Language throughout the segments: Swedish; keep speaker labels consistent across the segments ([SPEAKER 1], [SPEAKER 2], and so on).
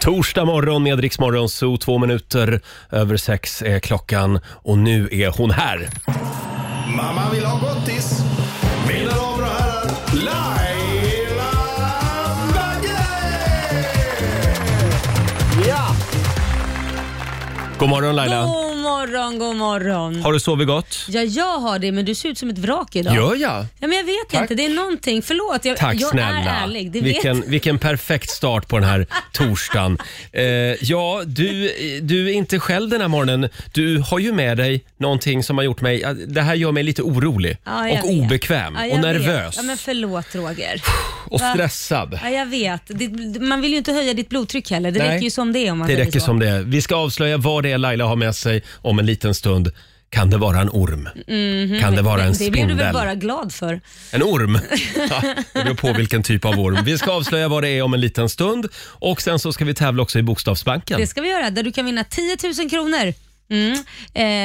[SPEAKER 1] Torsdag morgon med Rix Morgon Zoo, två minuter över sex är klockan och nu är hon här.
[SPEAKER 2] Mamma vill ha gottis. Mina damer och herrar, Laila Bagge!
[SPEAKER 3] Ja!
[SPEAKER 1] God morgon Laila.
[SPEAKER 4] God morgon, god morgon.
[SPEAKER 1] Har du sovit gott?
[SPEAKER 4] Ja, jag har det, men du ser ut som ett vrak idag.
[SPEAKER 1] Gör jag?
[SPEAKER 4] Ja, men jag vet inte, det är någonting. Förlåt, jag,
[SPEAKER 1] Tack
[SPEAKER 4] jag
[SPEAKER 1] snälla.
[SPEAKER 4] är ärlig. Det vet.
[SPEAKER 1] vilken, vilken perfekt start på den här torsdagen. Eh, ja, du, du är inte själv den här morgonen. Du har ju med dig någonting som har gjort mig... ja, Det här gör mig lite orolig
[SPEAKER 4] Ja, jag
[SPEAKER 1] och
[SPEAKER 4] vet.
[SPEAKER 1] obekväm
[SPEAKER 4] Ja, jag
[SPEAKER 1] och
[SPEAKER 4] vet.
[SPEAKER 1] nervös
[SPEAKER 4] Ja, men förlåt Roger.
[SPEAKER 1] och
[SPEAKER 4] Va?
[SPEAKER 1] stressad.
[SPEAKER 4] Ja, jag vet. Det, man vill ju inte höja ditt blodtryck heller. Det
[SPEAKER 1] Nej.
[SPEAKER 4] räcker ju som det är om man
[SPEAKER 1] Det
[SPEAKER 4] säger
[SPEAKER 1] räcker
[SPEAKER 4] så.
[SPEAKER 1] som det är. Vi ska avslöja vad det är Laila har med sig om en liten stund. Kan det vara en orm? Kan det vara en
[SPEAKER 4] Mhm. Det blir du väl
[SPEAKER 1] spindel?
[SPEAKER 4] bara glad för?
[SPEAKER 1] En orm? Ja, det beror på vilken typ av orm. Vi ska avslöja vad det är om en liten stund. Och sen så ska vi tävla också i Bokstavsbanken.
[SPEAKER 4] Det ska vi göra, där du kan vinna 10 000 kronor. Mm.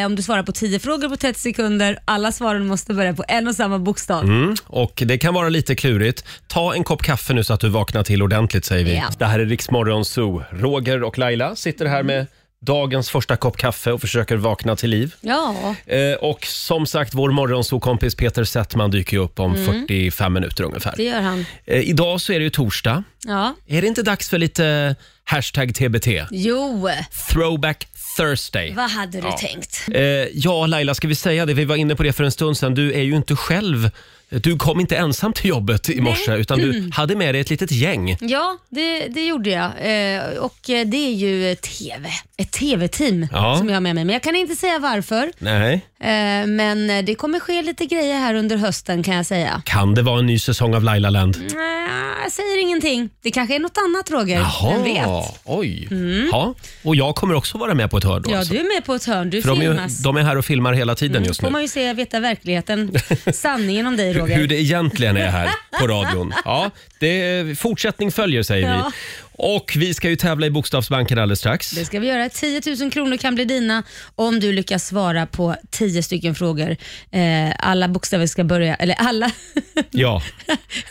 [SPEAKER 4] Eh, om du svarar på 10 frågor på 30 sekunder. Alla svaren måste börja på en och samma bokstav.
[SPEAKER 1] Mm, och det kan vara lite klurigt. Ta en kopp kaffe nu så att du vaknar till ordentligt säger vi.
[SPEAKER 4] Ja.
[SPEAKER 1] Det här är Riksmorgon Zoo. Roger och Laila sitter här med dagens första kopp kaffe och försöker vakna till liv.
[SPEAKER 4] Ja,
[SPEAKER 1] Eh, och som sagt, vår morgonsokompis Peter Settman dyker ju upp om
[SPEAKER 4] Mm.
[SPEAKER 1] 45 minuter ungefär.
[SPEAKER 4] det gör han.
[SPEAKER 1] Eh, idag så är det ju torsdag.
[SPEAKER 4] Ja.
[SPEAKER 1] Är det inte dags för lite hashtag TBT?
[SPEAKER 4] Jo,
[SPEAKER 1] Throwback Thursday.
[SPEAKER 4] vad hade du tänkt?
[SPEAKER 1] Eh, ja, Laila, ska vi säga det? Vi var inne på det för en stund sedan. Du är ju inte själv. Du kom inte ensam till jobbet i morse, utan
[SPEAKER 4] Mm.
[SPEAKER 1] du hade med dig ett litet gäng.
[SPEAKER 4] Ja, det, det gjorde jag. Eh, och eh, Det är ju TV. Ett TV-team
[SPEAKER 1] Ja.
[SPEAKER 4] som jag har med mig. Men jag kan inte säga varför.
[SPEAKER 1] Nej.
[SPEAKER 4] Eh, men eh, det kommer ske lite grejer här under hösten kan jag säga.
[SPEAKER 1] Kan det vara en ny säsong av Laila Land?
[SPEAKER 4] Mm. Nej, jag säger ingenting. Det kanske är något annat Roger. Vem vet? Mm.
[SPEAKER 1] oj. Ja, och jag kommer också vara med på ett hörn då.
[SPEAKER 4] Ja,
[SPEAKER 1] alltså.
[SPEAKER 4] du är med på ett hörn. Du
[SPEAKER 1] För de, är, ju-
[SPEAKER 4] filmas.
[SPEAKER 1] de är här och filmar hela tiden just nu.
[SPEAKER 4] får man ju se veta verkligheten, sanningen om dig
[SPEAKER 1] Hur-
[SPEAKER 4] Roger.
[SPEAKER 1] Hur det egentligen är här på radion. Ja, det, fortsättning följer säger
[SPEAKER 4] Ja.
[SPEAKER 1] vi. Och vi ska ju tävla i Bokstavsbanken alldeles strax.
[SPEAKER 4] Det ska vi göra. 10 000 kronor kan bli dina om du lyckas svara på 10 stycken frågor. Eh, alla bokstäver ska börja, eller alla...
[SPEAKER 1] Ja,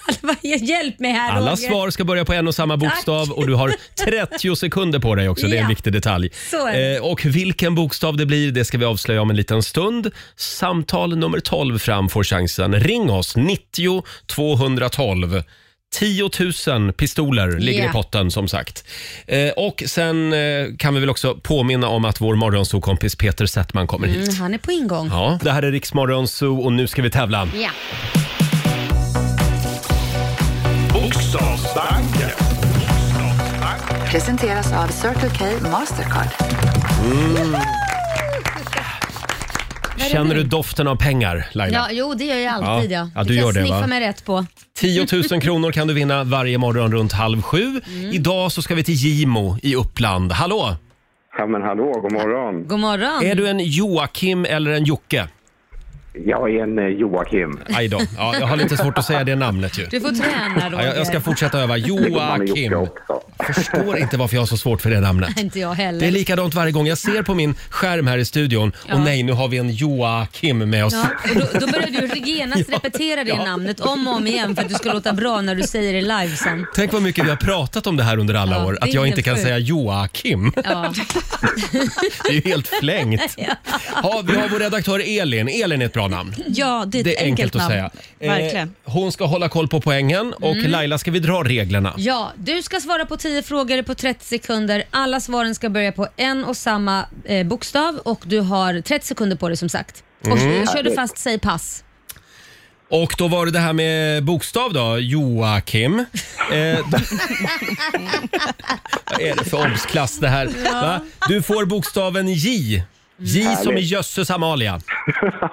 [SPEAKER 4] alla vad- hjälp mig här
[SPEAKER 1] alla
[SPEAKER 4] Roger.
[SPEAKER 1] svar ska börja på en och samma bokstav och du har 30 sekunder på dig också. Det är en
[SPEAKER 4] Ja.
[SPEAKER 1] viktig detalj.
[SPEAKER 4] Så är det.
[SPEAKER 1] Eh, och vilken bokstav det blir, det ska vi avslöja om en liten stund. Samtal nummer 12 fram får chansen. Ring oss, 90 212. 10 000 pistoler ligger
[SPEAKER 4] Ja.
[SPEAKER 1] i potten som sagt. Eh, och sen eh, kan vi väl också påminna om att vår morgonsokompis Peter Settman kommer hit.
[SPEAKER 4] Mm, han är på ingång.
[SPEAKER 1] Ja, det här är Riksmorgon Zoo och nu ska vi tävla.
[SPEAKER 4] Ja.
[SPEAKER 2] Bokstavsbanken.
[SPEAKER 5] Presenteras av Circle K Mastercard.
[SPEAKER 1] Känner du doften av pengar Laila?
[SPEAKER 4] Ja, jo, det gör jag alltid.
[SPEAKER 1] Ja.
[SPEAKER 4] Ja.
[SPEAKER 1] Ja, du
[SPEAKER 4] kan
[SPEAKER 1] gör det,
[SPEAKER 4] sniffa
[SPEAKER 1] va?
[SPEAKER 4] mig rätt på.
[SPEAKER 1] 10 000 kronor kan du vinna varje morgon runt halv sju.
[SPEAKER 4] Mm.
[SPEAKER 1] Idag så ska vi till Gimo i Uppland. Hallå!
[SPEAKER 6] Ja men hallå, god morgon.
[SPEAKER 4] God morgon.
[SPEAKER 1] Är du en Joakim eller en Jocke?
[SPEAKER 6] Jag är en eh, Joakim.
[SPEAKER 1] Aj då. Ja, jag har lite svårt att säga det namnet ju.
[SPEAKER 4] Du får träna Roger.
[SPEAKER 1] Ja, jag, jag ska fortsätta öva.
[SPEAKER 6] Man är
[SPEAKER 1] Joakim.
[SPEAKER 6] Jocke också.
[SPEAKER 1] Jag förstår inte varför jag har så svårt för det namnet.
[SPEAKER 4] Inte jag
[SPEAKER 1] Det är
[SPEAKER 4] heller.
[SPEAKER 1] likadant varje gång jag ser på min skärm här i studion. Och nej, nu har vi en Joakim med oss.
[SPEAKER 4] Ja, och då, då börjar du genast repetera det namnet om och om igen för att du ska låta bra när du säger det live sen.
[SPEAKER 1] Tänk vad mycket vi har pratat om det här under alla
[SPEAKER 4] Ja,
[SPEAKER 1] år.
[SPEAKER 4] det är
[SPEAKER 1] Att jag
[SPEAKER 4] helt
[SPEAKER 1] inte kan
[SPEAKER 4] sjukt.
[SPEAKER 1] säga Joakim.
[SPEAKER 4] Ja.
[SPEAKER 1] Det är ju helt flängt. Ja, vi har vår redaktör Elin. Elin är ett bra namn.
[SPEAKER 7] Ja, det är ett
[SPEAKER 1] Det är enkelt, att
[SPEAKER 7] namn.
[SPEAKER 1] säga. Eh,
[SPEAKER 7] Verkligen.
[SPEAKER 1] hon ska hålla koll på poängen och Laila, ska vi dra reglerna?
[SPEAKER 4] Ja, du ska svara på 10 frågor på 30 sekunder. Alla svaren ska börja på en och samma eh, bokstav och du har 30 sekunder på dig som sagt. Och eh, kör du fast, säg pass.
[SPEAKER 1] Och då var det det här med bokstav då, Joakim. Eh, vad är det för obsklass det här? Va? Du får bokstaven J. J som i
[SPEAKER 6] Härligt.
[SPEAKER 1] Jösses Amalia.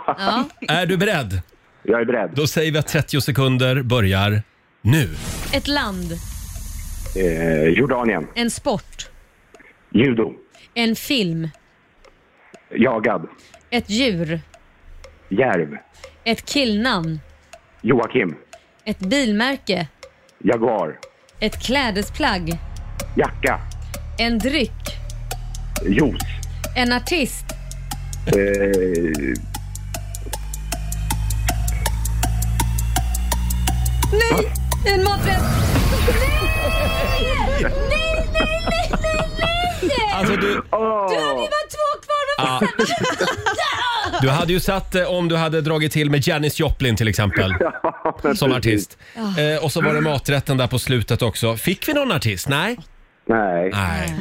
[SPEAKER 4] Ja.
[SPEAKER 1] Är du beredd?
[SPEAKER 6] Jag är beredd.
[SPEAKER 1] Då säger vi att 30 sekunder börjar nu.
[SPEAKER 4] Ett land,
[SPEAKER 6] Eh, Jordanien.
[SPEAKER 4] en sport,
[SPEAKER 6] Judo.
[SPEAKER 4] en film,
[SPEAKER 6] Jagad.
[SPEAKER 4] ett djur,
[SPEAKER 6] Järv.
[SPEAKER 4] ett killnamn,
[SPEAKER 6] Joakim.
[SPEAKER 4] ett bilmärke,
[SPEAKER 6] Jaguar.
[SPEAKER 4] ett klädesplagg,
[SPEAKER 6] Jacka.
[SPEAKER 4] en dryck,
[SPEAKER 6] Juice.
[SPEAKER 4] en artist,
[SPEAKER 6] Eh,
[SPEAKER 4] Nej! En maträtt! Nej! Nej, nej, nej, nej,
[SPEAKER 1] Alltså, du,
[SPEAKER 6] Åh,
[SPEAKER 4] Det var två kvar, varför
[SPEAKER 1] du hade ju satt eh, om du hade dragit till med Janis Joplin till exempel.
[SPEAKER 6] men
[SPEAKER 1] Som
[SPEAKER 6] precis.
[SPEAKER 1] artist. Eh, och så var det maträtten där på slutet också. Fick vi någon artist? Nej.
[SPEAKER 6] Nej.
[SPEAKER 1] Nej.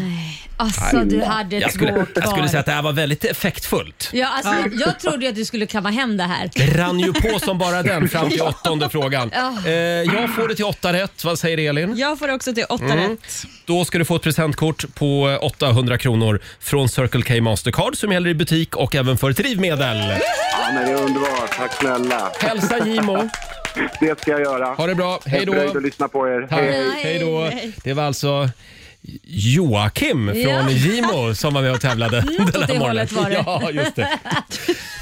[SPEAKER 4] Alltså du hade
[SPEAKER 1] Jag
[SPEAKER 4] två
[SPEAKER 1] skulle,
[SPEAKER 4] kvar.
[SPEAKER 1] jag skulle säga att det här var väldigt effektfullt.
[SPEAKER 4] Ja, alltså, Jag trodde ju att du skulle kamma hem det här.
[SPEAKER 1] Det rann ju på som bara den fram till åttonde frågan.
[SPEAKER 4] Ja.
[SPEAKER 1] Eh, jag får det till åtta rätt. Vad säger Elin?
[SPEAKER 3] Jag får också till åtta
[SPEAKER 1] Mm.
[SPEAKER 3] rätt.
[SPEAKER 1] Då ska du få ett presentkort på eh, 800 kronor från Circle K Mastercard som gäller i butik och även för drivmedel.
[SPEAKER 6] Ja, men det är underbart. Tack snälla.
[SPEAKER 1] Hälsa Gimo.
[SPEAKER 6] Det ska jag göra.
[SPEAKER 1] Ha det bra. Hej då.
[SPEAKER 6] Jag är nöjd att lyssna på er.
[SPEAKER 1] Tack.
[SPEAKER 6] Hej.
[SPEAKER 1] Hej då. Det var alltså Joakim från
[SPEAKER 4] Ja.
[SPEAKER 1] Gimo som var med och tävlade den
[SPEAKER 4] åt det
[SPEAKER 1] här morgonen.
[SPEAKER 4] hållet var det.
[SPEAKER 1] Ja, just det.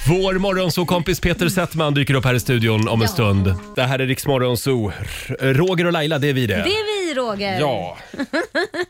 [SPEAKER 1] Vår morgonsåkompis Peter Settman dyker upp här i studion om en stund. Det här är Rix Morgonzoo. R- Roger och Laila, det är vi det.
[SPEAKER 4] Det är vi Roger.
[SPEAKER 1] Ja.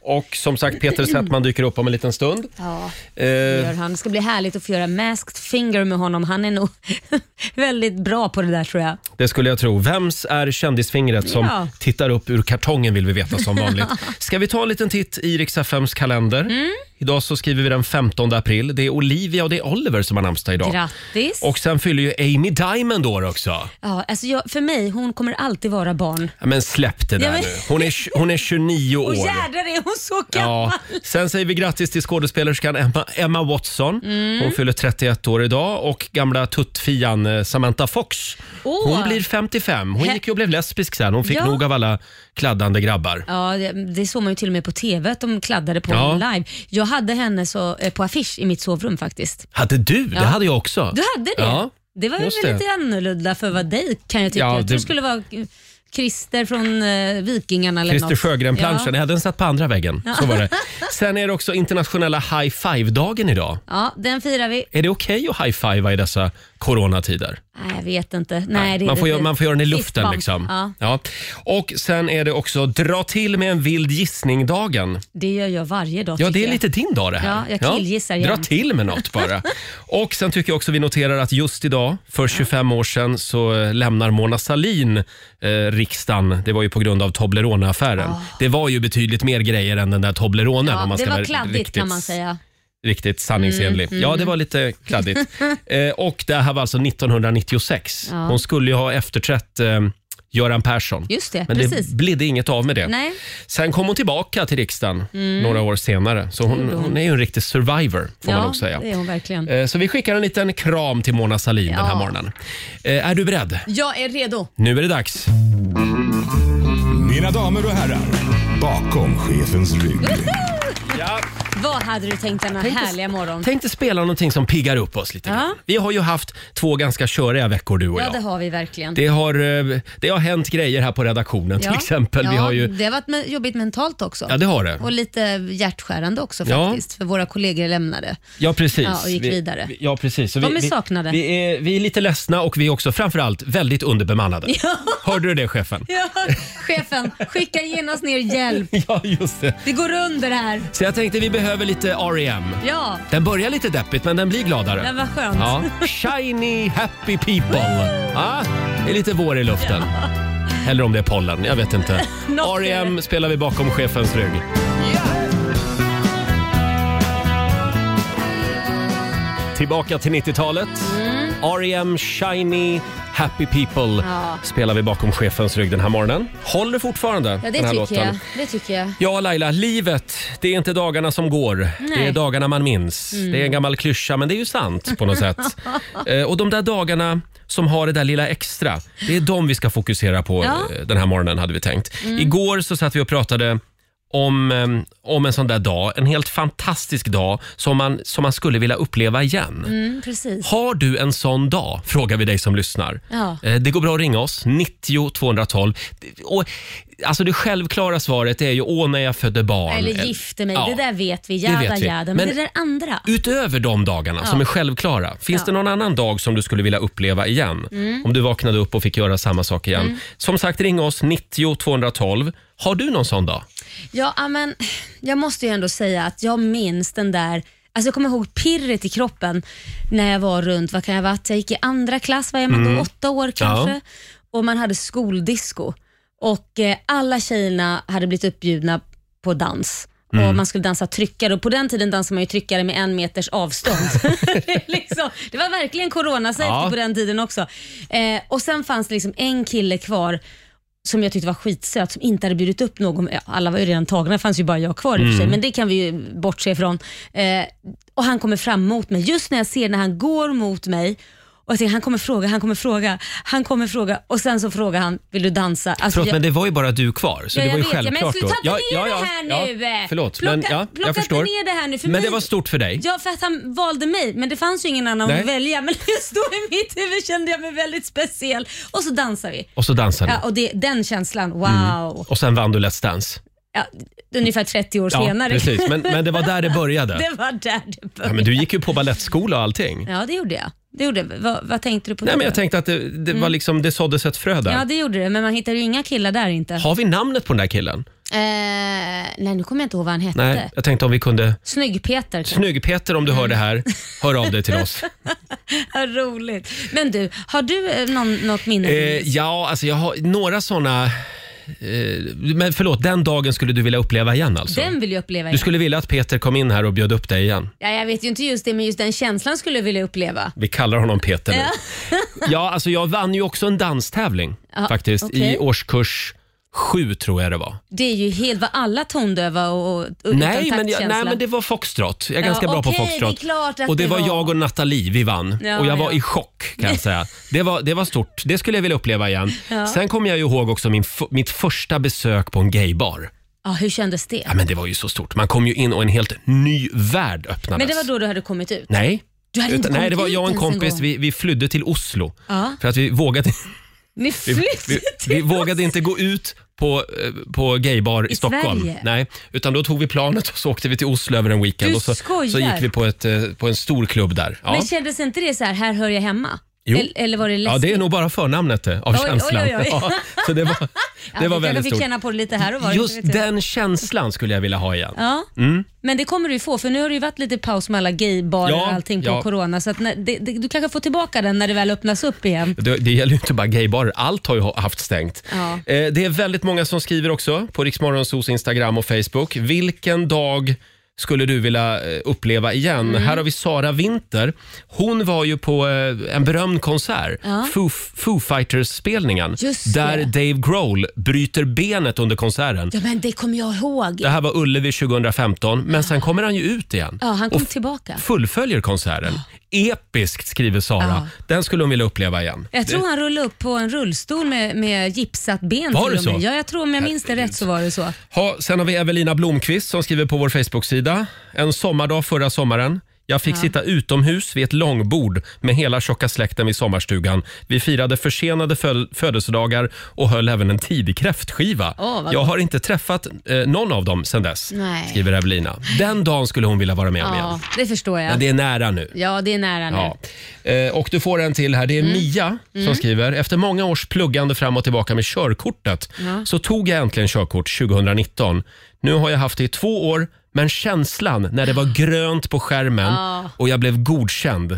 [SPEAKER 1] Och som sagt, Peter Settman dyker upp om en liten stund.
[SPEAKER 4] Ja,
[SPEAKER 1] Eh,
[SPEAKER 4] gör han. Det ska bli härligt att få göra Masked Finger med honom. Han är nog väldigt bra på det där tror jag.
[SPEAKER 1] Det skulle jag tro. Vems är kändisfingret som
[SPEAKER 4] Ja.
[SPEAKER 1] tittar upp ur kartongen vill vi veta som vanligt. Ska vi ta en liten titt i Rix FMs kalender?
[SPEAKER 4] Mm.
[SPEAKER 1] Idag så skriver vi den 15 april. Det är Olivia och det är Oliver som har namnsdag idag.
[SPEAKER 4] Grattis.
[SPEAKER 1] Och sen fyller ju Amy Diamond år också.
[SPEAKER 4] Ja, alltså jag, för mig, hon kommer alltid vara barn.
[SPEAKER 1] Ja, Men släpp det där
[SPEAKER 4] Ja, men-
[SPEAKER 1] nu. Hon är, hon är 29 år.
[SPEAKER 4] Och jädrar är hon så
[SPEAKER 1] Ja.
[SPEAKER 4] gammal.
[SPEAKER 1] Sen säger vi grattis till skådespelerskan Emma, Emma Watson.
[SPEAKER 4] Mm.
[SPEAKER 1] Hon fyller 31 år idag och gamla tuttfian eh, Samantha Fox.
[SPEAKER 4] Åh.
[SPEAKER 1] Hon blir 55. Hon
[SPEAKER 4] He-
[SPEAKER 1] gick ju och blev lesbisk sen. Hon fick
[SPEAKER 4] Ja.
[SPEAKER 1] nog av alla kladdande grabbar.
[SPEAKER 4] Ja, det, det såg man ju till och med på TV att de kladdade på
[SPEAKER 1] Ja.
[SPEAKER 4] henne live. Jag hade henne så, eh, på affisch i mitt sovrum faktiskt.
[SPEAKER 1] Hade du? Det hade jag också.
[SPEAKER 4] Du hade det?
[SPEAKER 1] Ja.
[SPEAKER 4] Det var ju
[SPEAKER 1] just
[SPEAKER 4] väl
[SPEAKER 1] det.
[SPEAKER 4] lite annorlunda för vad dig kan jag tycka.
[SPEAKER 1] Ja,
[SPEAKER 4] jag tror
[SPEAKER 1] det-
[SPEAKER 4] det skulle vara eh, Christer från eh, Vikingarna eller
[SPEAKER 1] Christer
[SPEAKER 4] något.
[SPEAKER 1] Sjögren-planschen.
[SPEAKER 4] Ja.
[SPEAKER 1] Ja. Den satt på andra väggen. Så var det. Sen är det också internationella high five-dagen idag.
[SPEAKER 4] ja, den firar vi.
[SPEAKER 1] Är det okej att high fivea i dessa coronatider?
[SPEAKER 4] Nej, jag vet inte. Nej, det är
[SPEAKER 1] man, får
[SPEAKER 4] lite-
[SPEAKER 1] göra, man får göra den i luften.
[SPEAKER 4] Fistbump.
[SPEAKER 1] Liksom.
[SPEAKER 4] Ja,
[SPEAKER 1] Ja. Och Sen är det också dra till med en vild gissning-dagen.
[SPEAKER 4] det gör jag varje dag
[SPEAKER 1] Ja,
[SPEAKER 4] tycker
[SPEAKER 1] det är
[SPEAKER 4] jag.
[SPEAKER 1] lite din dag det här.
[SPEAKER 4] Ja, jag killgissar
[SPEAKER 1] Dra
[SPEAKER 4] jämt.
[SPEAKER 1] till med något bara. Och sen tycker jag också vi noterar att just idag, för 25 år sedan, så eh, lämnar Mona Sahlin eh, riksdagen. Det var ju på grund av Toblerone-affären. Det var ju betydligt mer grejer än den där Tobleronen.
[SPEAKER 4] Ja,
[SPEAKER 1] om man ska
[SPEAKER 4] det var
[SPEAKER 1] vara
[SPEAKER 4] kladdigt
[SPEAKER 1] riktigt,
[SPEAKER 4] kan man säga.
[SPEAKER 1] Riktigt sanningsenlig.
[SPEAKER 4] Mm,
[SPEAKER 1] Ja, det var lite kladdigt. eh, och det här var alltså 1996.
[SPEAKER 4] Ja.
[SPEAKER 1] Hon skulle ju ha efterträtt eh, Göran Persson.
[SPEAKER 4] Just det,
[SPEAKER 1] Men
[SPEAKER 4] precis.
[SPEAKER 1] det blev inget av med det.
[SPEAKER 4] Nej. Mm.
[SPEAKER 1] Sen kom hon tillbaka till riksdagen några år senare. Så hon, hon är ju en riktig survivor får man
[SPEAKER 4] ja,
[SPEAKER 1] nog säga.
[SPEAKER 4] det är hon verkligen.
[SPEAKER 1] Eh, Så vi skickar en liten kram till Mona Sahlin den här
[SPEAKER 4] Ja.
[SPEAKER 1] morgonen. Eh, Är du beredd?
[SPEAKER 4] Jag är redo.
[SPEAKER 1] Nu är det dags.
[SPEAKER 2] Mina damer och herrar, bakom chefens rygg.
[SPEAKER 4] Vad hade du tänkt denna
[SPEAKER 1] Tänk dig-
[SPEAKER 4] härliga morgon?
[SPEAKER 1] Tänk dig spela någonting som piggar upp oss lite
[SPEAKER 4] Ja.
[SPEAKER 1] grann. Vi har ju haft två ganska köriga veckor du och
[SPEAKER 4] Ja,
[SPEAKER 1] jag.
[SPEAKER 4] det har vi verkligen.
[SPEAKER 1] Det har, eh, det har hänt grejer här på redaktionen
[SPEAKER 4] ja.
[SPEAKER 1] till exempel.
[SPEAKER 4] Ja,
[SPEAKER 1] Vi har ju,
[SPEAKER 4] Det har varit med, jobbigt mentalt också.
[SPEAKER 1] ja, det har det.
[SPEAKER 4] Och lite hjärtskärande också
[SPEAKER 1] Mm. Ja.
[SPEAKER 4] faktiskt, för våra kollegor lämnade.
[SPEAKER 1] Ja, precis.
[SPEAKER 4] Ja, och gick
[SPEAKER 1] Vi-
[SPEAKER 4] vidare.
[SPEAKER 1] vi- Ja, precis. Så
[SPEAKER 4] De
[SPEAKER 1] vi-
[SPEAKER 4] är
[SPEAKER 1] vi-
[SPEAKER 4] saknade.
[SPEAKER 1] Vi är, vi är lite ledsna och vi är också framförallt väldigt underbemannade. Hörde du det chefen?
[SPEAKER 4] Ja, chefen, skicka genast ner hjälp.
[SPEAKER 1] Ja, just det.
[SPEAKER 4] Det går under här.
[SPEAKER 1] Så jag tänkte vi behöver lite E R.E.M.
[SPEAKER 4] Ja,
[SPEAKER 1] Den börjar lite deppigt men den blir gladare.
[SPEAKER 4] men vad skönt.
[SPEAKER 1] Ja. Shiny happy people. Ja, det är lite vår i luften. Eller om det är pollen, jag vet inte.
[SPEAKER 4] Något är
[SPEAKER 1] R.E.M. spelar vi bakom chefens rygg. Tillbaka till 90-talet.
[SPEAKER 4] Mm.
[SPEAKER 1] R.E.M. Shiny Happy People
[SPEAKER 4] Ja.
[SPEAKER 1] spelar vi bakom chefens rygg den här morgonen. Håller fortfarande
[SPEAKER 4] Ja, det
[SPEAKER 1] den här
[SPEAKER 4] tycker
[SPEAKER 1] låten.
[SPEAKER 4] jag. Det tycker jag.
[SPEAKER 1] Ja, Laila, livet, det är inte dagarna som går. Det är dagarna man minns. Det är
[SPEAKER 4] Mm.
[SPEAKER 1] en gammal klyscha, men det är ju sant på något sätt. Eh, och de där dagarna som har det där lilla extra, det är de vi ska fokusera på
[SPEAKER 4] Ja. Mm.
[SPEAKER 1] eh, den här morgonen, hade vi tänkt. Igår så satt vi och pratade om, eh, om en sån där dag, en helt fantastisk dag som man, som man skulle vilja uppleva igen.
[SPEAKER 4] Mm, precis.
[SPEAKER 1] Har du en sån dag? Frågar vi dig som lyssnar.
[SPEAKER 4] Ja.
[SPEAKER 1] Eh, Det går bra att ringa oss, 90 212. Och, alltså det självklara svaret är ju åh när jag födde barn. Eh,
[SPEAKER 4] Eller gifte mig,
[SPEAKER 1] Ja.
[SPEAKER 4] det där vet vi. Jada,
[SPEAKER 1] vet vi.
[SPEAKER 4] jada. Men,
[SPEAKER 1] Men-
[SPEAKER 4] det där andra.
[SPEAKER 1] Utöver de dagarna som är självklara, finns
[SPEAKER 4] Ja. Mm.
[SPEAKER 1] det någon annan dag som du skulle vilja uppleva igen? Om du vaknade upp och fick göra samma sak igen. Som sagt, ring oss 90 212. Har du någon sån dag?
[SPEAKER 4] Ja, ja, men jag måste ju ändå säga att jag minns den där Alltså jag kommer ihåg pirret i kroppen när jag var runt, vad kan jag ha varit, jag gick i andra klass, vad är man då, åtta år kanske? Och man hade skoldisco och eh, alla tjejerna hade blivit uppbjudna på dans. och man skulle dansa tryckare och på den tiden dansade man ju tryckare med en meters avstånd. Det är liksom, det var verkligen corona
[SPEAKER 1] Ja.
[SPEAKER 4] på den tiden också. Eh, och sen fanns det liksom en kille kvar som jag tyckte var skitsöt, som inte hade bjudit upp någon. Ja, alla var ju redan tagna, det fanns ju bara jag kvar i och för sig,
[SPEAKER 1] Mm.
[SPEAKER 4] men det kan vi ju bortse ifrån. Eh, och han kommer fram mot mig, just när jag ser när han går mot mig och jag tänker, han kommer fråga, han kommer fråga, han kommer fråga och sen så frågar han, vill du dansa? Alltså,
[SPEAKER 1] Förlåt,
[SPEAKER 4] jag-
[SPEAKER 1] men det var ju bara du kvar. Så
[SPEAKER 4] Ja,
[SPEAKER 1] det
[SPEAKER 4] jag
[SPEAKER 1] var ju
[SPEAKER 4] vet,
[SPEAKER 1] självklart
[SPEAKER 4] men sluta
[SPEAKER 1] då.
[SPEAKER 4] inte ner det här nu.
[SPEAKER 1] Förlåt,
[SPEAKER 4] Plocka-
[SPEAKER 1] men ja,
[SPEAKER 4] plocka
[SPEAKER 1] jag
[SPEAKER 4] inte
[SPEAKER 1] förstår.
[SPEAKER 4] ner det här nu, för
[SPEAKER 1] men
[SPEAKER 4] mig-
[SPEAKER 1] det var stort för dig.
[SPEAKER 4] Ja, för att han valde mig, men det fanns ju ingen annan
[SPEAKER 1] Nej.
[SPEAKER 4] att välja. Men just då i mitt huvud kände jag mig väldigt speciell. Och så dansar vi.
[SPEAKER 1] Och så dansade
[SPEAKER 4] Ja,
[SPEAKER 1] ni.
[SPEAKER 4] och det, den känslan, wow.
[SPEAKER 1] Och sen vann du Let's Dance.
[SPEAKER 4] Ja, ungefär 30 år
[SPEAKER 1] Ja,
[SPEAKER 4] senare.
[SPEAKER 1] precis. Men, men det var där det började.
[SPEAKER 4] Det var där det började.
[SPEAKER 1] Ja, men du gick ju på balettskola och allting.
[SPEAKER 4] Ja, det gjorde jag. Det gjorde, jag. vad, vad tänkte du på
[SPEAKER 1] Nej,
[SPEAKER 4] då?
[SPEAKER 1] men jag tänkte att det, det var liksom, det såddes ett frö
[SPEAKER 4] Mm. Ja,
[SPEAKER 1] där.
[SPEAKER 4] det gjorde det, men man hittade ju inga killar där inte.
[SPEAKER 1] Har vi namnet på den där killen?
[SPEAKER 4] Eh, nej, nu kommer jag inte Mm. ihåg vad han hette.
[SPEAKER 1] Nej, jag tänkte om vi kunde...
[SPEAKER 4] Snygg-Peter. kanske.
[SPEAKER 1] Snygg-Peter, om du hör det här, hör av dig till oss.
[SPEAKER 4] Vad roligt. Men du, har du eh, någon, något minne?
[SPEAKER 1] Eh, ja, alltså jag har några såna... Eh, men förlåt, den dagen skulle du vilja uppleva igen alltså?
[SPEAKER 4] den vill jag uppleva
[SPEAKER 1] Du
[SPEAKER 4] igen.
[SPEAKER 1] skulle vilja att Peter kom in här och bjöd upp dig igen?
[SPEAKER 4] Ja, jag vet ju inte just det, men just den känslan skulle jag vilja uppleva.
[SPEAKER 1] Vi kallar honom Peter nu. Ja, alltså jag vann ju också en danstävling
[SPEAKER 4] Ja,
[SPEAKER 1] faktiskt
[SPEAKER 4] okej.
[SPEAKER 1] i årskurs sju tror jag det var.
[SPEAKER 4] Det är ju helt, var alla tondöva och, och utan
[SPEAKER 1] Nej men, jag,
[SPEAKER 4] taktkänsla?
[SPEAKER 1] nej, men det var foxtrot. Jag är
[SPEAKER 4] Ja,
[SPEAKER 1] ganska bra på
[SPEAKER 4] okej,
[SPEAKER 1] foxtrot.
[SPEAKER 4] det är klart att
[SPEAKER 1] och det,
[SPEAKER 4] det
[SPEAKER 1] var
[SPEAKER 4] var.
[SPEAKER 1] jag och Nathalie, vi vann.
[SPEAKER 4] Ja,
[SPEAKER 1] och jag var
[SPEAKER 4] ja.
[SPEAKER 1] i chock kan jag säga. Det var, det var stort. Det skulle jag vilja uppleva igen.
[SPEAKER 4] Ja.
[SPEAKER 1] Sen kommer jag ju ihåg också min, f- mitt första besök på en gaybar.
[SPEAKER 4] Ja, hur kändes det?
[SPEAKER 1] Ja, men det var ju så stort. Man kom ju in och en helt ny värld öppnades.
[SPEAKER 4] Men det var då du hade kommit ut?
[SPEAKER 1] Nej.
[SPEAKER 4] Du hade inte
[SPEAKER 1] Utan,
[SPEAKER 4] kommit
[SPEAKER 1] nej, det var
[SPEAKER 4] ut
[SPEAKER 1] jag och en
[SPEAKER 4] ens
[SPEAKER 1] kompis.
[SPEAKER 4] gång.
[SPEAKER 1] vi, vi flydde till Oslo.
[SPEAKER 4] Ja.
[SPEAKER 1] För att vi vågade,
[SPEAKER 4] Ni
[SPEAKER 1] vi, vi,
[SPEAKER 4] flyttade
[SPEAKER 1] vi
[SPEAKER 4] till
[SPEAKER 1] vågade inte gå ut på, eh, på gaybar i,
[SPEAKER 4] I
[SPEAKER 1] Stockholm.
[SPEAKER 4] Sverige?
[SPEAKER 1] Nej, utan då tog vi planet och så åkte vi till Oslo över en weekend.
[SPEAKER 4] Du
[SPEAKER 1] och så,
[SPEAKER 4] skojar.
[SPEAKER 1] så gick vi på, ett, eh, på en stor klubb där. Ja.
[SPEAKER 4] Men kändes inte det så här, här hör jag hemma?
[SPEAKER 1] Jo.
[SPEAKER 4] Eller, eller var det läskigt?
[SPEAKER 1] ja, det är nog bara förnamnet eh, av
[SPEAKER 4] Oj, oj,
[SPEAKER 1] känslan.
[SPEAKER 4] oj, oj.
[SPEAKER 1] Ja, så det var,
[SPEAKER 4] Ja,
[SPEAKER 1] det var
[SPEAKER 4] du kanske
[SPEAKER 1] väldigt
[SPEAKER 4] fick
[SPEAKER 1] stort.
[SPEAKER 4] känna på det lite här och var.
[SPEAKER 1] Just Mm.
[SPEAKER 4] inte vet jag.
[SPEAKER 1] den känslan skulle jag vilja ha igen.
[SPEAKER 4] Ja. Men det kommer du ju få, för nu har det ju varit lite paus med alla gaybarer
[SPEAKER 1] Ja,
[SPEAKER 4] och allting på
[SPEAKER 1] ja.
[SPEAKER 4] corona. Så att när, det, det, du kanske får tillbaka den när det väl öppnas upp igen.
[SPEAKER 1] Det, det gäller ju inte bara gaybarer, allt har ju ha- haft stängt.
[SPEAKER 4] Ja.
[SPEAKER 1] Eh, det är väldigt många som skriver också på Riksmorgonsos Instagram och Facebook. Vilken dag skulle du vilja eh, uppleva igen?
[SPEAKER 4] Mm.
[SPEAKER 1] Här har vi Sara Winter. Hon var ju på eh, en berömd konsert, Foo, Foo Fighters-spelningen,
[SPEAKER 4] Just det.
[SPEAKER 1] där Dave Grohl bryter benet under konserten.
[SPEAKER 4] Ja, men det kommer jag ihåg.
[SPEAKER 1] Det här var Ullevi 2015, men sen kommer han ju ut igen.
[SPEAKER 4] Ja, han kom
[SPEAKER 1] och f-
[SPEAKER 4] tillbaka.
[SPEAKER 1] fullföljer konserten. Episkt, skriver Sara. Den skulle hon vilja uppleva igen.
[SPEAKER 4] Jag tror han rullade upp på en rullstol med, med gipsat ben.
[SPEAKER 1] Var
[SPEAKER 4] till
[SPEAKER 1] det
[SPEAKER 4] och med.
[SPEAKER 1] så?
[SPEAKER 4] Ja, jag tror om jag minns det rätt så var det så.
[SPEAKER 1] Ha, sen har vi Evelina Blomqvist som skriver på vår Facebook-sida. En sommardag förra sommaren. Jag fick sitta utomhus vid ett långbord med hela tjocka släkten vid sommarstugan. Vi firade försenade föl- födelsedagar och höll även en tidig kräftskiva.
[SPEAKER 4] Åh, vad
[SPEAKER 1] jag
[SPEAKER 4] gott.
[SPEAKER 1] har inte träffat eh, någon av dem sedan dess,
[SPEAKER 4] Nej.
[SPEAKER 1] skriver Evelina. Den dagen skulle hon vilja vara med om igen.
[SPEAKER 4] Ja, det förstår jag.
[SPEAKER 1] Men det är nära nu.
[SPEAKER 4] Ja, det är nära nu. Mm.
[SPEAKER 1] Ja. Eh, Och du får en till här. Det är Mia som skriver. Efter många års pluggande fram och tillbaka med körkortet så tog jag äntligen körkort 2019. Nu har jag haft det i två år, men känslan när det var grönt på skärmen och jag blev godkänd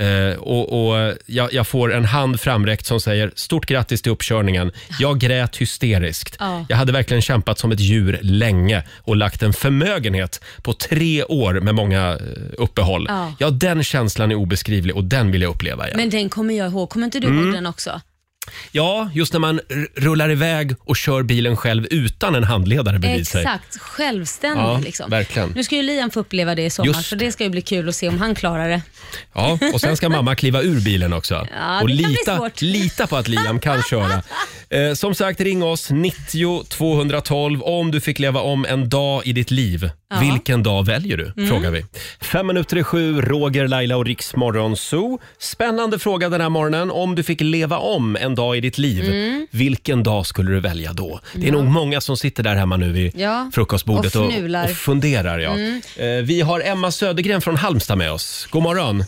[SPEAKER 1] eh, och, och jag, jag får en hand framräckt som säger stort grattis till uppkörningen. Jag grät hysteriskt.
[SPEAKER 4] Ja.
[SPEAKER 1] Jag hade verkligen kämpat som ett djur länge och lagt en förmögenhet på tre år med många eh, uppehåll.
[SPEAKER 4] Ja.
[SPEAKER 1] Ja, den känslan är obeskrivlig och den vill jag uppleva igen.
[SPEAKER 4] Men den kommer jag ihåg. Kommer inte du
[SPEAKER 1] Mm.
[SPEAKER 4] ihåg den också?
[SPEAKER 1] Ja, just när man r- rullar iväg och kör bilen själv utan en handledare bredvid sig.
[SPEAKER 4] Exakt, självständig.
[SPEAKER 1] Ja,
[SPEAKER 4] liksom.
[SPEAKER 1] verkligen.
[SPEAKER 4] Nu ska ju Liam få uppleva det i sommar,
[SPEAKER 1] Just
[SPEAKER 4] så det ska ju bli kul att se om han klarar det.
[SPEAKER 1] Ja, och sen ska mamma kliva ur bilen också.
[SPEAKER 4] Ja,
[SPEAKER 1] och
[SPEAKER 4] det kan bli
[SPEAKER 1] lita,
[SPEAKER 4] svårt.
[SPEAKER 1] lita på att Liam kan köra. Eh, som sagt, ring oss 90 212 om du fick leva om en dag i ditt liv. Vilken dag väljer du?
[SPEAKER 4] Mm.
[SPEAKER 1] Frågar vi. Fem minuter i sju, Roger, Laila och Riks Morgonzoo. Spännande fråga den här morgonen. Om du fick leva om en dag i ditt liv,
[SPEAKER 4] Mm.
[SPEAKER 1] vilken dag skulle du välja då? Det är nog många som sitter där hemma nu vid
[SPEAKER 4] Ja,
[SPEAKER 1] frukostbordet
[SPEAKER 4] och
[SPEAKER 1] och,
[SPEAKER 4] fnular. Mm.
[SPEAKER 1] och funderar. Ja. Eh, vi har Emma Södergren från Halmstad med oss. God morgon!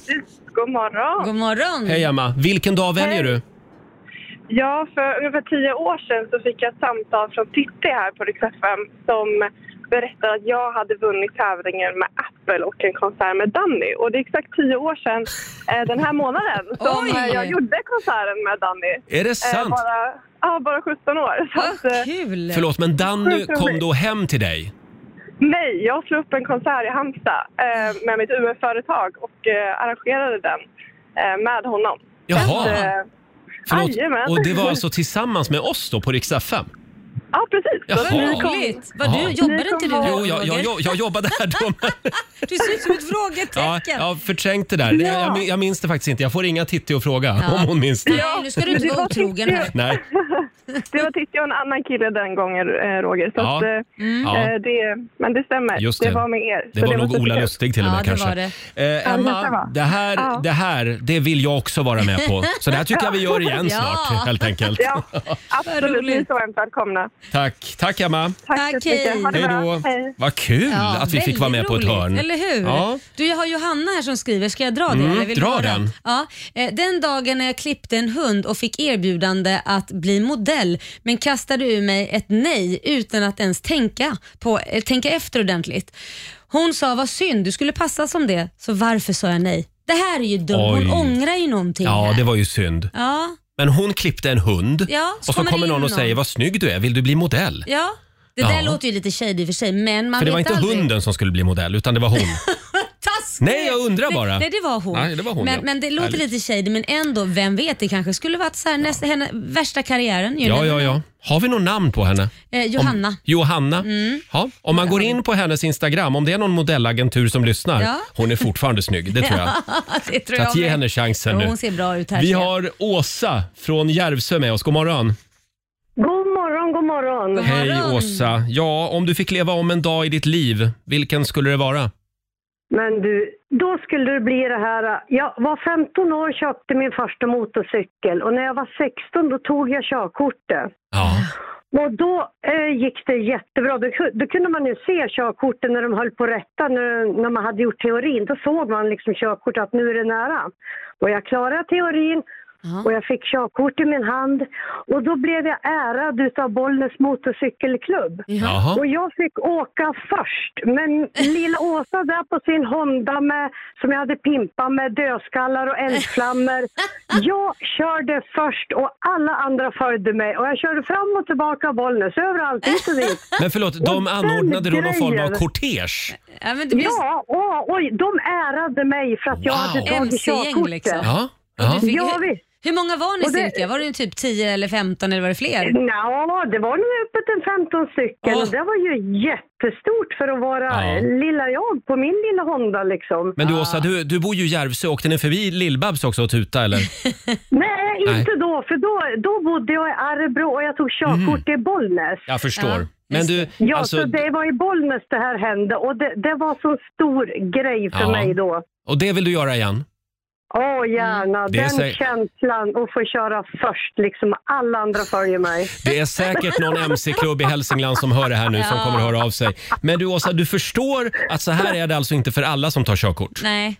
[SPEAKER 7] God morgon.
[SPEAKER 4] God morgon!
[SPEAKER 1] Hej Emma, vilken dag väljer du?
[SPEAKER 7] Ja, för ungefär tio år sedan så fick jag ett samtal från Titti här på Rix FM som berättade att jag hade vunnit tävlingen med Apple och en konsert med Danny. Och det är exakt tio år sedan eh, den här månaden som
[SPEAKER 4] Oj!
[SPEAKER 7] eh, jag gjorde konserten med Danny.
[SPEAKER 1] Är det
[SPEAKER 7] Eh,
[SPEAKER 1] sant?
[SPEAKER 7] bara, ja, bara 17 år. Så att, eh,
[SPEAKER 4] Kul!
[SPEAKER 1] Förlåt, men Danny
[SPEAKER 7] Sjukt roligt.
[SPEAKER 1] kom då hem till dig?
[SPEAKER 7] Nej, jag slog upp en konsert i Halmstad eh, med mitt UF-företag och eh, arrangerade den eh, med honom. Så att,
[SPEAKER 1] Jaha,
[SPEAKER 7] eh,
[SPEAKER 1] förlåt.
[SPEAKER 7] jajamän.
[SPEAKER 1] Och det var alltså tillsammans med oss då på riksdag 5?
[SPEAKER 7] Ja, precis. Så att
[SPEAKER 1] Jaha.
[SPEAKER 7] ni kom-
[SPEAKER 4] Roligt. Var
[SPEAKER 1] Ja.
[SPEAKER 4] du, jobbade
[SPEAKER 7] Ni
[SPEAKER 4] inte du
[SPEAKER 7] kommer-
[SPEAKER 4] här,
[SPEAKER 1] Jo, jag, jag,
[SPEAKER 4] Roger?
[SPEAKER 1] jag, jag jobbade här då. men-
[SPEAKER 4] Du ser ut som ett
[SPEAKER 1] Ja,
[SPEAKER 4] frågetecken.
[SPEAKER 1] jag har förträngt det där. Det- Jag, min- jag minns det faktiskt inte. Jag får ringa Titti och fråga
[SPEAKER 4] Ja.
[SPEAKER 1] om hon minns det.
[SPEAKER 4] Nej, nu ska du inte
[SPEAKER 7] Det
[SPEAKER 4] vara
[SPEAKER 7] var
[SPEAKER 4] otrogen
[SPEAKER 7] Titti.
[SPEAKER 4] här.
[SPEAKER 1] Nej.
[SPEAKER 7] Det var Titti och en annan kille den gången, eh, Roger. Så
[SPEAKER 1] Mm. Ja.
[SPEAKER 7] att, eh,
[SPEAKER 1] Ja,
[SPEAKER 7] eh, det, men det stämmer.
[SPEAKER 1] Just
[SPEAKER 7] det.
[SPEAKER 1] det.
[SPEAKER 7] var med er.
[SPEAKER 1] det
[SPEAKER 7] Så
[SPEAKER 1] var
[SPEAKER 7] var
[SPEAKER 1] nog
[SPEAKER 7] så
[SPEAKER 1] Ola
[SPEAKER 7] kul.
[SPEAKER 1] Lustig till och med
[SPEAKER 4] Ja, det
[SPEAKER 1] kanske.
[SPEAKER 4] var det.
[SPEAKER 1] Eh,
[SPEAKER 7] det
[SPEAKER 1] Emma,
[SPEAKER 7] var.
[SPEAKER 1] det här,
[SPEAKER 7] Ja.
[SPEAKER 1] det här det vill jag också vara med på. Så det här tycker jag vi gör igen
[SPEAKER 4] Ja.
[SPEAKER 1] snart helt enkelt.
[SPEAKER 7] Ja, absolut. Ni är
[SPEAKER 4] roligt.
[SPEAKER 7] så varmt välkomna.
[SPEAKER 1] Tack, tack Emma.
[SPEAKER 7] Tack,
[SPEAKER 4] Tack,
[SPEAKER 7] så mycket. Ha det
[SPEAKER 1] Hej
[SPEAKER 7] bra.
[SPEAKER 1] då.
[SPEAKER 7] Hej.
[SPEAKER 1] Vad kul
[SPEAKER 4] Ja,
[SPEAKER 1] att vi fick vara med
[SPEAKER 4] väldigt
[SPEAKER 1] på ett
[SPEAKER 4] roligt,
[SPEAKER 1] hörn.
[SPEAKER 4] Eller hur?
[SPEAKER 1] Ja.
[SPEAKER 4] Du, jag har Johanna här som skriver. Ska jag dra det?
[SPEAKER 1] Mm,
[SPEAKER 4] eller vill du
[SPEAKER 1] dra
[SPEAKER 4] höra?
[SPEAKER 1] den.
[SPEAKER 4] Ja. Eh, Den dagen när jag klippte en hund och fick erbjudande att bli modell men kastade ur mig ett nej utan att ens tänka, på, eh, tänka efter ordentligt. Hon sa vad synd, du skulle passa som det, så varför sa jag nej? Det här är ju dumt, hon
[SPEAKER 1] Oj.
[SPEAKER 4] ångrar ju någonting
[SPEAKER 1] ja,
[SPEAKER 4] här.
[SPEAKER 1] det var ju synd.
[SPEAKER 4] Ja,
[SPEAKER 1] Men hon klippte en hund
[SPEAKER 4] Ja, så
[SPEAKER 1] och så
[SPEAKER 4] kommer det
[SPEAKER 1] kommer
[SPEAKER 4] in
[SPEAKER 1] någon och
[SPEAKER 4] någon.
[SPEAKER 1] säger vad snygg du är, vill du bli modell?
[SPEAKER 4] ja. Det
[SPEAKER 1] Ja.
[SPEAKER 4] där låter ju lite shady i och för sig, men man
[SPEAKER 1] För det
[SPEAKER 4] vet
[SPEAKER 1] var inte
[SPEAKER 4] aldrig.
[SPEAKER 1] hunden som skulle bli modell utan det var hon.
[SPEAKER 4] Taskigt.
[SPEAKER 1] Nej, jag undrar
[SPEAKER 4] Nej,
[SPEAKER 1] bara.
[SPEAKER 4] Nej, det var hon.
[SPEAKER 1] Nej, det var hon,
[SPEAKER 4] men,
[SPEAKER 1] ja.
[SPEAKER 4] men det låter
[SPEAKER 1] Härligt.
[SPEAKER 4] lite shady, men ändå, vem vet, det kanske skulle varit så här, nästa, henne, värsta karriären. ju.
[SPEAKER 1] Ja, ja, ja. Har vi något namn på henne?
[SPEAKER 4] Eh, Johanna. Mm.
[SPEAKER 1] Johanna. Ja, om man går in på hennes Instagram, om det är någon modellagentur som lyssnar,
[SPEAKER 4] Ja.
[SPEAKER 1] hon är fortfarande snygg. Det tror jag.
[SPEAKER 4] det tror
[SPEAKER 1] Så
[SPEAKER 4] jag
[SPEAKER 1] att ge
[SPEAKER 4] med.
[SPEAKER 1] henne chansen
[SPEAKER 4] Jo,
[SPEAKER 1] nu.
[SPEAKER 4] Hon ser bra ut här.
[SPEAKER 1] Vi
[SPEAKER 4] ser jag.
[SPEAKER 1] har Åsa från Järvsö med oss. God morgon.
[SPEAKER 7] God morgon, god morgon.
[SPEAKER 4] God
[SPEAKER 1] Hej
[SPEAKER 4] morgon.
[SPEAKER 1] Åsa. Ja, om du fick leva om en dag i ditt liv, vilken skulle det vara?
[SPEAKER 8] Men du, då skulle det bli det här. Jag var 15 år och köpte min första motorcykel och när jag var 16 då tog jag körkortet.
[SPEAKER 1] Ja.
[SPEAKER 8] Och då eh, gick det jättebra. Då, ku- då kunde man ju se körkorten när de höll på att rätta, när, när man hade gjort teorin. Då såg man liksom körkortet att nu är det nära. Och jag klarade teorin
[SPEAKER 4] Ja.
[SPEAKER 8] och jag fick körkort i min hand. Och då blev jag ärad utav Bollnäs motorcykelklubb.
[SPEAKER 1] Jaha.
[SPEAKER 8] Och jag fick åka först, men lilla Åsa där på sin Honda med, som jag hade pimpat med dödskallar och eldflammor. Jag körde först och alla andra följde mig och jag körde fram och tillbaka Bollnäs överallt hit och dit.
[SPEAKER 1] Men förlåt, de
[SPEAKER 8] den
[SPEAKER 1] anordnade då någon form av
[SPEAKER 8] grejen.
[SPEAKER 1] kortege?
[SPEAKER 4] Ja, men det blir...
[SPEAKER 8] Ja, och, och de ärade mig för att jag
[SPEAKER 1] Wow.
[SPEAKER 8] hade tagit
[SPEAKER 4] MC-gäng
[SPEAKER 8] körkortet.
[SPEAKER 4] liksom.
[SPEAKER 1] Ja. ja.
[SPEAKER 4] Du fick-
[SPEAKER 8] Ja,
[SPEAKER 4] hur,
[SPEAKER 8] visst.
[SPEAKER 4] hur många var ni
[SPEAKER 8] Och det-
[SPEAKER 4] cirka? Var det typ 10 eller 15 eller var det fler?
[SPEAKER 8] Ja, det var nog öppet en 15 stycken
[SPEAKER 1] Åh.
[SPEAKER 8] och det var ju jättestort för att vara
[SPEAKER 1] Ja.
[SPEAKER 8] lilla jag på min lilla Honda liksom.
[SPEAKER 1] Men du Åsa, du, du bor ju i Järvsö. Åkte ni förbi Lill-Babs också och tuta eller?
[SPEAKER 8] Nej,
[SPEAKER 1] Nej.
[SPEAKER 8] inte då. För då, då bodde jag i Arrebro och jag tog körkort i Bollnäs.
[SPEAKER 1] Jag förstår.
[SPEAKER 4] Ja,
[SPEAKER 1] Men du,
[SPEAKER 8] Ja,
[SPEAKER 1] Mhm. alltså,
[SPEAKER 8] så det var i Bollnäs det här hände och det, det var så stor grej för
[SPEAKER 1] Ja.
[SPEAKER 8] mig då.
[SPEAKER 1] och det vill du göra igen?
[SPEAKER 8] Åh, gärna.
[SPEAKER 1] Det är
[SPEAKER 8] Den
[SPEAKER 1] säkert-
[SPEAKER 8] känslan att få köra först liksom. Alla andra följer mig.
[SPEAKER 1] Det är säkert någon MC-klubb i Hälsingland som hör det här nu som
[SPEAKER 4] Ja.
[SPEAKER 1] kommer att höra av sig. Men du Åsa, du förstår att så här är det alltså inte för alla som tar körkort?
[SPEAKER 4] Nej.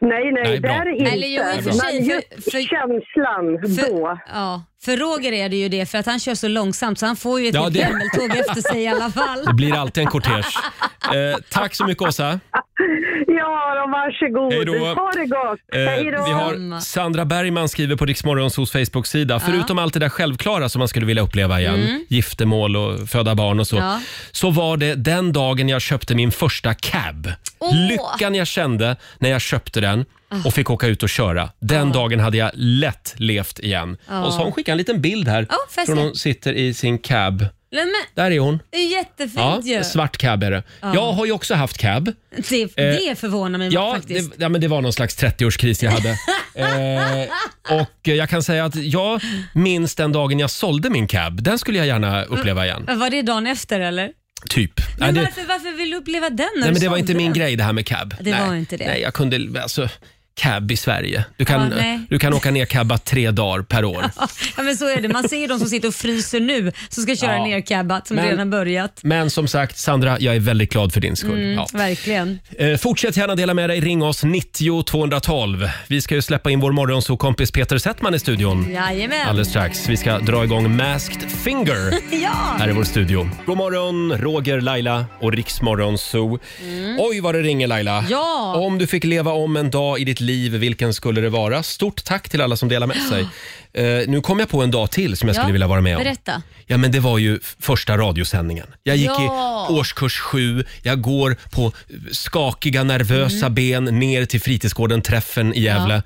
[SPEAKER 8] Nej, nej,
[SPEAKER 1] Nej,
[SPEAKER 8] det
[SPEAKER 1] bra.
[SPEAKER 8] är det inte.
[SPEAKER 4] Eller jo, i och för sig,
[SPEAKER 8] Men
[SPEAKER 4] för-
[SPEAKER 8] just
[SPEAKER 4] för-
[SPEAKER 8] känslan
[SPEAKER 4] För,
[SPEAKER 8] då.
[SPEAKER 4] ja, för Roger är det ju det, för att han kör så långsamt så han får ju ett
[SPEAKER 1] Ja,
[SPEAKER 4] helt
[SPEAKER 1] det-
[SPEAKER 4] lämmeltåg efter sig i alla fall.
[SPEAKER 1] Det blir alltid en kortege. Eh, tack så mycket Åsa.
[SPEAKER 8] Ja, då, varsågod.
[SPEAKER 1] Hej då.
[SPEAKER 8] Ha det gott.
[SPEAKER 1] Eh,
[SPEAKER 8] Hej då.
[SPEAKER 1] vi har Sandra Bergman skriver på Riksmorgonsos Facebook-sida. Förutom allt det där självklara som man skulle vilja uppleva igen, giftermål och föda barn och så,
[SPEAKER 4] Mm. Ja.
[SPEAKER 1] så var det den dagen jag köpte min första cab.
[SPEAKER 4] Åh. Ah.
[SPEAKER 1] Lyckan jag kände när jag köpte den och fick åka ut och köra. Den dagen hade jag lätt levt igen. Och så har hon skickat en liten bild här
[SPEAKER 4] Ah. Ja, får jag
[SPEAKER 1] från
[SPEAKER 4] se?
[SPEAKER 1] hon sitter i sin cab.
[SPEAKER 4] Men,
[SPEAKER 1] Där är hon.
[SPEAKER 4] det är jättefint
[SPEAKER 1] Ja,
[SPEAKER 4] ju.
[SPEAKER 1] svart cab är det. Jag har ju också haft cab.
[SPEAKER 4] Det, det förvånar mig
[SPEAKER 1] eh, Ja,
[SPEAKER 4] Mm, faktiskt.
[SPEAKER 1] det, ja men det var någon slags 30-årskris jag hade. eh, och eh, jag kan säga att jag minns den dagen jag sålde min cab. Den skulle jag gärna uppleva igen.
[SPEAKER 4] Var det dagen efter eller?
[SPEAKER 1] Typ. Nej,
[SPEAKER 4] Mm. Men
[SPEAKER 1] det,
[SPEAKER 4] varför, varför vill du uppleva den? när
[SPEAKER 1] nej,
[SPEAKER 4] du
[SPEAKER 1] men det var
[SPEAKER 4] sålde
[SPEAKER 1] inte min
[SPEAKER 4] den?
[SPEAKER 1] grej det här med cab.
[SPEAKER 4] Det
[SPEAKER 1] nej,
[SPEAKER 4] var inte det.
[SPEAKER 1] Nej, jag kunde... Alltså, cab i Sverige. Du kan,
[SPEAKER 4] Ja, nej.
[SPEAKER 1] du kan åka ner cabba tre dagar per år.
[SPEAKER 4] Ja, men så är det. Man ser ju de som sitter och fryser nu som ska köra
[SPEAKER 1] Ja.
[SPEAKER 4] ner cabbat som
[SPEAKER 1] Men-
[SPEAKER 4] redan börjat.
[SPEAKER 1] Men som sagt, Sandra, jag är väldigt glad för din skull.
[SPEAKER 4] Mm,
[SPEAKER 1] Ja.
[SPEAKER 4] Verkligen.
[SPEAKER 1] Eh, fortsätt gärna dela med dig. Ring oss 90 212. Vi ska ju släppa in vår morgonsokompis Peter Settman i studion.
[SPEAKER 4] Jajamän.
[SPEAKER 1] Alldeles strax. Vi ska dra igång Masked Finger
[SPEAKER 4] Ja.
[SPEAKER 1] här i vår studio. God morgon, Roger, Laila och Riksmorgon Zoo. Oj, vad det ringer Laila.
[SPEAKER 4] Mm. Ja.
[SPEAKER 1] Om du fick leva om en dag i ditt liv, vilken skulle det vara? Stort tack till alla som delar med sig. Eh, nu kom jag på en dag till som jag skulle vilja vara med om.
[SPEAKER 4] Berätta.
[SPEAKER 1] Ja, men det var ju f- första radiosändningen. Jag gick
[SPEAKER 4] Ja.
[SPEAKER 1] i årskurs sju, jag går på skakiga,
[SPEAKER 4] Mm.
[SPEAKER 1] nervösa ben ner till fritidsgården Träffen i Gävle.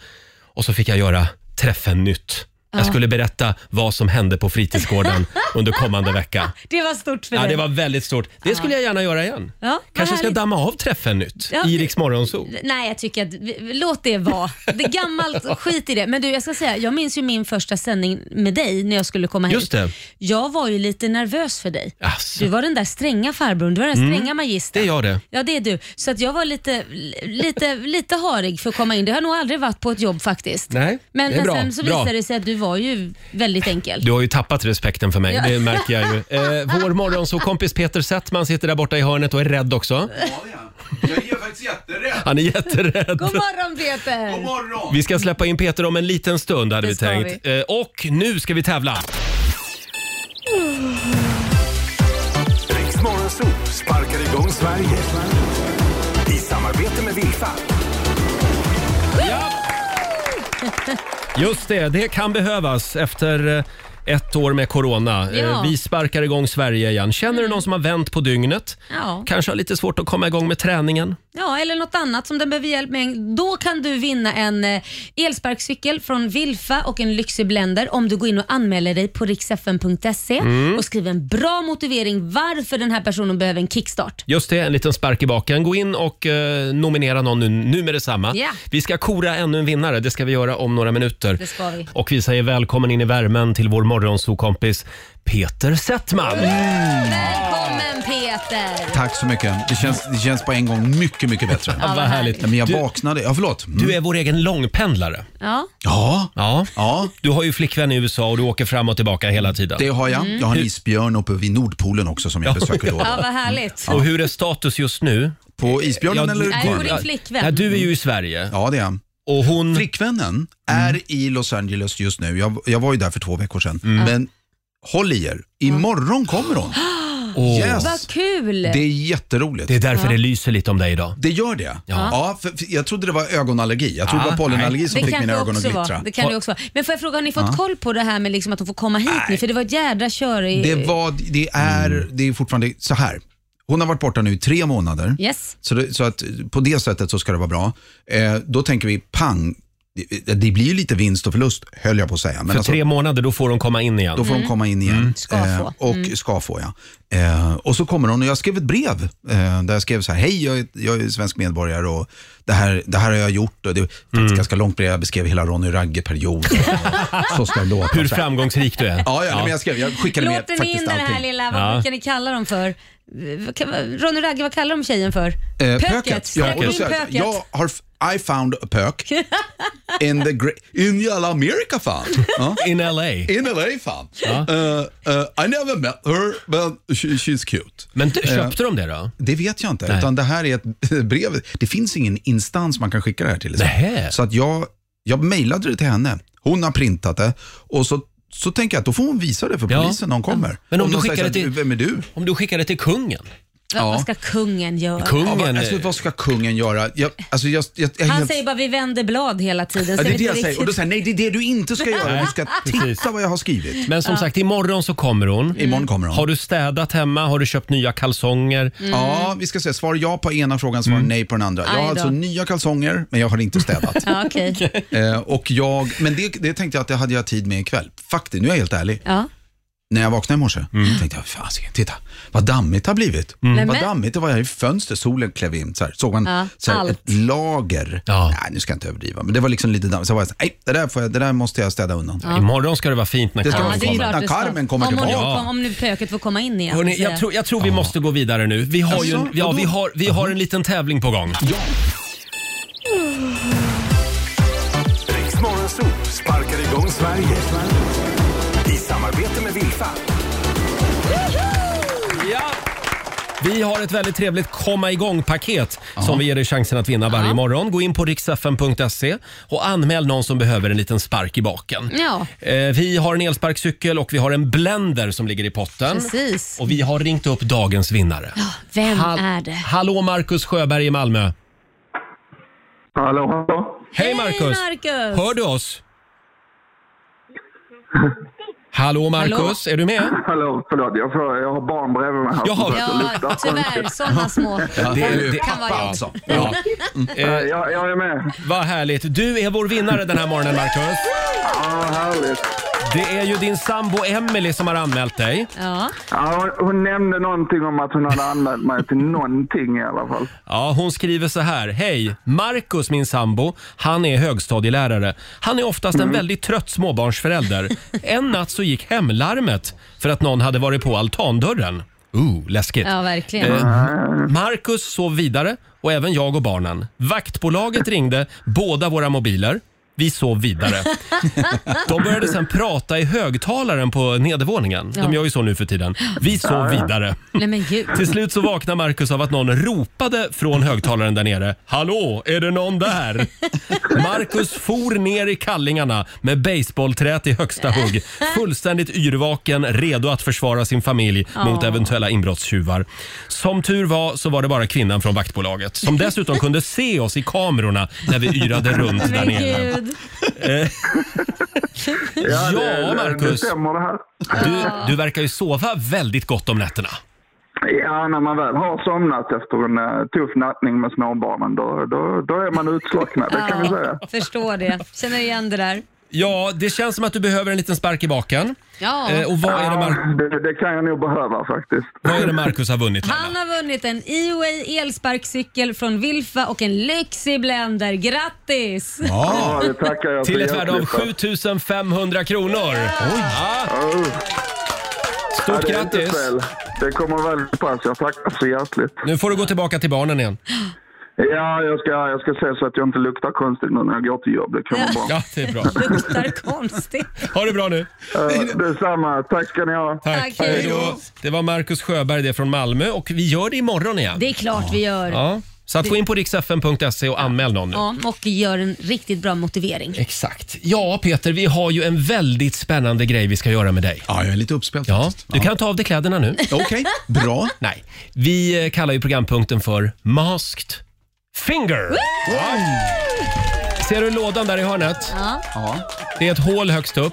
[SPEAKER 1] Och så fick jag göra Träffen nytt. Jag skulle berätta vad som hände på fritidsgården under kommande vecka.
[SPEAKER 4] Det var stort för
[SPEAKER 1] Ja,
[SPEAKER 4] dig.
[SPEAKER 1] det var väldigt stort. Det skulle jag gärna göra igen.
[SPEAKER 4] Ja, vad
[SPEAKER 1] Kanske ska
[SPEAKER 4] härligt.
[SPEAKER 1] damma av Träffen nytt
[SPEAKER 4] Ja,
[SPEAKER 1] i
[SPEAKER 4] det-
[SPEAKER 1] Rix Morgonzoo.
[SPEAKER 4] Nej, jag tycker att vi- vi- låt det vara. Det är gammalt, skit i det. Men du, jag ska säga, jag minns ju min första sändning med dig när jag skulle komma hit.
[SPEAKER 1] Just det.
[SPEAKER 4] Jag var ju lite nervös för dig.
[SPEAKER 1] Alltså,
[SPEAKER 4] Du var den där stränga farbrorn, du var den där stränga
[SPEAKER 1] det
[SPEAKER 4] magistern.
[SPEAKER 1] är jag det.
[SPEAKER 4] Ja, det är du. Så att jag var lite, lite, lite harig för att komma in. Det har jag nog aldrig varit på ett jobb faktiskt.
[SPEAKER 1] Nej,
[SPEAKER 4] men,
[SPEAKER 1] det är
[SPEAKER 4] men
[SPEAKER 1] bra,
[SPEAKER 4] sen så
[SPEAKER 1] bra.
[SPEAKER 4] visade det sig att du var ju väldigt enkel.
[SPEAKER 1] Du har ju tappat respekten för mig,
[SPEAKER 4] Ja.
[SPEAKER 1] det märker jag ju. Eh, vår morgonsåkompis Peter Settman sitter där borta i hörnet och är rädd också.
[SPEAKER 2] Jag är faktiskt jätterädd.
[SPEAKER 1] Han är jätterädd.
[SPEAKER 4] God morgon Peter!
[SPEAKER 2] God morgon!
[SPEAKER 1] Vi ska släppa in Peter om en liten stund hade
[SPEAKER 4] Det
[SPEAKER 1] vi
[SPEAKER 4] ska
[SPEAKER 1] tänkt. Eh, och nu ska vi tävla.
[SPEAKER 2] Riks Morgonzoo sparkar igång Sverige. I samarbete med Vilfa.
[SPEAKER 1] Just det, det kan behövas efter eh, ett år med corona. Eh,
[SPEAKER 4] Ja. Mm.
[SPEAKER 1] Vi sparkar igång Sverige igen. Känner du någon som har vänt på dygnet?
[SPEAKER 4] Ja.
[SPEAKER 1] Kanske har lite svårt att komma igång med träningen?
[SPEAKER 4] Ja, eller något annat som den behöver hjälp med. Då kan du vinna en eh, elsparkcykel från Vilfa och en lyxig blender om du går in och anmäler dig på riksfn.se
[SPEAKER 1] Mm.
[SPEAKER 4] och skriver en bra motivering varför den här personen behöver en kickstart.
[SPEAKER 1] Just det, en liten spark i baken. Gå in och eh, nominera någon nu, nu med detsamma.
[SPEAKER 4] Ja.
[SPEAKER 1] Vi ska kora ännu en vinnare. Det ska vi göra om några minuter.
[SPEAKER 4] Det ska vi.
[SPEAKER 1] Och vi säger välkommen in i värmen till vår morgonsokompis Peter Settman. Mm.
[SPEAKER 4] Välkommen Peter!
[SPEAKER 9] Tack så mycket. Det känns, det känns på en gång mycket, mycket bättre.
[SPEAKER 1] Ja, vad härligt.
[SPEAKER 9] Nej, Men jag
[SPEAKER 1] Du-
[SPEAKER 9] vaknade... Ja, förlåt. Mm.
[SPEAKER 1] Du är vår egen långpendlare.
[SPEAKER 4] Ja.
[SPEAKER 9] Ja.
[SPEAKER 1] Ja.
[SPEAKER 9] Ja.
[SPEAKER 1] Du har ju flickvän i USA och du åker fram och tillbaka hela tiden.
[SPEAKER 9] Det har jag. Jag har en isbjörn uppe vid Nordpolen också som jag besöker då. och
[SPEAKER 4] ja,
[SPEAKER 9] då.
[SPEAKER 4] vad härligt.
[SPEAKER 1] Och hur är status just nu?
[SPEAKER 9] På isbjörnen
[SPEAKER 1] Ja,
[SPEAKER 9] eller
[SPEAKER 4] Nej, på
[SPEAKER 9] på...
[SPEAKER 4] din flickvän.
[SPEAKER 1] Ja, du är ju i Sverige
[SPEAKER 9] Ja, det är jag.
[SPEAKER 1] och hon...
[SPEAKER 9] Flickvännen
[SPEAKER 1] Mm.
[SPEAKER 9] är i Los Angeles just nu. Jag, jag var ju där för två veckor sedan.
[SPEAKER 1] Mm.
[SPEAKER 9] Men håll i er, imorgon kommer hon.
[SPEAKER 1] Åh,
[SPEAKER 9] Yes.
[SPEAKER 4] Vad kul!
[SPEAKER 9] Det är jätteroligt.
[SPEAKER 1] Det är därför det lyser lite om dig idag.
[SPEAKER 9] Det gör det? Ja. för, för jag trodde det var ögonallergi. Jag trodde det
[SPEAKER 1] Ah,
[SPEAKER 9] var pollenallergi som
[SPEAKER 4] Det
[SPEAKER 9] fick
[SPEAKER 4] kan
[SPEAKER 9] mina
[SPEAKER 4] det
[SPEAKER 9] ögon att
[SPEAKER 4] också
[SPEAKER 9] glittra.
[SPEAKER 4] vara. Det kan det också vara. Men får jag fråga, har ni fått koll på det här med liksom att de får komma hit nu? För det var ett jädra kör i...
[SPEAKER 9] Det, var, det, är,
[SPEAKER 1] Mm.
[SPEAKER 9] det är fortfarande så här. Hon har varit borta nu i tre månader.
[SPEAKER 4] Yes.
[SPEAKER 9] Så, det, så att på det sättet så ska det vara bra. Eh, då tänker vi pang, det, det blir ju lite vinst och förlust höll jag på att säga. Men
[SPEAKER 1] För
[SPEAKER 9] alltså,
[SPEAKER 1] tre månader, då får hon komma in igen.
[SPEAKER 9] då får hon komma in igen.
[SPEAKER 4] Ska få. Mm.
[SPEAKER 9] Eh, och ska få ja. Eh, och så kommer hon och jag skrev ett brev eh, där jag skrev så här, hej jag är, jag är svensk medborgare och det här, det här har jag gjort. Och det var faktiskt ganska långt brev, jag beskrev hela Ronny Ragge-perioden. och så ska det låta.
[SPEAKER 1] Hur
[SPEAKER 9] Så här.
[SPEAKER 1] framgångsrik du är.
[SPEAKER 9] Ja, ja, Nej, men jag skrev, jag skickade med
[SPEAKER 4] Låter ni in
[SPEAKER 9] faktiskt
[SPEAKER 4] den här
[SPEAKER 9] allting.
[SPEAKER 4] lilla, vad
[SPEAKER 1] Ja.
[SPEAKER 4] brukar ni kalla dem för? Vad kan- Ronny Ragge, vad kallar de tjejen för?
[SPEAKER 9] Eh, Ja, och då
[SPEAKER 4] Släpper in
[SPEAKER 9] säger jag,
[SPEAKER 4] pöket.
[SPEAKER 9] så här, jag har, f- I found a pök in the great, in jävla America fan. Ja.
[SPEAKER 1] In LA.
[SPEAKER 9] In LA fan. Eh, eh, I never met her but she, she's cute.
[SPEAKER 1] Men d- köpte de det då?
[SPEAKER 9] Det vet jag inte, utan det här är ett brev. Det finns ingen instans man kan skicka det här till. liksom.
[SPEAKER 1] Nähä.
[SPEAKER 9] Så att jag, jag mejlade det till henne. Hon har printat det och så, så tänker jag att då får hon visa det för
[SPEAKER 1] Ja.
[SPEAKER 9] polisen när hon kommer.
[SPEAKER 1] Men om du
[SPEAKER 9] de
[SPEAKER 1] skickar
[SPEAKER 9] säger
[SPEAKER 1] det
[SPEAKER 9] så här,
[SPEAKER 1] till-
[SPEAKER 9] Vem är du?
[SPEAKER 1] Om du skickar det till kungen?
[SPEAKER 4] Vad, vad ska kungen göra?
[SPEAKER 9] Ja,
[SPEAKER 1] Kungen...
[SPEAKER 9] vad, alltså, vad ska kungen göra? Jag, alltså, jag, jag, jag är
[SPEAKER 4] Han
[SPEAKER 9] helt-
[SPEAKER 4] säger bara vi vänder blad hela tiden.
[SPEAKER 9] Ja,
[SPEAKER 4] så
[SPEAKER 9] det är det
[SPEAKER 4] vet
[SPEAKER 9] jag
[SPEAKER 4] inte
[SPEAKER 9] säger. Och då
[SPEAKER 4] riktigt.
[SPEAKER 9] säger jag, nej det är det du inte ska göra.
[SPEAKER 1] Nej,
[SPEAKER 9] Du ska
[SPEAKER 1] precis.
[SPEAKER 9] titta vad jag har skrivit.
[SPEAKER 4] Mm.
[SPEAKER 1] Men som sagt, imorgon så kommer hon.
[SPEAKER 9] Imorgon kommer hon.
[SPEAKER 1] Har du städat hemma? Har du köpt nya kalsonger?
[SPEAKER 9] Ja, vi ska se. Svar ja på ena frågan,
[SPEAKER 1] Mm.
[SPEAKER 9] svar nej på den andra. Jag
[SPEAKER 4] Aj
[SPEAKER 9] har
[SPEAKER 4] då.
[SPEAKER 9] alltså nya kalsonger, men jag har inte städat.
[SPEAKER 4] Ja, okej.
[SPEAKER 9] eh, och jag, men det, det tänkte jag att det hade jag tid med ikväll. Faktiskt, nu är jag helt ärlig.
[SPEAKER 4] Ja.
[SPEAKER 9] När jag vaknade i morse
[SPEAKER 1] Mm.
[SPEAKER 9] tänkte jag, fasiken, titta vad dammigt det har blivit.
[SPEAKER 4] Men,
[SPEAKER 9] Vad
[SPEAKER 4] men.
[SPEAKER 9] dammigt det var här i fönstret, solen klev in. Så här, såg man
[SPEAKER 4] Ja,
[SPEAKER 9] så här,
[SPEAKER 4] allt.
[SPEAKER 9] ett lager.
[SPEAKER 1] Ja.
[SPEAKER 9] Nej, nu ska jag inte överdriva, men det var liksom lite dammigt. Så var jag så här, nej, det där, får jag, det där måste jag städa undan.
[SPEAKER 1] Imorgon ska det vara fint när
[SPEAKER 9] Det ska
[SPEAKER 1] Carro
[SPEAKER 9] vara
[SPEAKER 4] det är
[SPEAKER 9] fint.
[SPEAKER 1] kommer.
[SPEAKER 4] klart
[SPEAKER 9] när
[SPEAKER 4] du ska.
[SPEAKER 9] Carmen kommer
[SPEAKER 4] om hon nu,
[SPEAKER 1] tillbaka.
[SPEAKER 4] kom, om nu pöket får komma in igen.
[SPEAKER 1] Hörrni,
[SPEAKER 4] så säger
[SPEAKER 1] jag, tror, jag tror vi måste gå vidare nu. Vi har ju,
[SPEAKER 9] Jaså?
[SPEAKER 1] ja, vi
[SPEAKER 9] Vadå?
[SPEAKER 1] har, vi har en liten tävling på gång.
[SPEAKER 2] Riks Morgonzoo sparkar igång Sverige. I samarbete med Vilfa.
[SPEAKER 1] Ja. Vi har ett väldigt trevligt komma igång-paket som vi ger dig chansen att vinna varje morgon. Gå in på riksfn.se och anmäl någon som behöver en liten spark i baken.
[SPEAKER 4] Ja.
[SPEAKER 1] Eh, Vi har en elsparkcykel och vi har en blender som ligger i potten.
[SPEAKER 4] Precis.
[SPEAKER 1] Och vi har ringt upp dagens vinnare.
[SPEAKER 4] Vem
[SPEAKER 1] Hall-
[SPEAKER 4] är det?
[SPEAKER 1] Hallå Marcus Sjöberg i Malmö.
[SPEAKER 6] Hallå, hallå.
[SPEAKER 1] Hej Marcus!
[SPEAKER 4] Marcus!
[SPEAKER 1] Hör du oss? Hallå Marcus, är du med?
[SPEAKER 6] Hallå, förlåt. Jag, får, jag har barn bredvid mig här.
[SPEAKER 1] Jaha.
[SPEAKER 6] som försöker lyfta
[SPEAKER 4] Ja,
[SPEAKER 6] på en
[SPEAKER 4] tyvärr. Sådana små.
[SPEAKER 1] Det är- det-
[SPEAKER 4] kan vara
[SPEAKER 1] ja,
[SPEAKER 4] jag.
[SPEAKER 1] Ja. Eh,
[SPEAKER 6] Nej, Jag, jag är med.
[SPEAKER 1] Vad härligt. Du är vår vinnare den här morgonen Marcus.
[SPEAKER 6] Ja, härligt.
[SPEAKER 1] Det är ju din sambo Emily som har anmält dig.
[SPEAKER 4] Ja.
[SPEAKER 6] Ja, hon nämnde någonting om att hon hade anmält mig till någonting i alla fall.
[SPEAKER 1] Ja, hon skriver så här. Hej! Marcus, min sambo, han är högstadielärare. Han är oftast en väldigt trött småbarnsförälder. En natt så gick hemlarmet för att någon hade varit på altandörren. Ooh, läskigt.
[SPEAKER 4] ja, verkligen.
[SPEAKER 1] Eh. Marcus sov vidare och även jag och barnen. Vaktbolaget ringde båda våra mobiler. Vi sov vidare. De började sen prata i högtalaren på nedervåningen. De gör ju så nu för tiden. Vi sov vidare.
[SPEAKER 4] Nej men gud.
[SPEAKER 1] Till slut så vaknar Marcus av att någon ropade från högtalaren där nere. Hallå, är det någon där? Marcus for ner i kallingarna med baseballträet i högsta hugg. Fullständigt yrvaken, redo att försvara sin familj mot eventuella inbrottstjuvar. Som tur var så var det bara kvinnan från vaktbolaget som dessutom kunde se oss i kamerorna när vi yrade runt där
[SPEAKER 4] Men
[SPEAKER 1] nere.
[SPEAKER 4] gud.
[SPEAKER 6] Ja, det-
[SPEAKER 1] Ja,
[SPEAKER 6] det- Det
[SPEAKER 1] Marcus.
[SPEAKER 6] stämmer det här.
[SPEAKER 1] Du, du verkar ju sova väldigt gott om nätterna.
[SPEAKER 6] Ja, när man väl har somnat efter en eh, tuff nattning med småbarnen, då, då, då är man utslacknad, det kan vi säga.
[SPEAKER 4] Förstår det. Känner igen det där.
[SPEAKER 1] Ja, det känns som att du behöver en liten spark i baken.
[SPEAKER 4] Ja.
[SPEAKER 1] Eh, och vad är det Mar-
[SPEAKER 6] Ja, det, det kan jag nog behöva faktiskt.
[SPEAKER 1] Vad är det Marcus har vunnit?
[SPEAKER 4] Han
[SPEAKER 1] Laila?
[SPEAKER 4] har vunnit en EOA elsparkcykel från Wilfa och en lyxig blender. Grattis!
[SPEAKER 9] Ja,
[SPEAKER 6] Ja, det tackar jag
[SPEAKER 1] Till
[SPEAKER 6] så
[SPEAKER 1] ett värde av
[SPEAKER 6] hjärtligt för.
[SPEAKER 1] 7500 kronor. Ja,
[SPEAKER 6] Oh, ja,
[SPEAKER 1] stort
[SPEAKER 6] det är inte
[SPEAKER 1] grattis!
[SPEAKER 6] fel. Det kommer väl på pass, jag tackar så hjärtligt.
[SPEAKER 1] Nu får du gå tillbaka till barnen igen.
[SPEAKER 6] Ja, jag ska, jag ska se så att jag inte luktar konstigt nu när jag går till jobb, det kan vara bra.
[SPEAKER 1] Ja, det är bra.
[SPEAKER 4] Luktar konstigt.
[SPEAKER 1] Ha det bra nu.
[SPEAKER 6] Eh, Detsamma, tack ska ni ha.
[SPEAKER 1] Tack.
[SPEAKER 4] Tack, hej då.
[SPEAKER 1] Det var Marcus Sjöberg det från Malmö och vi gör det imorgon igen.
[SPEAKER 4] Det är klart vi gör. Ja.
[SPEAKER 1] Ja, så att gå in på riksfn.se och anmäl någon nu.
[SPEAKER 4] och gör en riktigt bra motivering.
[SPEAKER 1] Exakt. Ja, Peter, vi har ju en väldigt spännande grej vi ska göra med dig.
[SPEAKER 9] ja jag är lite uppspelt
[SPEAKER 1] Ja,
[SPEAKER 9] faktiskt.
[SPEAKER 1] du kan ta av dig kläderna nu.
[SPEAKER 9] Ja. Okej, bra.
[SPEAKER 1] Nej, vi eh, kallar ju programpunkten för Masked Finger. Ser du lådan där i hörnet?
[SPEAKER 9] Ja.
[SPEAKER 1] Det är ett hål högst upp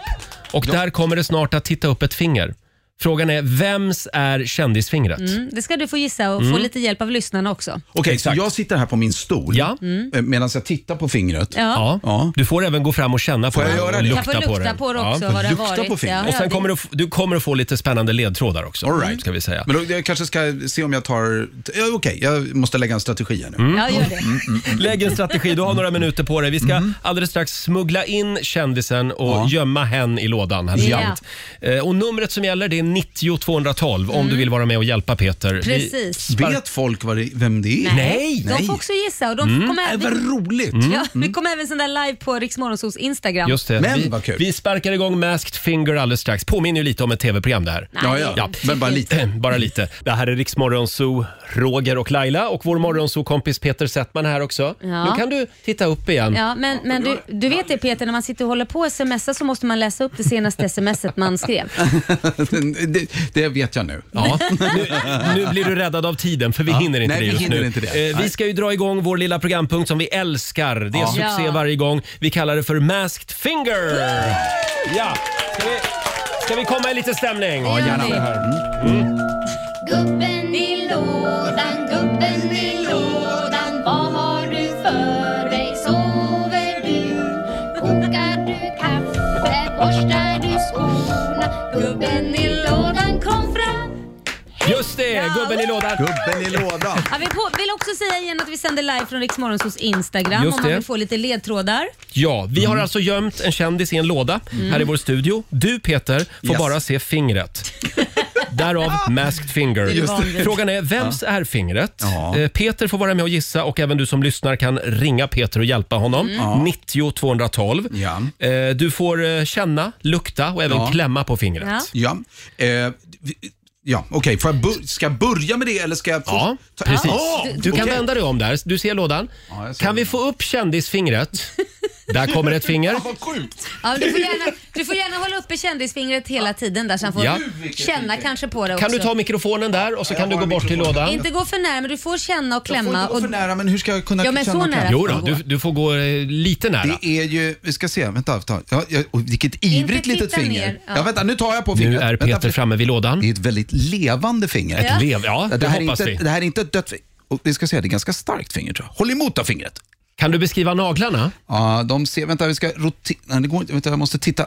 [SPEAKER 1] och där kommer det snart att titta upp ett finger. Frågan är, vems är kändisfingret?
[SPEAKER 4] Mm, det ska du få gissa och
[SPEAKER 1] Mm.
[SPEAKER 4] få lite hjälp av lyssnarna också.
[SPEAKER 9] Okej, så
[SPEAKER 1] Exakt.
[SPEAKER 9] jag sitter här på min stol
[SPEAKER 1] Ja.
[SPEAKER 9] eh, medan jag tittar på fingret.
[SPEAKER 4] Ja.
[SPEAKER 1] Ja.
[SPEAKER 9] Ja.
[SPEAKER 1] Du får även gå fram och känna på
[SPEAKER 9] Får jag
[SPEAKER 1] den
[SPEAKER 9] göra
[SPEAKER 1] och
[SPEAKER 9] det?
[SPEAKER 1] lukta
[SPEAKER 4] Jag får lukta
[SPEAKER 1] den.
[SPEAKER 4] på det också.
[SPEAKER 1] Ja.
[SPEAKER 4] Vad det har
[SPEAKER 9] Lukta
[SPEAKER 4] varit.
[SPEAKER 9] på fingret.
[SPEAKER 4] Ja,
[SPEAKER 1] Och
[SPEAKER 4] ja,
[SPEAKER 1] sen
[SPEAKER 4] det-
[SPEAKER 1] kommer du, f- du kommer att få lite spännande ledtrådar också.
[SPEAKER 9] All right.
[SPEAKER 1] Ska vi säga.
[SPEAKER 9] Men då, jag kanske ska se om jag tar... Ja, Okej, jag måste lägga en strategi här nu.
[SPEAKER 4] Ja, gör
[SPEAKER 1] Mm,
[SPEAKER 4] det.
[SPEAKER 1] Lägg en strategi, du har några minuter på dig. Vi ska
[SPEAKER 9] Mm.
[SPEAKER 1] alldeles strax smuggla in kändisen och gömma hen i lådan. Här
[SPEAKER 4] Ja.
[SPEAKER 1] sent. Eh, Och numret som gäller det är 90 212 om du vill vara med och hjälpa Peter. Vi-
[SPEAKER 4] Precis.
[SPEAKER 9] Mm. Vet folk vad det, vem det är?
[SPEAKER 1] Nej. Mm.
[SPEAKER 4] De får också gissa och de kommer
[SPEAKER 9] Äh,
[SPEAKER 4] även...
[SPEAKER 9] vad roligt!
[SPEAKER 4] Ja, vi kommer även sända live på Riksmorgonsols Instagram.
[SPEAKER 1] Just det.
[SPEAKER 9] Men,
[SPEAKER 1] vi,
[SPEAKER 9] vad kul.
[SPEAKER 1] vi sparkar igång Masked Finger alldeles strax. Påminner ju lite om ett tv-program det här.
[SPEAKER 9] Ja, ja,
[SPEAKER 1] Ja.
[SPEAKER 9] men bara lite.
[SPEAKER 1] Bara lite. Det här är Riksmorgonzoo, Roger och Laila och vår morgonzoo-kompis Peter Settman är här också.
[SPEAKER 4] Ja.
[SPEAKER 1] Nu kan du titta upp igen.
[SPEAKER 4] Ja, men, men du, du vet det Peter, när man sitter och håller på och smsar så måste man läsa upp det senaste smset man skrev.
[SPEAKER 9] det, det vet jag nu.
[SPEAKER 1] Ja, nu, nu blir du räddad av tiden för vi
[SPEAKER 9] Ja,
[SPEAKER 1] hinner inte
[SPEAKER 9] nej,
[SPEAKER 1] det
[SPEAKER 9] vi
[SPEAKER 1] just
[SPEAKER 9] hinner
[SPEAKER 1] nu.
[SPEAKER 9] inte det.
[SPEAKER 1] Eh, Vi
[SPEAKER 9] Nej.
[SPEAKER 1] ska ju dra igång vår lilla programpunkt som vi älskar. Det är
[SPEAKER 9] Ja.
[SPEAKER 1] succé
[SPEAKER 4] Ja.
[SPEAKER 1] varje gång. Vi kallar det för Masked Finger. Ja. Ska, vi, ska vi komma i lite stämning?
[SPEAKER 4] Ja, gärna. Det gör vi.
[SPEAKER 10] Gubben i lådan, gubben i lådan Vad har du för dig? Sover du? Kokar du kaffe? Borstar du skorna? Gubben i lådan kom fram
[SPEAKER 1] Just det, gubben i lådan.
[SPEAKER 9] Gubben i lådan.
[SPEAKER 4] Ja, vi på, vill också säga igen att vi sänder live från Riksmorgonsols Instagram
[SPEAKER 1] Just
[SPEAKER 4] om man
[SPEAKER 1] det.
[SPEAKER 4] vill få lite ledtrådar.
[SPEAKER 1] Ja, vi
[SPEAKER 9] Mm.
[SPEAKER 1] har alltså gömt en kändis i en låda här i vår studio. Du Peter får
[SPEAKER 9] Yes.
[SPEAKER 1] bara se fingret. Därav masked
[SPEAKER 9] Just
[SPEAKER 1] finger.
[SPEAKER 4] det.
[SPEAKER 1] Frågan är, vems är fingret?
[SPEAKER 9] Ja.
[SPEAKER 1] Eh, Peter får vara med och gissa och även du som lyssnar kan ringa Peter och hjälpa honom. 90 212.
[SPEAKER 9] Mm. Ja.
[SPEAKER 1] Eh, Du får eh, känna, lukta och även
[SPEAKER 9] Ja.
[SPEAKER 1] klämma på fingret.
[SPEAKER 4] Ja.
[SPEAKER 9] Ja, eh, vi- ja okej. Får jag bör- ska jag börja med det eller ska jag... först-
[SPEAKER 1] Ja,
[SPEAKER 9] ta-
[SPEAKER 1] precis.
[SPEAKER 9] Ah,
[SPEAKER 1] Du kan
[SPEAKER 9] okej.
[SPEAKER 1] vända dig om där. Du ser lådan.
[SPEAKER 9] Ja, jag ser
[SPEAKER 1] kan vi
[SPEAKER 9] lådan.
[SPEAKER 1] få upp kändisfingret? Där kommer ett finger.
[SPEAKER 4] Vad Ja, du, får gärna, du får gärna hålla uppe kändisfingret hela tiden där så han får
[SPEAKER 1] Ja.
[SPEAKER 4] känna kanske på det också.
[SPEAKER 1] Kan du ta mikrofonen där och så kan du gå bort till lådan?
[SPEAKER 4] Inte gå för nära, men du får känna och klämma. Och...
[SPEAKER 9] nära, men hur ska jag kunna
[SPEAKER 4] Ja, men så nära
[SPEAKER 1] Jo
[SPEAKER 4] får
[SPEAKER 1] då,
[SPEAKER 4] man
[SPEAKER 1] du, du får gå eh, lite nära.
[SPEAKER 9] Det är ju, vi ska se, vänta. Ta, ja, ja, och vilket ivrigt
[SPEAKER 4] titta
[SPEAKER 9] litet finger.
[SPEAKER 4] ner, ja.
[SPEAKER 9] Ja. vänta, nu tar jag på fingret.
[SPEAKER 1] är Peter framme vid lådan.
[SPEAKER 9] Det är ett väldigt levande finger.
[SPEAKER 1] Ett Ja. lev- ja, det
[SPEAKER 9] det här är
[SPEAKER 1] hoppas
[SPEAKER 9] inte,
[SPEAKER 1] vi.
[SPEAKER 9] Det här är inte ett dött finger. Och vi ska säga, det är ett ganska starkt finger tror jag. Håll emot då fingret.
[SPEAKER 1] Kan du beskriva naglarna?
[SPEAKER 9] Ja, de ser, vänta vi ska rotera, nej det går inte, vänta jag måste titta.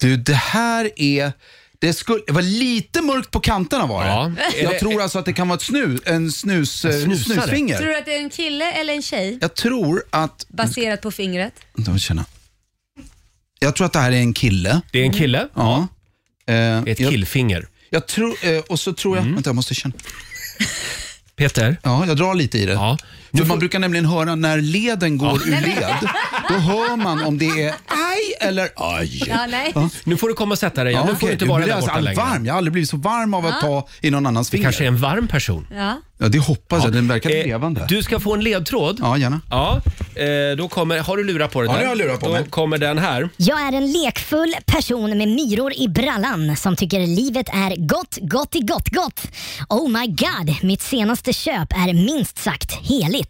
[SPEAKER 9] Du, det här är, det, skulle, det var lite mörkt på kanterna var det.
[SPEAKER 1] Ja.
[SPEAKER 9] Jag tror alltså att det kan vara ett snus, en snus, eh,
[SPEAKER 1] snusare.
[SPEAKER 9] snusfinger.
[SPEAKER 4] Tror du att det är en kille eller en tjej
[SPEAKER 9] Jag tror att,
[SPEAKER 4] baserat på fingret?
[SPEAKER 9] vänta jag känna. Jag tror att det här är en kille.
[SPEAKER 1] Det är en kille.
[SPEAKER 9] Ja. Eh,
[SPEAKER 1] Ett Mm.
[SPEAKER 9] jag,
[SPEAKER 1] killfinger.
[SPEAKER 9] jag tror, eh, och så tror jag, vänta jag måste känna.
[SPEAKER 1] Peter?
[SPEAKER 9] Ja, jag drar lite i det.
[SPEAKER 1] Ja.
[SPEAKER 9] För man brukar nämligen höra när leden går ur led. Då hör man om det är aj eller aj.
[SPEAKER 4] Ja, nej.
[SPEAKER 1] Nu får du komma och sätta dig igen. nu får
[SPEAKER 9] okej.
[SPEAKER 1] du inte vara
[SPEAKER 9] blir
[SPEAKER 1] där
[SPEAKER 9] alltså
[SPEAKER 1] borta längre.
[SPEAKER 9] varm. Jag har aldrig blivit så varm av att ta i någon annans
[SPEAKER 1] Det
[SPEAKER 9] finger.
[SPEAKER 1] kanske är en varm person.
[SPEAKER 4] Ja.
[SPEAKER 9] Ja, det hoppas jag. Den verkar
[SPEAKER 1] Eh,
[SPEAKER 9] levande.
[SPEAKER 1] Du ska få en ledtråd.
[SPEAKER 9] Ja, gärna.
[SPEAKER 1] Ja, eh, då kommer... Har du lurat på det
[SPEAKER 9] Ja,
[SPEAKER 1] där?
[SPEAKER 9] nu har jag lurat på
[SPEAKER 1] Då
[SPEAKER 9] mig.
[SPEAKER 1] kommer den här.
[SPEAKER 11] Jag är en lekfull person med myror i brallan som tycker livet är gott, gott i gott, gott. Oh my god, mitt senaste köp är minst sagt heligt.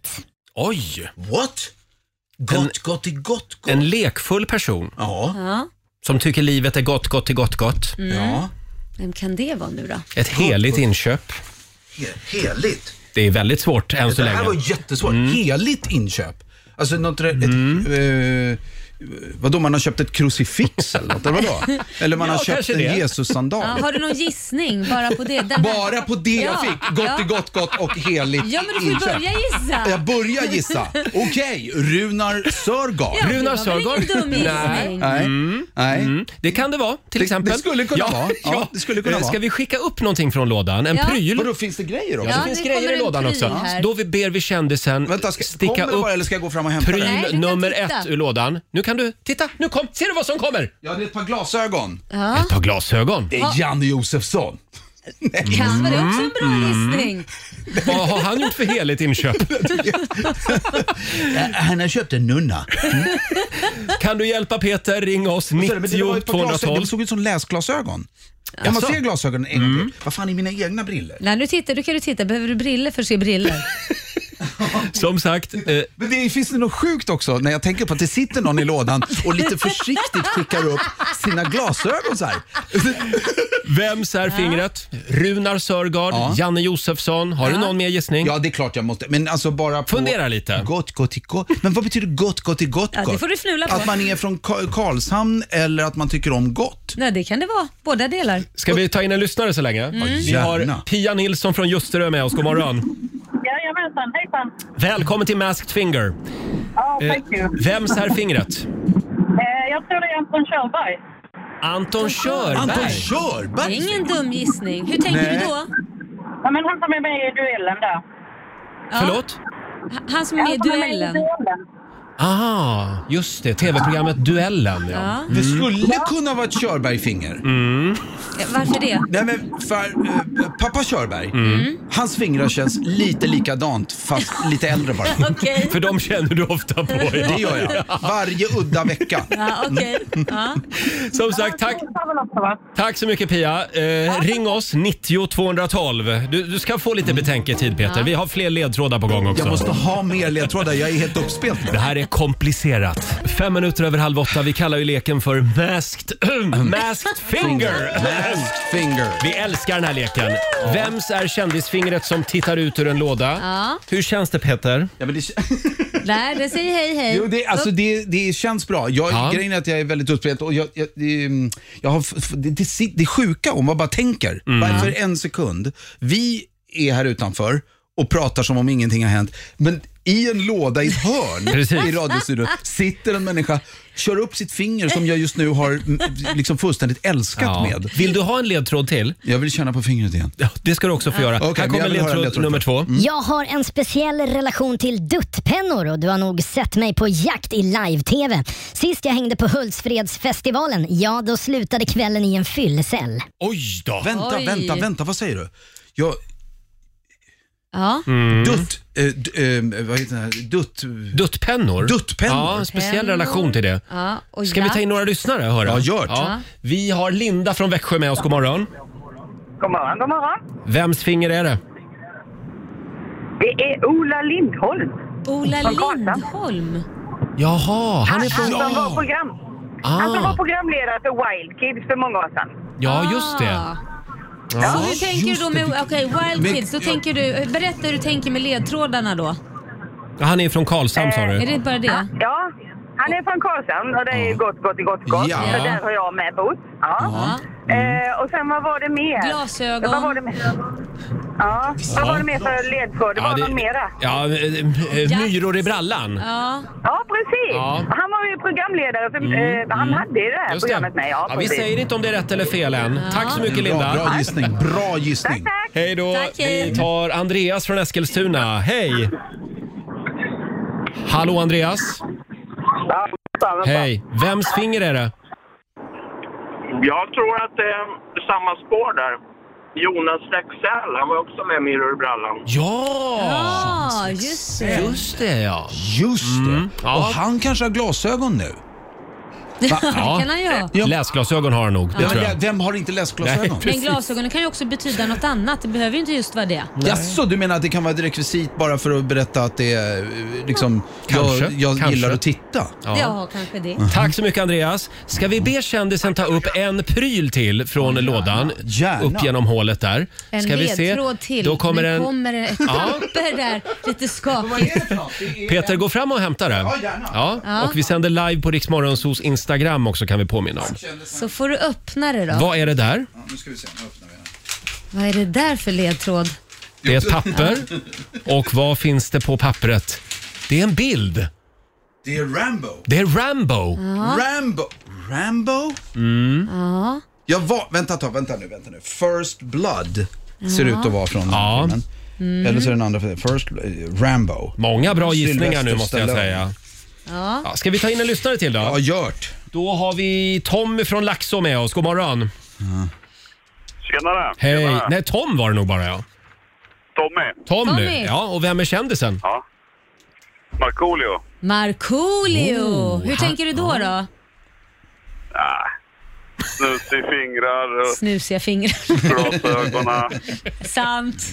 [SPEAKER 1] Oj!
[SPEAKER 12] What? Gott, gott i gott, gott.
[SPEAKER 1] En lekfull person
[SPEAKER 12] Ja.
[SPEAKER 4] ja.
[SPEAKER 1] som tycker livet är gott, gott i gott, gott.
[SPEAKER 9] Mm.
[SPEAKER 12] ja.
[SPEAKER 4] Vem kan det vara nu då?
[SPEAKER 1] Ett heligt inköp.
[SPEAKER 9] He- Heligt.
[SPEAKER 1] Det är väldigt svårt än så
[SPEAKER 9] Det här
[SPEAKER 1] länge. Mm.
[SPEAKER 9] var jättesvårt. Heligt inköp. Alltså något... Ett, eh, vadå, man har köpt ett krucifix eller något? Eller, vadå? eller man
[SPEAKER 1] Ja,
[SPEAKER 9] har köpt
[SPEAKER 1] kanske
[SPEAKER 9] en
[SPEAKER 1] det.
[SPEAKER 9] Jesus-sandal?
[SPEAKER 4] Ja, har du någon gissning bara på det? Den här-
[SPEAKER 9] Bara på det jag
[SPEAKER 4] Ja,
[SPEAKER 9] fick. Gott
[SPEAKER 4] ja.
[SPEAKER 9] i gott, gott och heligt
[SPEAKER 4] Ja, men du får ju
[SPEAKER 9] inköp.
[SPEAKER 4] börja
[SPEAKER 9] Jag
[SPEAKER 4] gissa.
[SPEAKER 9] börjar gissa. Okej, Runar Sörgard.
[SPEAKER 4] Ja, det
[SPEAKER 1] Runar
[SPEAKER 4] var väl ingen
[SPEAKER 1] Sörgård?
[SPEAKER 4] dum
[SPEAKER 1] Nej.
[SPEAKER 4] gissning.
[SPEAKER 9] Nej. Nej.
[SPEAKER 1] Det kan det vara, till
[SPEAKER 9] Det-
[SPEAKER 1] exempel.
[SPEAKER 9] det skulle kunna
[SPEAKER 1] ja,
[SPEAKER 9] vara.
[SPEAKER 1] Ja.
[SPEAKER 9] Ja, det skulle kunna
[SPEAKER 1] Eh, Ska
[SPEAKER 9] vara.
[SPEAKER 1] vi skicka upp någonting från lådan? En
[SPEAKER 4] Ja.
[SPEAKER 1] pryl?
[SPEAKER 9] Vadå, finns det grejer också?
[SPEAKER 1] Ja,
[SPEAKER 4] Ja,
[SPEAKER 1] det finns
[SPEAKER 4] det
[SPEAKER 1] grejer
[SPEAKER 4] kommer
[SPEAKER 1] i
[SPEAKER 4] en
[SPEAKER 1] lådan
[SPEAKER 4] pryl
[SPEAKER 1] också.
[SPEAKER 4] här.
[SPEAKER 1] Då vi ber vi kändisen
[SPEAKER 9] Vänta, ska,
[SPEAKER 1] sticka
[SPEAKER 9] kommer det
[SPEAKER 1] upp
[SPEAKER 9] bara eller ska jag gå fram och hämta
[SPEAKER 1] pryl
[SPEAKER 9] den?
[SPEAKER 4] Nej, du kan
[SPEAKER 1] nummer
[SPEAKER 4] titta.
[SPEAKER 1] ett ur lådan. Nu kan du, titta, nu kom, ser du vad som kommer?
[SPEAKER 9] Ja, det är ett par glasögon.
[SPEAKER 1] Ett par glasögon.
[SPEAKER 9] Det är Janne Josefsson.
[SPEAKER 1] Mm.
[SPEAKER 4] Kan vara det
[SPEAKER 9] Mm.
[SPEAKER 4] också en bra gissning.
[SPEAKER 1] Vad har han gjort för heligt inköp?
[SPEAKER 12] Han har köpt en nunna.
[SPEAKER 1] Kan du hjälpa Peter? Ring oss,
[SPEAKER 9] Men det, var
[SPEAKER 1] 90
[SPEAKER 9] ett par glasögon.
[SPEAKER 1] 212.
[SPEAKER 9] det såg ut som läsglasögon. Kan man
[SPEAKER 1] Jaså? Mm.
[SPEAKER 9] se glasögonen en gång till? Vad fan är mina egna briller?
[SPEAKER 4] Nej, nu tittar, du kan du titta. Behöver du briller för att se briller?
[SPEAKER 1] Som sagt, eh,
[SPEAKER 9] Men det finns det något sjukt också när jag tänker på att det sitter någon i lådan och lite försiktigt skickar upp sina glasögon så här.
[SPEAKER 1] vems är fingret? Runar Sörgard,
[SPEAKER 9] Ja.
[SPEAKER 1] Janne Josefsson. Har du någon mer gissning?
[SPEAKER 9] Ja, det är klart jag måste. Men alltså bara på...
[SPEAKER 1] Fundera lite.
[SPEAKER 9] Gott, gott, i gott. Men vad betyder gott, gott, i gott,
[SPEAKER 4] Ja,
[SPEAKER 9] gott?
[SPEAKER 4] det får du fnula på.
[SPEAKER 9] Att man är från Ka- Karlshamn eller att man tycker om gott?
[SPEAKER 4] Nej, det kan det vara. Båda delar.
[SPEAKER 1] Ska vi ta in en lyssnare så länge? Vi har
[SPEAKER 9] gärna.
[SPEAKER 1] Pia Nilsson från Ljusterö med oss. God morgon.
[SPEAKER 13] Jajamensan, hejsan.
[SPEAKER 1] Välkommen till Masked Finger.
[SPEAKER 13] Ja,
[SPEAKER 1] Eh,
[SPEAKER 13] thank you.
[SPEAKER 1] Vems är fingret?
[SPEAKER 13] Eh, jag tror det är Anton Körberg.
[SPEAKER 1] Anton Körberg.
[SPEAKER 9] Anton
[SPEAKER 4] Det
[SPEAKER 9] Körberg!
[SPEAKER 4] är ingen dum gissning. Hur tänker
[SPEAKER 9] Nej.
[SPEAKER 4] du då?
[SPEAKER 13] Ja, men han som är med i duellen där.
[SPEAKER 4] Ja.
[SPEAKER 1] Förlåt?
[SPEAKER 4] H- Han som är med i
[SPEAKER 13] Han som är med i
[SPEAKER 4] duellen.
[SPEAKER 13] duellen.
[SPEAKER 1] Ah, just det. TV-programmet Duellen. Ja.
[SPEAKER 4] Ja.
[SPEAKER 9] Det skulle kunna vara ett Körberg-finger.
[SPEAKER 4] Eh, Varför det?
[SPEAKER 9] Nej men för, eh, pappa Körberg, hans fingrar känns lite likadant fast lite äldre bara.
[SPEAKER 4] Okej.
[SPEAKER 1] För de känner du ofta på.
[SPEAKER 9] Det
[SPEAKER 1] Ja.
[SPEAKER 9] gör jag. Varje udda vecka.
[SPEAKER 4] Ja, okej. Ja.
[SPEAKER 1] Som sagt, tack,
[SPEAKER 13] Det var väl också, va?
[SPEAKER 1] tack så mycket Pia. Eh, ring oss, 90 212. Du, du ska få lite betänketid Peter. Vi har fler ledtrådar på gång också.
[SPEAKER 9] Mm. Jag måste ha mer ledtrådar, jag är helt uppspelt
[SPEAKER 1] Det
[SPEAKER 9] nu.
[SPEAKER 1] här är komplicerat. Fem minuter över halv åtta. Vi kallar ju leken för Masked, masked Finger.
[SPEAKER 9] Last finger.
[SPEAKER 1] Vi älskar den här leken. Vems är kändisfingret som tittar ut ur en låda?
[SPEAKER 4] Ja.
[SPEAKER 1] Hur känns det Peter?
[SPEAKER 9] Ja, men det,
[SPEAKER 4] Där, det säger hej hej.
[SPEAKER 9] jo, det, alltså, det, det känns bra. Jag,
[SPEAKER 1] Ja.
[SPEAKER 9] Grejen är att jag är väldigt uppspelt och jag, jag, det, mm, jag har, f- f- det, det, sit- det är sjuka om man bara tänker.
[SPEAKER 1] Mm.
[SPEAKER 9] Bara för en sekund. Vi är här utanför och pratar som om ingenting har hänt. Men i en låda i ett
[SPEAKER 1] Precis.
[SPEAKER 9] hörn i radiostudion sitter en människa, kör upp sitt finger som jag just nu har mm, liksom fullständigt älskat med.
[SPEAKER 1] Vill du ha en ledtråd till?
[SPEAKER 9] Jag vill känna på fingret igen.
[SPEAKER 1] Ja, det ska du också få göra.
[SPEAKER 9] Okej,
[SPEAKER 1] Här
[SPEAKER 9] men
[SPEAKER 1] kommer
[SPEAKER 9] jag vill höra en
[SPEAKER 1] ledtråd,
[SPEAKER 9] ledtråd
[SPEAKER 1] nummer
[SPEAKER 9] först.
[SPEAKER 1] två.
[SPEAKER 11] Jag har en speciell relation till duttpennor och du har nog sett mig på jakt i live-tv. Sist jag hängde på Hultsfredsfestivalen, ja då slutade kvällen i en fyllecell.
[SPEAKER 1] Oj då!
[SPEAKER 9] Vänta,
[SPEAKER 4] Oj.
[SPEAKER 9] vänta, vänta, vad säger du? Jag,
[SPEAKER 4] Ja.
[SPEAKER 1] Mm.
[SPEAKER 4] Mm.
[SPEAKER 9] Dutt, eh, d- eh, vad heter det här? Dutt...
[SPEAKER 1] Duttpennor?
[SPEAKER 9] Duttpennor.
[SPEAKER 1] Ja, en speciell relation till det.
[SPEAKER 4] Ja, och
[SPEAKER 1] Ska vi ta in några lyssnare och höra?
[SPEAKER 9] Ja, gör det.
[SPEAKER 1] Ja. Vi har Linda från Växjö med oss. God morgon.
[SPEAKER 14] God morgon, god morgon.
[SPEAKER 1] Vems finger är det?
[SPEAKER 14] Det är Ola Lindholm.
[SPEAKER 4] Ola
[SPEAKER 14] Från Karlstad.
[SPEAKER 4] Lindholm?
[SPEAKER 1] Jaha, han
[SPEAKER 14] Han,
[SPEAKER 1] är från...
[SPEAKER 14] som var program... han som
[SPEAKER 1] Ah.
[SPEAKER 14] var programledare för Wild Kids för många år sedan.
[SPEAKER 1] Ja, just
[SPEAKER 4] Ah.
[SPEAKER 1] det. Ja.
[SPEAKER 4] Så hur tänker du då med okej, Wild
[SPEAKER 1] Men-
[SPEAKER 4] Kids? Då tänker du, berätta hur du tänker med ledtrådarna då.
[SPEAKER 1] Han är från Karlshamn sa
[SPEAKER 4] Är det
[SPEAKER 1] du?
[SPEAKER 4] inte bara det?
[SPEAKER 14] Ja, han är från Karlshamn och det är ju gott, gott, gott, gott.
[SPEAKER 1] Ja. Mm.
[SPEAKER 14] Så där har jag med bott. Ja. Eh, och sen vad var det mer?
[SPEAKER 4] Glasögon.
[SPEAKER 14] Vad var det mer? Ja, vad
[SPEAKER 1] Ja.
[SPEAKER 14] var det mer för ledtråd? Det var något mera.
[SPEAKER 1] Ja, eh, eh, myror i brallan.
[SPEAKER 4] Ja.
[SPEAKER 14] ja, precis.
[SPEAKER 1] Ja. Mm,
[SPEAKER 14] Han var ju programledare. För, eh, han hade ju det här
[SPEAKER 1] Just
[SPEAKER 14] programmet med. Ja,
[SPEAKER 1] Ja, vi
[SPEAKER 14] precis.
[SPEAKER 1] säger inte om det är rätt eller fel än.
[SPEAKER 14] Ja.
[SPEAKER 1] Tack så mycket Linda.
[SPEAKER 9] Bra, bra gissning. Bra gissning.
[SPEAKER 1] Hej då.
[SPEAKER 9] Tack, hej.
[SPEAKER 1] Vi tar Andreas från Eskilstuna. Hej! Hallå Andreas. Hej. Vems finger är det?
[SPEAKER 15] Jag tror att det är samma spår där. Jonas Rexell, han var också med i Mirror i brallan.
[SPEAKER 1] Ja!
[SPEAKER 4] Ja, just det.
[SPEAKER 1] Just det ja.
[SPEAKER 9] Just det. Och han kanske har glasögon nu. Va?
[SPEAKER 4] Det kan han ju ha.
[SPEAKER 1] Läsglasögon har han nog, det
[SPEAKER 9] Ja,
[SPEAKER 1] tror
[SPEAKER 9] men
[SPEAKER 1] jag.
[SPEAKER 9] Vem har inte läsglasögon?
[SPEAKER 4] Men glasögonen kan ju också betyda något annat. Det behöver ju inte just vara det.
[SPEAKER 9] Jaså, du menar att det kan vara ett rekvisit bara för att berätta att det är eh, liksom,
[SPEAKER 1] Kanske,
[SPEAKER 9] jag, jag
[SPEAKER 1] kanske.
[SPEAKER 9] gillar att titta?
[SPEAKER 4] Ja, kanske det.
[SPEAKER 1] Tack så mycket Andreas. Ska vi be kändisen ta upp en pryl till från lådan? Upp genom hålet där.
[SPEAKER 4] En
[SPEAKER 1] Ska vi se?
[SPEAKER 4] ledtråd till.
[SPEAKER 1] Då kommer
[SPEAKER 4] nu
[SPEAKER 1] en...
[SPEAKER 4] kommer det ett
[SPEAKER 1] Ja.
[SPEAKER 4] papper där, lite skakigt.
[SPEAKER 1] Peter, gå fram och hämta det.
[SPEAKER 4] Ja, gärna. Ja.
[SPEAKER 1] Och vi sänder live på Riksmorgonsos Instagram också kan vi påminna om.
[SPEAKER 4] Så får du öppna det då.
[SPEAKER 1] Vad är det där?
[SPEAKER 9] Nu ska vi se, nu öppnar vi den.
[SPEAKER 4] Vad är det där för ledtråd?
[SPEAKER 1] Det är ett papper. Och vad finns det på pappret? Det är en bild.
[SPEAKER 9] Det är Rambo.
[SPEAKER 1] Det är Rambo.
[SPEAKER 9] Rambo? Rambo?
[SPEAKER 1] Mm.
[SPEAKER 4] Ja.
[SPEAKER 9] Jag var, vänta ett tag, vänta nu, vänta nu. First Blood ser ut att vara från den här filmen.
[SPEAKER 4] Mm.
[SPEAKER 9] Eller så är den andra, First eh, Rambo.
[SPEAKER 1] Många bra gissningar nu
[SPEAKER 9] Sylvester
[SPEAKER 1] måste jag
[SPEAKER 9] Stallone.
[SPEAKER 1] säga.
[SPEAKER 4] Ja.
[SPEAKER 1] Ja, Ska vi ta in en lyssnare till då? Ja,
[SPEAKER 9] gjort.
[SPEAKER 1] Då har vi Tommy från Laxå med oss. God morgon.
[SPEAKER 16] Tjenare!
[SPEAKER 1] Hej.
[SPEAKER 16] Tjenare.
[SPEAKER 1] Nej, Tom var det nog bara ja.
[SPEAKER 16] Tommy!
[SPEAKER 1] Tommy.
[SPEAKER 4] Tommy.
[SPEAKER 1] Ja, och vem är kändisen?
[SPEAKER 16] Ja. Markoolio.
[SPEAKER 4] Markoolio!
[SPEAKER 1] Oh,
[SPEAKER 4] Hur
[SPEAKER 1] han-
[SPEAKER 4] tänker du då? då?
[SPEAKER 16] Ah. Snus i fingrar och
[SPEAKER 4] Snusiga fingrar.
[SPEAKER 16] glasögonen.
[SPEAKER 4] Sant.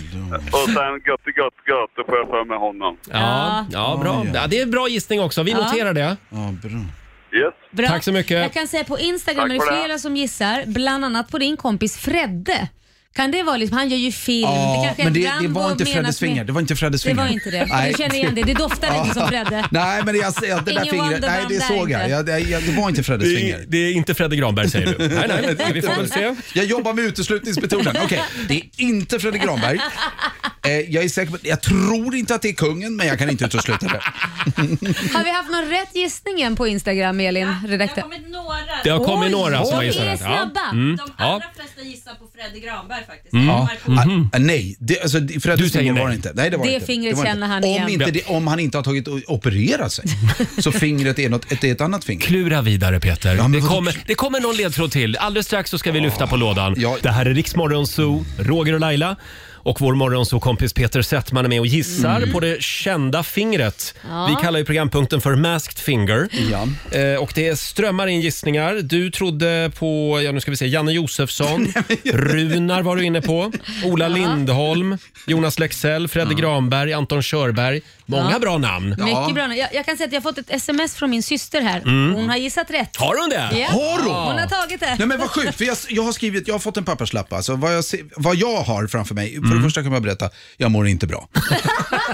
[SPEAKER 16] och sen gött, gött, gött. Då får jag för mig honom.
[SPEAKER 1] Ja, ja bra. Ja, det är en bra gissning också. Vi
[SPEAKER 4] Ja.
[SPEAKER 1] noterar det.
[SPEAKER 9] Ja, bra.
[SPEAKER 16] Yes.
[SPEAKER 4] Bra.
[SPEAKER 1] Tack så
[SPEAKER 4] Jag
[SPEAKER 1] mycket.
[SPEAKER 4] kan säga på Instagram
[SPEAKER 1] Tack
[SPEAKER 4] är det
[SPEAKER 1] för det.
[SPEAKER 4] flera som gissar, bland annat på din kompis Fredde. Kan det vara liksom, han gör ju film. det
[SPEAKER 9] Ja,
[SPEAKER 4] kanske är
[SPEAKER 9] men det, det
[SPEAKER 4] Rambo
[SPEAKER 9] var inte
[SPEAKER 4] menat
[SPEAKER 9] Freddes
[SPEAKER 4] med-
[SPEAKER 9] fingrar. Det var inte Freddes
[SPEAKER 4] Det
[SPEAKER 9] fingrar.
[SPEAKER 4] var inte det. Jag känner igen det. Det doftar inte som Fredde.
[SPEAKER 9] Nej, men jag ser att det där
[SPEAKER 4] Ingen
[SPEAKER 9] fingret. Nej,
[SPEAKER 4] Wonderman
[SPEAKER 9] det
[SPEAKER 4] där
[SPEAKER 9] såg jag.
[SPEAKER 4] inte.
[SPEAKER 9] jag, jag, jag det var inte Freddes
[SPEAKER 1] Det är-
[SPEAKER 9] fingrar.
[SPEAKER 1] Det är inte Fredde Granberg säger du. Nej, nej, men vi får väl se.
[SPEAKER 9] Jag jobbar med uteslutningsmetoden. Okej, det är inte Fredrik Granberg. Eh, jag är säker på, jag tror inte att det är kungen, men jag kan inte utesluta det.
[SPEAKER 4] Har vi haft någon rätt gissning än på Instagram, Elin? Redaktör? Det har kommit några.
[SPEAKER 1] Det har kommit några som har
[SPEAKER 4] de
[SPEAKER 1] gissat
[SPEAKER 4] är
[SPEAKER 1] rätt.
[SPEAKER 4] snabba.
[SPEAKER 1] Mm. Ja.
[SPEAKER 17] flesta gissar på Fredde Granberg faktiskt.
[SPEAKER 9] Mm.
[SPEAKER 17] Ja.
[SPEAKER 9] Ja. Ah, nej, det, alltså, det- Freddes finger var det inte. Nej, det var
[SPEAKER 4] Det
[SPEAKER 9] inte.
[SPEAKER 4] fingret
[SPEAKER 9] var inte.
[SPEAKER 4] känner han
[SPEAKER 9] om
[SPEAKER 4] igen.
[SPEAKER 9] Inte det, om han inte har tagit och opererat sig, så fingret är, något, det är ett annat finger.
[SPEAKER 1] Klura vidare Peter. det, kommer, det kommer någon ledtråd till. Alldeles strax så ska vi lyfta på lådan. Det här är Riksmorgon Zoo, Roger och Laila. Och vår morgonzoo-kompis Peter Settman är med och gissar
[SPEAKER 18] Mm.
[SPEAKER 1] på det kända fingret.
[SPEAKER 18] Ja.
[SPEAKER 1] Vi kallar ju programpunkten för Masked Finger. Eh, och det strömmar in gissningar. Du trodde på, ja nu ska vi se, Janne Josefsson, Runar var du inne på, Ola Lindholm, Jonas Lexell, Fredde Granberg, Anton Körberg. Många
[SPEAKER 4] Ja.
[SPEAKER 1] bra namn.
[SPEAKER 4] Mycket bra. Jag, jag kan säga att jag har fått ett sms från min syster här.
[SPEAKER 9] Mm.
[SPEAKER 4] Hon har gissat rätt.
[SPEAKER 1] Har hon det?
[SPEAKER 4] Ja.
[SPEAKER 9] Har hon?
[SPEAKER 4] Hon har tagit det.
[SPEAKER 9] Nej men vad sjukt, för jag, jag har skrivit, jag har fått en papperslapp alltså. Vad jag, se- vad jag har framför mig, för det första kan jag berätta, jag mår inte bra.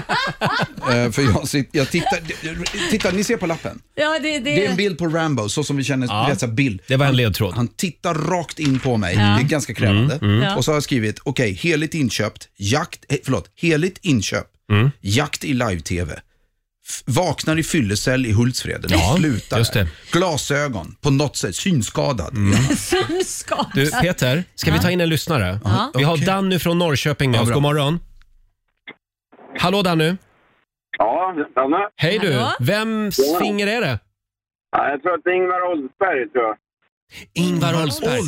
[SPEAKER 9] Eh, för jag, sit- jag tittar, titta ni ser på lappen.
[SPEAKER 4] Ja, det, det...
[SPEAKER 9] Det är en bild på Rambo, så som vi känner
[SPEAKER 1] Ja.
[SPEAKER 9] ja. bild.
[SPEAKER 1] Det var en ledtråd.
[SPEAKER 9] Han tittar rakt in på mig,
[SPEAKER 1] Ja.
[SPEAKER 9] det är ganska krävande.
[SPEAKER 1] Mm, mm. Ja.
[SPEAKER 9] Och så har jag skrivit, okej, heligt inköpt, jakt, eh, förlåt, heligt inköp,
[SPEAKER 1] Mm.
[SPEAKER 9] jakt i live-tv. F- Vaknar i fyllecell i Hultsfred.
[SPEAKER 1] Ja,
[SPEAKER 9] Ja, slutar
[SPEAKER 1] just Mm.
[SPEAKER 9] där. Glasögon, på något sätt, synskadad.
[SPEAKER 4] Synskadad.
[SPEAKER 1] Du Peter, ska vi ta in en lyssnare?
[SPEAKER 9] Ja.
[SPEAKER 1] Vi har Danny från Norrköping med
[SPEAKER 9] Ja,
[SPEAKER 1] oss.
[SPEAKER 9] bra.
[SPEAKER 1] God morgon. Hallå Danny.
[SPEAKER 19] Ja, detsamma.
[SPEAKER 1] Hej du.
[SPEAKER 19] Hallå?
[SPEAKER 1] Vems
[SPEAKER 19] Ja.
[SPEAKER 1] finger är det?
[SPEAKER 19] Ja, jag tror att det är Ingvar Oldsberg, tror jag.
[SPEAKER 1] Ingvar Oldsberg.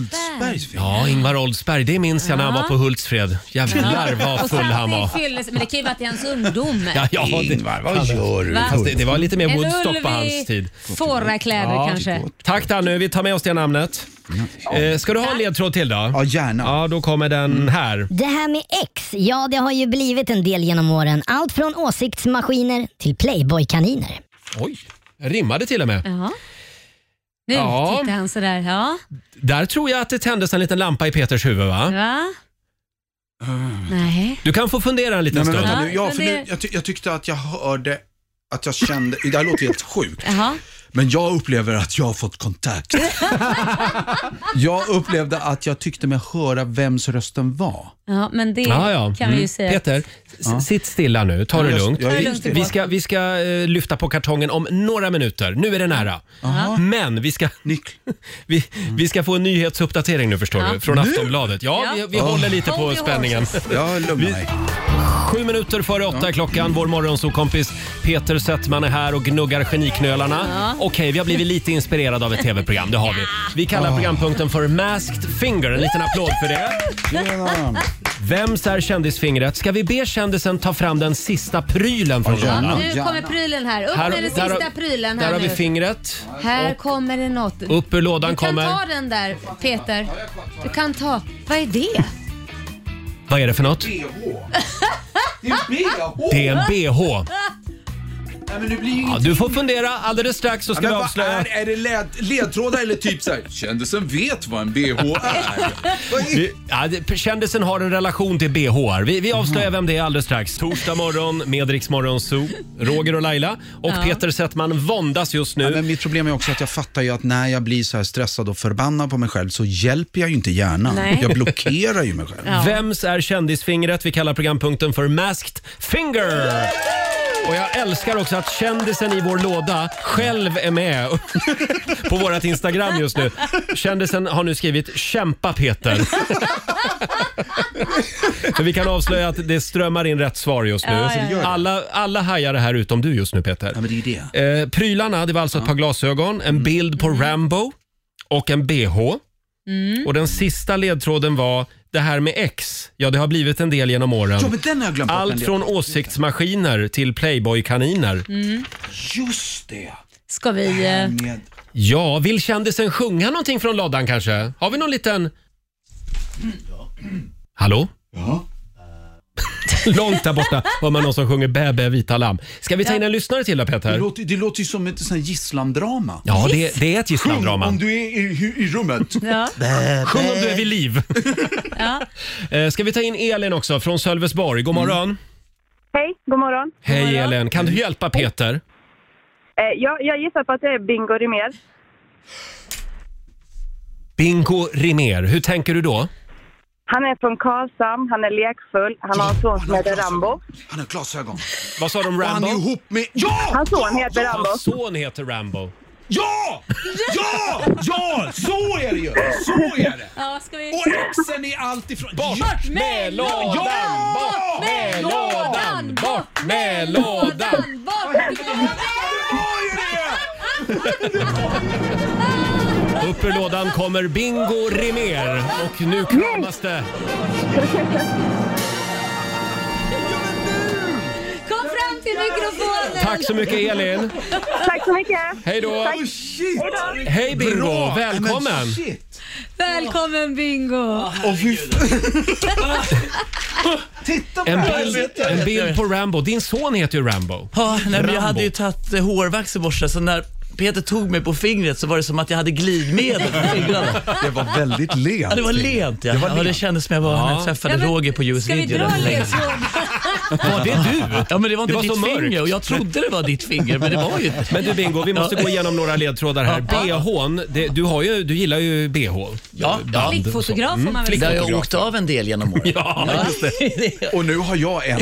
[SPEAKER 1] Ja, Ingvar Oldsberg. Det minns jag när han
[SPEAKER 4] Ja.
[SPEAKER 1] var på Hultsfred. Jävlar vad full han var.
[SPEAKER 4] Fylles, men det kan ju varit i hans ungdom.
[SPEAKER 1] Ja, ja, det, Ingvar, vad gör
[SPEAKER 4] Va?
[SPEAKER 1] Fast det, det var lite mer
[SPEAKER 4] En
[SPEAKER 1] Woodstock
[SPEAKER 4] ulv
[SPEAKER 1] på
[SPEAKER 4] i
[SPEAKER 1] hans tid.
[SPEAKER 4] Fårakläder
[SPEAKER 1] Ja.
[SPEAKER 4] kanske.
[SPEAKER 1] Tack Danny, vi tar med oss det namnet. Eh, ska du ha en ledtråd till då? Ja, gärna. Mm. Ja, då kommer den här.
[SPEAKER 11] Det här med ex, ja det har ju blivit en del genom åren. Allt från åsiktsmaskiner till Playboy-kaniner.
[SPEAKER 1] Oj, rimmade till och med.
[SPEAKER 4] Ja. Nu
[SPEAKER 1] Ja.
[SPEAKER 4] tittar han sådär. Ja.
[SPEAKER 1] Där tror jag att det tändes en liten lampa i Peters huvud va?
[SPEAKER 4] Va? Nej.
[SPEAKER 1] Du kan få fundera en liten
[SPEAKER 9] Nej, men
[SPEAKER 1] stund.
[SPEAKER 9] vänta nu. Ja,
[SPEAKER 4] men
[SPEAKER 9] för
[SPEAKER 4] det-
[SPEAKER 9] nu jag, ty- jag tyckte att jag hörde att jag kände, det här låter helt sjukt,
[SPEAKER 4] Jaha.
[SPEAKER 9] men jag upplever att jag har fått kontakt. jag upplevde att jag tyckte mig höra vems rösten var.
[SPEAKER 4] Ja, men det kan
[SPEAKER 1] Mm.
[SPEAKER 4] vi ju säga.
[SPEAKER 1] Peter, s- sitt stilla nu. Ta
[SPEAKER 9] Ja,
[SPEAKER 1] det
[SPEAKER 9] jag-
[SPEAKER 1] lugnt.
[SPEAKER 9] jag är Ta det lugnt,
[SPEAKER 1] vi ska, vi ska eh, lyfta på kartongen om några minuter. Nu är det nära. Men vi ska, vi, vi ska få en nyhetsuppdatering nu förstår
[SPEAKER 2] Ja.
[SPEAKER 1] du, från
[SPEAKER 2] Nu?
[SPEAKER 1] Aftonbladet. Ja,
[SPEAKER 2] Ja.
[SPEAKER 1] vi, vi
[SPEAKER 2] Oh.
[SPEAKER 1] håller lite på
[SPEAKER 2] Hold your
[SPEAKER 1] spänningen.
[SPEAKER 2] horses.
[SPEAKER 9] Jag lugnar
[SPEAKER 1] mig. Sju minuter före åtta är klockan. Vår morgonsokompis Peter Settman är här och gnuggar geniknölarna.
[SPEAKER 2] Ja.
[SPEAKER 1] Okej, vi har blivit lite inspirerade av ett tv-program. Det har vi. Vi kallar programpunkten för Masked Finger. En liten applåd för det. Vems är kändisfingret? Ska vi be kändisen ta fram den sista prylen från
[SPEAKER 4] Ja,
[SPEAKER 1] lådan?
[SPEAKER 4] nu kommer prylen här. Upp
[SPEAKER 1] Här-
[SPEAKER 4] med den
[SPEAKER 1] där
[SPEAKER 4] sista
[SPEAKER 1] har-
[SPEAKER 4] prylen
[SPEAKER 1] Där
[SPEAKER 4] här
[SPEAKER 1] har
[SPEAKER 4] nu.
[SPEAKER 1] vi fingret.
[SPEAKER 4] Här kommer det något.
[SPEAKER 1] Upp ur lådan
[SPEAKER 4] Du kan
[SPEAKER 1] kommer...
[SPEAKER 4] ta den där Peter. Du kan ta. Vad är det?
[SPEAKER 1] Vad är det för något?
[SPEAKER 9] Det är BH!
[SPEAKER 1] Det är en bh.
[SPEAKER 9] Nej, men det blir ju
[SPEAKER 1] Ja, du får fundera. Alldeles strax så ska
[SPEAKER 9] Ja,
[SPEAKER 1] vi
[SPEAKER 9] men vad
[SPEAKER 1] avslöja...
[SPEAKER 9] Är, är det led, ledtrådar eller typ såhär, kändisen vet vad en bh är?
[SPEAKER 1] Vi- Ja, det- kändisen har en relation till BHR. Vi, vi avslöjar
[SPEAKER 9] Mm.
[SPEAKER 1] vem det är alldeles strax. Torsdag morgon med Rix Morgon Zoo. Roger och Laila och
[SPEAKER 9] Ja.
[SPEAKER 1] Peter Settman våndas just nu.
[SPEAKER 9] Ja, men mitt problem är också att jag fattar ju att när jag blir så här stressad och förbannad på mig själv så hjälper jag ju inte hjärnan.
[SPEAKER 1] Nej.
[SPEAKER 9] Jag blockerar ju mig själv.
[SPEAKER 1] Vems är kändisfingret? Vi kallar programpunkten för Masked Finger. Och jag älskar också att kändisen i vår låda själv är med på vårt Instagram just nu. Kändisen har nu skrivit “Kämpa Peter”. För vi kan avslöja att det strömmar in rätt svar just nu.
[SPEAKER 2] Ja, ja, ja.
[SPEAKER 1] Alla, alla hajar det här utom du just nu Peter. Eh, prylarna, det var alltså ett par glasögon,
[SPEAKER 9] Mm.
[SPEAKER 1] en bild på Rambo och en bh.
[SPEAKER 2] Mm.
[SPEAKER 1] Och den sista ledtråden var det här med X. Ja, det har blivit en del genom åren.
[SPEAKER 9] Ja, men den har jag glömt bort, den
[SPEAKER 1] Allt från
[SPEAKER 9] ledtråden.
[SPEAKER 1] åsiktsmaskiner till Playboy-kaniner.
[SPEAKER 4] Mm.
[SPEAKER 9] Just det.
[SPEAKER 4] Ska vi... eh,
[SPEAKER 1] Ja, vill kändisen sjunga någonting från lådan kanske? Har vi någon liten... Hallå? Ja. Långt där borta hör man någon som sjunger Bä, bä, vita lamm. Ska vi ta in en lyssnare till då
[SPEAKER 9] Det
[SPEAKER 1] Peter?
[SPEAKER 9] låter, det låter ju som ett sånt här gisslandrama.
[SPEAKER 1] Ja, det, det är ett
[SPEAKER 9] Sjung
[SPEAKER 1] gisslandrama.
[SPEAKER 9] om du är i, i rummet.
[SPEAKER 4] Ja.
[SPEAKER 9] Bä,
[SPEAKER 1] Sjung om
[SPEAKER 9] bä.
[SPEAKER 1] du är vid liv. Eh, Ska vi ta in Elin också från Sölvesborg?
[SPEAKER 20] Mm.
[SPEAKER 1] God morgon.
[SPEAKER 18] Hej, god morgon.
[SPEAKER 1] Hej Elin, kan du hjälpa Peter?
[SPEAKER 18] Eh, ja, jag gissar på att det är Bingo Rimér.
[SPEAKER 1] Bingo Rimér, hur tänker du då?
[SPEAKER 18] Han är från Karlshamn, han är lekfull, han har en son som heter Rambo.
[SPEAKER 9] Han har glasögon.
[SPEAKER 1] Vad sa de?
[SPEAKER 9] Och han
[SPEAKER 1] Rambo?
[SPEAKER 9] är ihop med... Ja!
[SPEAKER 18] Hans son heter Rambo.
[SPEAKER 1] Hans son heter Rambo.
[SPEAKER 9] Ja! Ja! Ja! Så är det ju! Så är det!
[SPEAKER 4] Ja, ska vi...
[SPEAKER 9] Och exen är allt ifrån...
[SPEAKER 1] Bort med lådan! Bort med lådan! Bort med lådan! Upp ur lådan kommer Bingo Rimér och nu kramas det.
[SPEAKER 4] Kom fram till mikrofonen!
[SPEAKER 1] Tack så mycket Elin.
[SPEAKER 18] Tack så mycket.
[SPEAKER 1] Hej då.
[SPEAKER 18] Tack.
[SPEAKER 1] Oh,
[SPEAKER 9] shit.
[SPEAKER 1] Hej Bingo,
[SPEAKER 9] Bra.
[SPEAKER 1] välkommen.
[SPEAKER 9] Men shit.
[SPEAKER 4] Välkommen Bingo!
[SPEAKER 9] Och fy-
[SPEAKER 4] Titta
[SPEAKER 1] En bild, en bild på Rambo. Din son heter ju Rambo.
[SPEAKER 20] Ja, nej, men
[SPEAKER 1] Rambo.
[SPEAKER 20] jag hade ju tagit eh, hårvax i morse, så när Peter tog mig på fingret så var det som att jag hade glidmedel på fingrarna.
[SPEAKER 9] Det var väldigt lent.
[SPEAKER 20] Ja, det var lent ja. Det,
[SPEAKER 1] Det var
[SPEAKER 20] Ja, det
[SPEAKER 1] lent.
[SPEAKER 20] kändes som jag var när
[SPEAKER 1] Ja.
[SPEAKER 20] jag träffade
[SPEAKER 1] Ja, men
[SPEAKER 20] Roger på US
[SPEAKER 1] ska vi
[SPEAKER 20] Video.
[SPEAKER 1] dra
[SPEAKER 20] där för länge
[SPEAKER 1] lent?
[SPEAKER 20] sedan.
[SPEAKER 1] Var det du?
[SPEAKER 20] Ja, men det var inte
[SPEAKER 1] Det var så
[SPEAKER 20] ditt
[SPEAKER 1] mörkt.
[SPEAKER 20] finger och jag trodde det var ditt finger, men det var ju inte
[SPEAKER 1] Men du Bingo, vi måste
[SPEAKER 20] Ja.
[SPEAKER 1] gå igenom några ledtrådar här. BH'n, det, du, har ju, du gillar ju bh.
[SPEAKER 20] Ja, ja. Flickfotograf får man väl säga. Där har jag åkt av en del genom åren.
[SPEAKER 1] Mm. ja, just det. Och nu har jag en.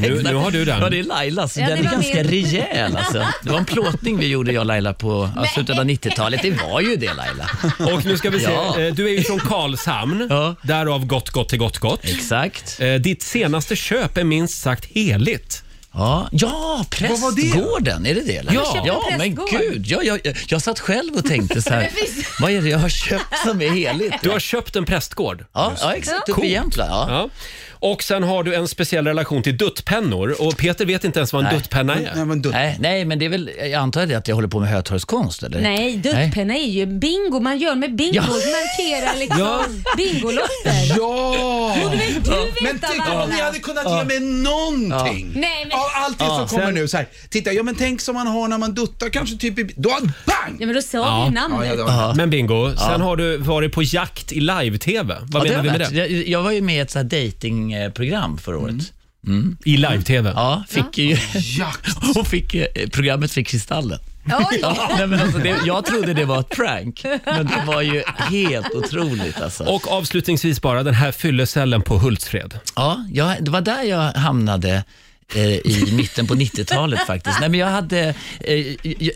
[SPEAKER 1] nu, nu har du den.
[SPEAKER 20] Ja, det är Lailas.
[SPEAKER 1] Ja, det
[SPEAKER 20] den är
[SPEAKER 1] var
[SPEAKER 20] ganska
[SPEAKER 1] min.
[SPEAKER 20] rejäl alltså. Det var en plåtning vi gjorde, jag och Laila, på ja, slutet av 90-talet. Det var ju det Laila.
[SPEAKER 1] Och nu ska vi se,
[SPEAKER 20] Ja.
[SPEAKER 1] eh, du är ju från Karlshamn, därav gott, Eh, gott till gott, gott.
[SPEAKER 20] Exakt.
[SPEAKER 1] Ditt senaste köp är minst sagt heligt.
[SPEAKER 20] Ja, ja
[SPEAKER 10] var det?
[SPEAKER 20] prästgården, är det det? Eller?
[SPEAKER 10] Har du
[SPEAKER 20] Ja,
[SPEAKER 10] köpt en
[SPEAKER 20] ja men
[SPEAKER 10] prästgård?
[SPEAKER 20] gud. Jag, jag, jag satt själv och tänkte så här,
[SPEAKER 10] Det finns-
[SPEAKER 20] vad är det jag har köpt som är heligt?
[SPEAKER 1] Du har köpt en prästgård.
[SPEAKER 20] Ja, ja exakt. Uppe
[SPEAKER 1] Coolt.
[SPEAKER 20] i Jämtland. Ja.
[SPEAKER 1] Ja. Och sen har du en speciell relation till duttpennor och Peter vet inte ens vad en
[SPEAKER 20] Nej.
[SPEAKER 1] duttpenna är.
[SPEAKER 20] Nej, nej, men det är väl, jag antar det att jag håller på med hötorgskonst eller?
[SPEAKER 4] Nej, duttpenna är ju bingo. Man gör med bingo.
[SPEAKER 20] Ja.
[SPEAKER 4] Markerar liksom
[SPEAKER 20] Ja.
[SPEAKER 4] bingolotter.
[SPEAKER 9] Ja!
[SPEAKER 4] Borde väl du veta
[SPEAKER 9] Men tänk
[SPEAKER 4] Amanda?
[SPEAKER 9] om ni hade kunnat ge mig någonting
[SPEAKER 4] Ja. Nej, men-
[SPEAKER 9] av allt det
[SPEAKER 4] Ja.
[SPEAKER 9] som kommer
[SPEAKER 4] Sen-
[SPEAKER 9] nu. Så här, titta, ja men tänk som man har när man duttar kanske typ i... Då bang!
[SPEAKER 4] Ja, men då sa vi namnet.
[SPEAKER 1] Men bingo,
[SPEAKER 20] Ja.
[SPEAKER 1] sen har du varit på jakt i live-tv. Vad
[SPEAKER 20] Ja,
[SPEAKER 1] menar vi
[SPEAKER 20] har
[SPEAKER 1] med
[SPEAKER 20] varit.
[SPEAKER 1] det?
[SPEAKER 20] Jag, jag var ju med i ett så här datingprogram förra året.
[SPEAKER 1] I live-tv?
[SPEAKER 20] Ja, fick ju... Hon fick, eh, programmet fick Kristallen.
[SPEAKER 10] Oj!
[SPEAKER 20] Ja, nej, men alltså det, jag trodde det var ett prank, men det var ju helt otroligt. Alltså.
[SPEAKER 1] Och avslutningsvis bara den här fyllecellen på Hultsfred.
[SPEAKER 20] Ja, jag, det var där jag hamnade eh, i mitten på 90-talet faktiskt. Nej, men jag, hade, eh,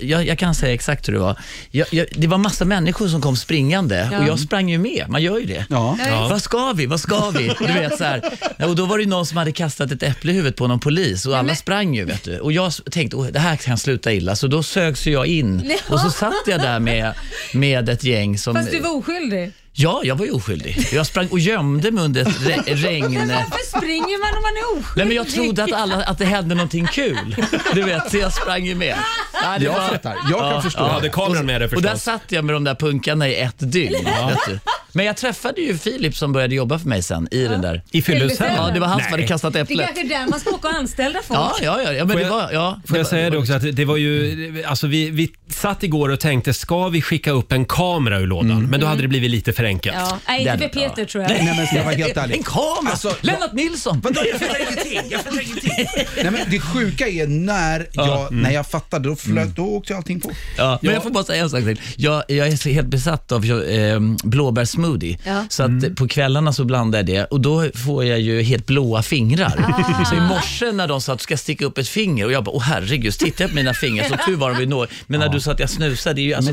[SPEAKER 20] jag, jag kan säga exakt hur det var. Jag, jag, det var massa människor som kom springande
[SPEAKER 10] Ja.
[SPEAKER 20] och jag sprang ju med. Man gör ju det.
[SPEAKER 10] Ja.
[SPEAKER 20] Vad ska vi? Vad ska vi? Och, du vet, så här. Ja, och då var det ju någon som hade kastat ett äpple i huvudet på någon polis och alla sprang ju. Vet du. Och jag s- tänkte, "Åh, det här kan sluta illa. Så då sögs ju jag in
[SPEAKER 4] Ja.
[SPEAKER 20] och så satt jag där med, med ett gäng som...
[SPEAKER 4] Fast du var oskyldig.
[SPEAKER 20] Ja, jag var ju oskyldig. Jag sprang och gömde mig under ett re- regn.
[SPEAKER 4] Men varför springer man om man är oskyldig?
[SPEAKER 20] eh, Nej, men jag trodde att, alla, att det hände någonting kul. Du vet, så jag sprang ju med. Ja,
[SPEAKER 1] Jag fattar. Jag kan förstå det. Hade kameran med dig
[SPEAKER 20] Och
[SPEAKER 1] förstås.
[SPEAKER 20] där satt jag med de där punkarna i ett dygn.
[SPEAKER 1] Ja.
[SPEAKER 20] vet du. Men jag träffade ju Filip som började jobba för mig sen i den där...
[SPEAKER 1] I fyllecellen?
[SPEAKER 20] Ja, det var han
[SPEAKER 1] Nej.
[SPEAKER 20] som hade kastat
[SPEAKER 4] Det är
[SPEAKER 20] äpplet.
[SPEAKER 4] kanske är där man ska åka och anställa folk.
[SPEAKER 20] Ja, ja, ja, ja men
[SPEAKER 1] Får
[SPEAKER 20] det
[SPEAKER 1] jag-
[SPEAKER 20] var... Ja,
[SPEAKER 1] Får jag säga det också att det var ju, alltså vi, vi satt igår och tänkte, ska vi skicka upp en kamera ur lådan?
[SPEAKER 20] Mm.
[SPEAKER 1] Men då hade det blivit lite för enkelt.
[SPEAKER 4] Ja. Nej, inte för Peter tror jag.
[SPEAKER 9] Nej, men ska jag vara helt ärlig.
[SPEAKER 20] En kamera!
[SPEAKER 9] Alltså,
[SPEAKER 20] Lennart Nilsson!
[SPEAKER 9] Vadå, jag fattar ingenting. Jag fattar ingenting. Nej, men det sjuka är när jag, när jag fattade, då, flöt, då åkte allting på.
[SPEAKER 20] Ja, men jag får bara säga en sak till. Jag, jag är så helt besatt av eh, blåbärssmoothie.
[SPEAKER 10] Ja.
[SPEAKER 20] Så att eh, på kvällarna så blandar jag det och då får jag ju helt blåa fingrar.
[SPEAKER 1] Ah.
[SPEAKER 20] Så i morse när de sa att du ska sticka upp ett finger och jag bara, åh herregud, titta på mina fingrar. Så tur var de vid några. Men när du sa att jag snusade, det är ju alltså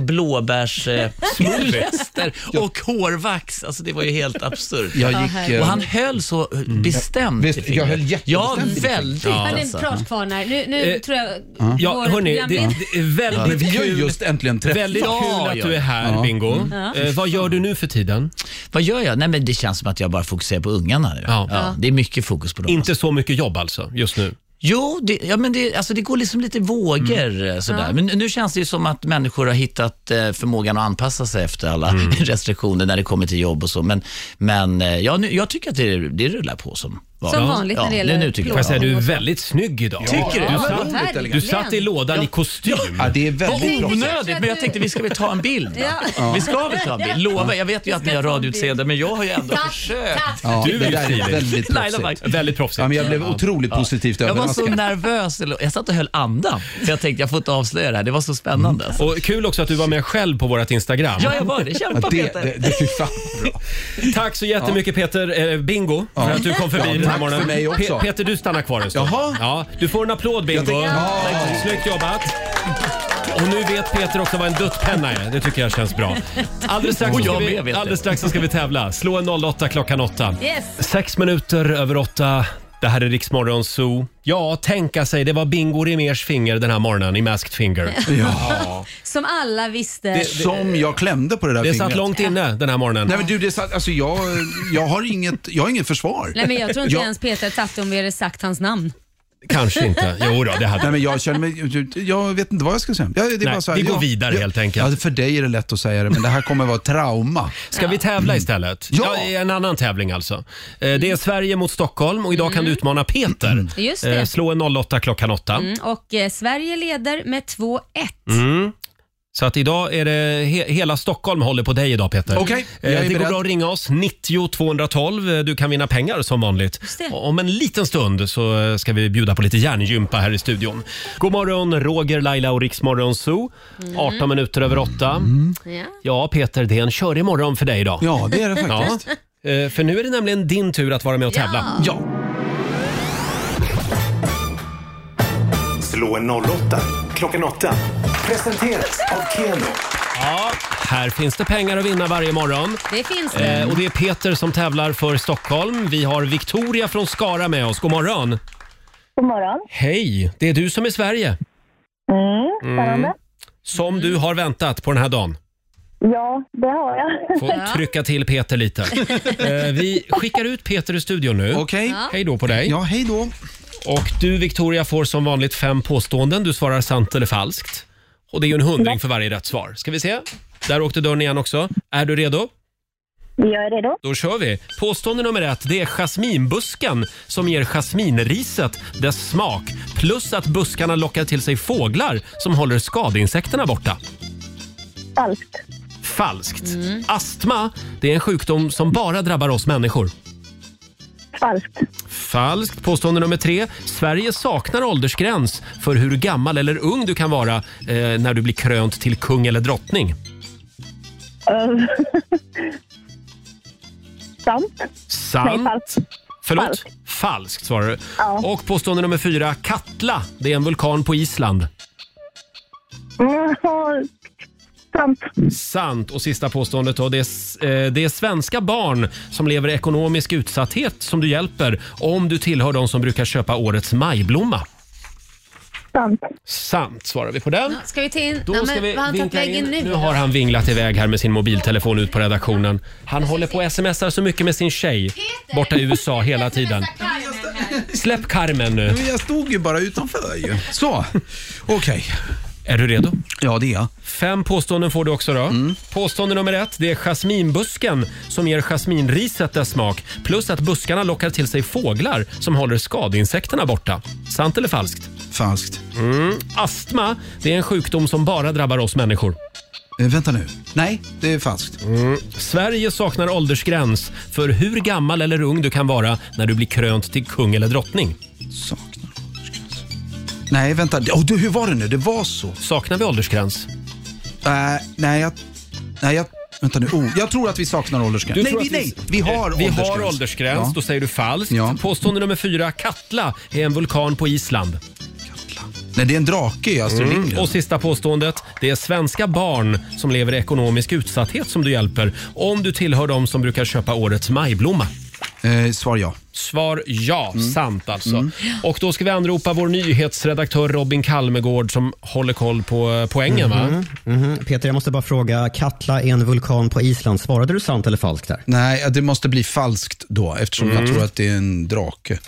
[SPEAKER 10] Smoothie.
[SPEAKER 20] blåbärssmoothie och hårvax. Alltså det var ju helt absurt.
[SPEAKER 10] Jag Ja, gick,
[SPEAKER 9] eh,
[SPEAKER 10] herregud.
[SPEAKER 20] och han höll så eh, bestämt i fingret.
[SPEAKER 10] höll
[SPEAKER 20] Ja,
[SPEAKER 10] jättebestämt i mitt finger.
[SPEAKER 20] väldigt.
[SPEAKER 4] Han är en
[SPEAKER 20] alltså.
[SPEAKER 4] pratkvarnar. Nu, nu
[SPEAKER 20] Eh,
[SPEAKER 4] tror jag
[SPEAKER 1] Ja,
[SPEAKER 4] vår
[SPEAKER 1] hörni, det,
[SPEAKER 4] programledare-
[SPEAKER 1] det är väldigt
[SPEAKER 9] Ja, men vi har ju
[SPEAKER 1] kul.
[SPEAKER 9] just äntligen träffats.
[SPEAKER 1] Väldigt
[SPEAKER 20] Ja,
[SPEAKER 1] kul att
[SPEAKER 20] ja,
[SPEAKER 1] du är
[SPEAKER 20] ja.
[SPEAKER 1] här,
[SPEAKER 20] Ja.
[SPEAKER 1] Bingo.
[SPEAKER 20] Mm. Ja.
[SPEAKER 1] Eh, vad gör du nu för tiden?
[SPEAKER 20] Vad gör jag? Nej, men det känns som att jag bara fokuserar på ungarna nu. Ja.
[SPEAKER 1] Ja.
[SPEAKER 20] det är mycket fokus på dem.
[SPEAKER 1] Inte så mycket jobb alltså, just nu?
[SPEAKER 20] Jo, det, ja, men det, alltså det går liksom lite vågor eh, sådär. Men nu känns det ju som att människor har hittat eh, förmågan att anpassa sig efter alla restriktioner när det kommer till jobb och så. Men, men eh, ja, nu, jag tycker att det, det rullar på som
[SPEAKER 4] Som vanligt när det gäller
[SPEAKER 20] nu tycker
[SPEAKER 1] Får jag säga, du är
[SPEAKER 20] Ja.
[SPEAKER 1] väldigt snygg idag.
[SPEAKER 20] Tycker du?
[SPEAKER 1] du?
[SPEAKER 20] Ja,
[SPEAKER 1] Satt,
[SPEAKER 20] verkligen.
[SPEAKER 1] du satt i lådan i kostym.
[SPEAKER 9] Ja, det är väldigt
[SPEAKER 20] Vad onödigt, men jag tänkte vi ska väl ta en bild. va?
[SPEAKER 10] Ja.
[SPEAKER 1] Ja.
[SPEAKER 20] Vi ska väl ta en bild? Lova, jag vet ju att ni har radioutseende, men jag har ju ändå
[SPEAKER 10] Tack,
[SPEAKER 20] försökt.
[SPEAKER 10] tack.
[SPEAKER 9] Ja,
[SPEAKER 20] Du
[SPEAKER 9] det
[SPEAKER 20] är ju
[SPEAKER 9] där är
[SPEAKER 20] stilig.
[SPEAKER 9] väldigt
[SPEAKER 20] Laila
[SPEAKER 9] proffsigt.
[SPEAKER 20] Bagge. Väldigt proffsigt.
[SPEAKER 9] Ja, men jag blev otroligt positivt
[SPEAKER 20] Jag var så
[SPEAKER 9] överraskad.
[SPEAKER 20] nervös, eller- jag satt och höll andan. För jag tänkte jag får inte avslöja det här, det var så spännande. alltså.
[SPEAKER 1] Och kul också att du var med själv på vårt Instagram.
[SPEAKER 20] Ja, jag var det. Kämpa, Ja, det- Peter. det-
[SPEAKER 9] det fan
[SPEAKER 1] Tack så jättemycket Peter eh, Bingo för
[SPEAKER 9] Ja.
[SPEAKER 1] att du kom förbi
[SPEAKER 9] Ja,
[SPEAKER 1] den här
[SPEAKER 9] tack
[SPEAKER 1] morgonen.
[SPEAKER 9] för mig också.
[SPEAKER 1] Pe- Peter, du stannar kvar en stund.
[SPEAKER 9] Jaha.
[SPEAKER 1] Ja, du får en applåd Bingo.
[SPEAKER 9] Jag tänker- Ja.
[SPEAKER 1] Tack. Snyggt jobbat. Och nu vet Peter också vad en duttpenna är. Det tycker jag känns bra. Alldeles strax,
[SPEAKER 10] Och
[SPEAKER 1] ska,
[SPEAKER 10] jag med
[SPEAKER 1] vi,
[SPEAKER 10] vet det.
[SPEAKER 1] alldeles strax så ska vi tävla. Slå en 08 klockan 8.
[SPEAKER 10] Yes.
[SPEAKER 1] Sex minuter över åtta. Det här är Riksmorgon Zoo. Ja, tänka sig, det var Bingo Rimérs finger den här morgonen i Masked Finger.
[SPEAKER 9] Ja.
[SPEAKER 4] Som alla visste.
[SPEAKER 9] Det, som jag klämde på det där
[SPEAKER 1] Det
[SPEAKER 9] fingret.
[SPEAKER 1] satt långt inne den här morgonen.
[SPEAKER 9] Nej men du, det satt, alltså jag, jag har inget, jag har inget försvar.
[SPEAKER 4] Nej, men jag tror inte ens Peter satt om vi hade sagt hans namn.
[SPEAKER 1] Kanske inte. Jo då, det hade
[SPEAKER 9] Nej, men jag känner mig, jag vet inte vad jag ska säga. Jag, det är
[SPEAKER 1] Nej,
[SPEAKER 9] bara så här,
[SPEAKER 1] vi går
[SPEAKER 9] jag,
[SPEAKER 1] vidare
[SPEAKER 9] jag,
[SPEAKER 1] helt enkelt.
[SPEAKER 9] Ja, för dig är det lätt att säga det, men det här kommer vara ett trauma.
[SPEAKER 1] Ska vi tävla istället?
[SPEAKER 9] Ja!
[SPEAKER 1] ja! En annan tävling alltså. Eh, Det är Sverige mot Stockholm och idag kan du utmana Peter.
[SPEAKER 4] Mm. Just det.
[SPEAKER 1] Eh, Slå en 08 klockan 8. Mm.
[SPEAKER 4] Mm, och eh, Sverige leder med 2-1.
[SPEAKER 1] Så att idag är det he hela Stockholm håller på dig idag Peter.
[SPEAKER 9] Okej, jag är
[SPEAKER 1] Eh, Det går
[SPEAKER 9] beredd.
[SPEAKER 1] bra att ringa oss, 90 212. Eh, Du kan vinna pengar som vanligt. Om en liten stund så eh, ska vi bjuda på lite hjärngympa här i studion. God morgon Roger, Laila och Riksmorgon Zoo.
[SPEAKER 4] Mm.
[SPEAKER 1] 18 minuter över 8.
[SPEAKER 9] Mm.
[SPEAKER 1] Ja, Peter, det är en körig morgon för dig idag.
[SPEAKER 9] Ja, det är det faktiskt.
[SPEAKER 1] Ja. Eh, För nu är det nämligen din tur att vara med och tävla.
[SPEAKER 9] Ja.
[SPEAKER 2] Slå en 08 klockan 8. Presenteras av Keno.
[SPEAKER 1] Ja, här finns det pengar att vinna varje morgon.
[SPEAKER 4] Det finns det.
[SPEAKER 1] Eh,
[SPEAKER 9] Mm.
[SPEAKER 1] och det är Peter som tävlar för Stockholm. Vi har Victoria från Skara med oss. God morgon!
[SPEAKER 21] God morgon.
[SPEAKER 1] Hej, det är du som är Sverige.
[SPEAKER 21] Mm, spännande.
[SPEAKER 1] Som du har väntat på den här dagen.
[SPEAKER 21] Ja, det har jag.
[SPEAKER 1] Får trycka till Peter lite. Eh, Vi skickar ut Peter ur studion nu.
[SPEAKER 9] Okej. Ja.
[SPEAKER 1] Hej då på dig.
[SPEAKER 9] Ja, hej då.
[SPEAKER 1] Och du Victoria får som vanligt fem påståenden. Du svarar sant eller falskt. Och det är ju en hundring för varje rätt svar. Ska vi se? Där åkte dörren igen också. Är du redo?
[SPEAKER 21] Jag är redo.
[SPEAKER 1] Då kör vi. Påstående nummer ett. Det är jasminbusken som ger jasminriset dess smak. Plus att buskarna lockar till sig fåglar som håller skadeinsekterna borta.
[SPEAKER 21] Falskt.
[SPEAKER 1] Falskt. Astma, det är en sjukdom som bara drabbar oss människor.
[SPEAKER 21] Falskt.
[SPEAKER 1] Falskt. Påstående nummer tre. Sverige saknar åldersgräns för hur gammal eller ung du kan vara eh, när du blir krönt till kung eller drottning.
[SPEAKER 21] Eh, Sant.
[SPEAKER 1] Sant.
[SPEAKER 21] Nej, falskt.
[SPEAKER 1] Förlåt?
[SPEAKER 21] Falskt.
[SPEAKER 1] Falskt, svarar du. Och påstående nummer fyra. Katla, det är en vulkan på Island.
[SPEAKER 21] Sant.
[SPEAKER 1] Sant. Och sista påståendet då. Det är, s- eh, det är svenska barn som lever i ekonomisk utsatthet som du hjälper om du tillhör de som brukar köpa årets majblomma.
[SPEAKER 21] Sant.
[SPEAKER 1] Sant svarar vi på den.
[SPEAKER 4] Ska vi till...
[SPEAKER 1] Då
[SPEAKER 4] Nej,
[SPEAKER 1] ska
[SPEAKER 4] men,
[SPEAKER 1] vi
[SPEAKER 4] vad har han tagit
[SPEAKER 1] vinkla in.
[SPEAKER 4] vägen nu?
[SPEAKER 1] Nu har han vinglat iväg här med sin mobiltelefon ut på redaktionen. Han håller på och smsar så mycket med sin tjej borta i USA hela tiden. Släpp Carmen nu.
[SPEAKER 9] Men jag stod ju bara utanför ju. Så, okej.
[SPEAKER 1] Är du redo? Mm.
[SPEAKER 9] Ja, det är jag.
[SPEAKER 1] Fem påståenden får du också då. Påstående nummer ett, det är jasminbusken som ger jasminriset dess smak. Plus att buskarna lockar till sig fåglar som håller skadeinsekterna borta. Sant eller falskt?
[SPEAKER 9] Falskt.
[SPEAKER 1] Mm. Astma, det är en sjukdom som bara drabbar oss människor.
[SPEAKER 9] Eh, vänta nu. Nej, det är falskt.
[SPEAKER 1] Mm. Sverige saknar åldersgräns för hur gammal eller ung du kan vara när du blir krönt till kung eller drottning.
[SPEAKER 9] Saknar åldersgräns. Nej, vänta. Oh, du, hur var det nu? Det var så.
[SPEAKER 1] Saknar vi åldersgräns?
[SPEAKER 9] Nej, nej, jag... Nej, jag vänta nu. Oh, jag tror att vi saknar åldersgräns.
[SPEAKER 1] Du
[SPEAKER 9] nej,
[SPEAKER 1] tror
[SPEAKER 9] vi,
[SPEAKER 1] att
[SPEAKER 9] nej, vi har
[SPEAKER 1] Eh,
[SPEAKER 9] åldersgräns.
[SPEAKER 1] Vi har åldersgräns,
[SPEAKER 9] Ja.
[SPEAKER 1] då säger du falskt. Påstående nummer fyra, Katla är en vulkan på Island.
[SPEAKER 9] Nej, det är en drake i Astrid
[SPEAKER 1] Mm.
[SPEAKER 9] Lindgren.
[SPEAKER 1] Och sista påståendet. Det är svenska barn som lever i ekonomisk utsatthet som du hjälper om du tillhör de som brukar köpa årets majblomma.
[SPEAKER 9] Eh, svar ja.
[SPEAKER 1] Svar ja,
[SPEAKER 9] Mm.
[SPEAKER 1] sant alltså. Och då ska vi anropa vår nyhetsredaktör Robin Kalmegård som håller koll på eh, poängen va?
[SPEAKER 9] Mm.
[SPEAKER 22] Mhm, mhm. Peter, jag måste bara fråga. Katla är en vulkan på Island. Svarade du sant eller falskt där?
[SPEAKER 9] Nej, det måste bli falskt då eftersom
[SPEAKER 22] Mm.
[SPEAKER 9] jag tror att det är en drake.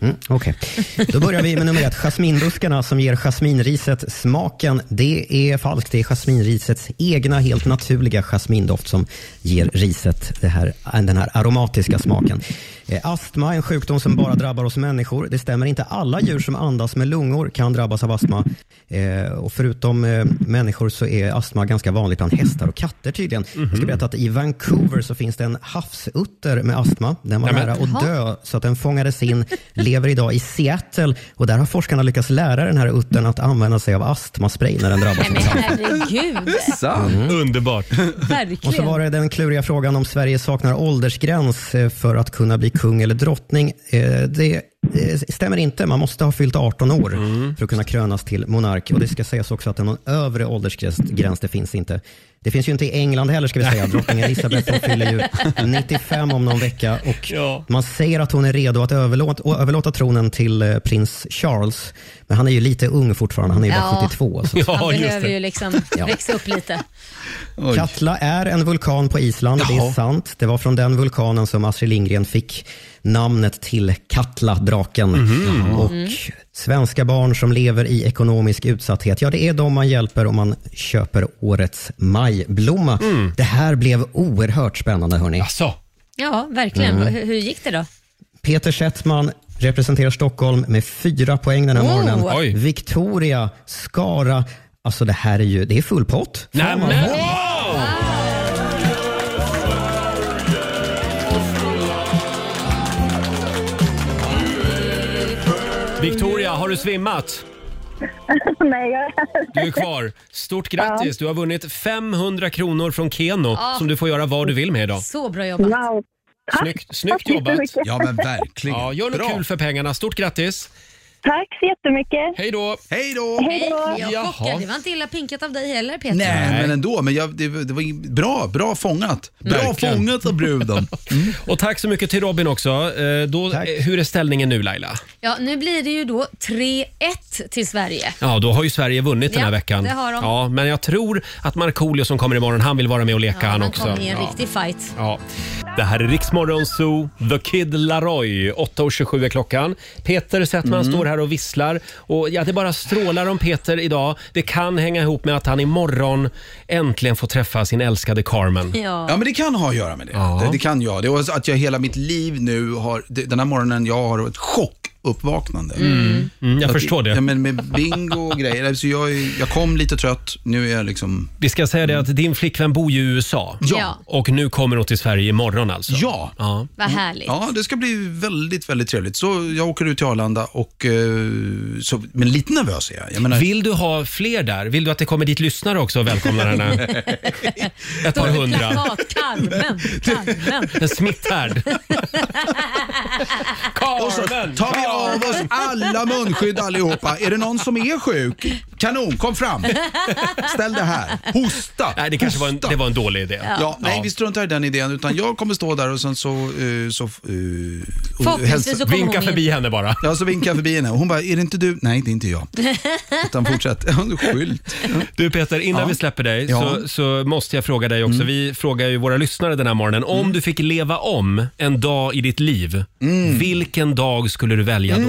[SPEAKER 22] Mm, Okej. Då börjar vi med nummer ett. Jasminbuskarna som ger jasminriset smaken. Det är falskt. Det är jasminrisets egna, helt naturliga jasmindoft som ger riset det här, den här aromatiska smaken. Eh, Astma är en sjukdom som bara drabbar oss människor. Det stämmer inte. Alla djur som andas med lungor kan drabbas av astma. Eh, och förutom eh, människor så är astma ganska vanligt bland hästar och katter tydligen. Jag ska berätta att i Vancouver så finns det en havsutter med astma. Den var
[SPEAKER 23] Nämen.
[SPEAKER 22] nära att dö så att den fångades in, lever idag i Seattle och där har forskarna lyckats lära den här uttern att använda sig av astmaspray när den drabbas.
[SPEAKER 4] Nej, men herregud.
[SPEAKER 22] Mm.
[SPEAKER 1] Underbart.
[SPEAKER 22] Och så
[SPEAKER 4] Verkligen.
[SPEAKER 22] var det den kluriga frågan om Sverige saknar åldersgräns eh, för att kunna bli kung eller drottning. Eh, Det eh, stämmer inte. Man måste ha fyllt 18 år för att kunna krönas till monark. Och Det ska sägas också att någon övre åldersgräns gräns, det finns inte. Det finns ju inte i England heller ska vi säga. Drottning Elizabeth hon fyller ju 95 om någon vecka och man säger att hon är redo att överlåta, och överlåta tronen till eh, prins Charles. Men han är ju lite ung fortfarande. Han är ju bara
[SPEAKER 4] Ja.
[SPEAKER 22] 72. Så.
[SPEAKER 4] Han behöver ju liksom
[SPEAKER 22] Ja.
[SPEAKER 4] växa upp lite.
[SPEAKER 22] Oj. Katla är en vulkan på Island, det är sant. Det var från den vulkanen som Astrid Lindgren fick namnet till Katla, draken.
[SPEAKER 23] Mhm.
[SPEAKER 22] Och svenska barn som lever i ekonomisk utsatthet, ja det är de man hjälper om man köper årets majblomma. Det här blev oerhört spännande hörni.
[SPEAKER 4] Ja, verkligen.
[SPEAKER 22] Mm.
[SPEAKER 4] Hur, hur gick det då?
[SPEAKER 22] Peter Settman representerar Stockholm med fyra poäng den här
[SPEAKER 4] Oh.
[SPEAKER 22] morgonen.
[SPEAKER 4] Oj.
[SPEAKER 22] Victoria, Skara, alltså det här är ju, det är full pott.
[SPEAKER 1] Nämen! Victoria, har du svimmat?
[SPEAKER 21] Nej, jag...
[SPEAKER 1] Du är kvar. Stort grattis! Du har vunnit 500 kronor från Keno
[SPEAKER 21] Ja.
[SPEAKER 1] som du får göra vad du vill med idag.
[SPEAKER 4] Så bra jobbat.
[SPEAKER 21] Wow.
[SPEAKER 1] Snyggt, snyggt jobbat!
[SPEAKER 21] jättemycket. Ja, men
[SPEAKER 1] verkligen. Ja, gör något kul för pengarna. Stort grattis!
[SPEAKER 3] Tack så jättemycket.
[SPEAKER 1] Hej då!
[SPEAKER 9] Hej då!
[SPEAKER 4] Hej då!
[SPEAKER 9] Jaha.
[SPEAKER 4] Jag chockade. Det var inte illa pinkat av dig heller Peter.
[SPEAKER 9] Nej, men ändå. Men jag, det, det var ju bra, bra fångat. Bra fångat av bruden.
[SPEAKER 1] Och tack så mycket till Robin också. Eh, Då, eh, hur är ställningen nu Laila?
[SPEAKER 4] Ja, nu blir det ju då 3-1 till Sverige.
[SPEAKER 1] Ja, då har ju Sverige vunnit den här
[SPEAKER 4] Ja,
[SPEAKER 1] veckan.
[SPEAKER 4] det har de.
[SPEAKER 1] Ja, men jag tror att Markoolio som kommer imorgon, han vill vara med och leka han också.
[SPEAKER 4] kom i en
[SPEAKER 1] ja.
[SPEAKER 4] riktig fight.
[SPEAKER 1] Ja. Det här är Riksmorgon Zoo, The Kid Laroi. 8.27 är klockan. Peter Settman står här och visslar. Och ja, det bara strålar om Peter idag. Det kan hänga ihop med att han imorgon äntligen får träffa sin älskade Carmen.
[SPEAKER 4] Ja.
[SPEAKER 9] men det kan ha att göra med det. Det, det kan jag. Det är också att jag hela mitt liv nu har, det- den här morgonen, jag har ett chockuppvaknande.
[SPEAKER 1] Mm. Mm, jag
[SPEAKER 9] Att-
[SPEAKER 1] förstår det.
[SPEAKER 9] Ja, men med bingo och grejer. Så jag, är- jag kom lite trött, nu är jag liksom...
[SPEAKER 1] Vi ska säga det att din flickvän bor ju i USA.
[SPEAKER 9] Ja. Ja.
[SPEAKER 1] Och nu kommer hon till Sverige imorgon alltså.
[SPEAKER 9] Ja.
[SPEAKER 1] ja.
[SPEAKER 4] Vad härligt.
[SPEAKER 9] Ja, det ska bli väldigt, väldigt trevligt. Så jag åker ut till Arlanda och... eh, Så, men lite nervös är jag. jag menar,
[SPEAKER 1] Vill du ha fler där? Vill du att det kommer dit lyssnare också och välkomnar henne? Ett par hundra.
[SPEAKER 4] Plakat, Carmen, Carmen.
[SPEAKER 1] En smitthärd.
[SPEAKER 9] Och så tar vi av oss alla munskydd allihopa. Är det någon som är sjuk? Kanon, kom fram. Ställ det här. Hosta.
[SPEAKER 1] Nej, det kanske var en,
[SPEAKER 9] Hosta.
[SPEAKER 1] det var en dålig idé.
[SPEAKER 9] Ja. nej, vi struntar i den idén. Utan jag kommer stå där och sen så... eh, så, eh, och
[SPEAKER 1] Förhoppningsvis
[SPEAKER 9] hälsa-
[SPEAKER 1] så kommer Vinka hon in. förbi henne bara.
[SPEAKER 9] Ja, så vinkar jag förbi henne. Hon bara, är det inte du? Nej, det är inte jag. Utan fortsätt. Ja, du är skylt.
[SPEAKER 1] Du Peter, innan
[SPEAKER 9] Ja.
[SPEAKER 1] vi släpper dig
[SPEAKER 9] Ja. Mm.
[SPEAKER 1] så, så måste jag fråga dig också. Vi frågar ju våra lyssnare den här morgonen. Om du fick leva om en dag i ditt liv,
[SPEAKER 9] Mm.
[SPEAKER 1] vilken dag skulle du välja då?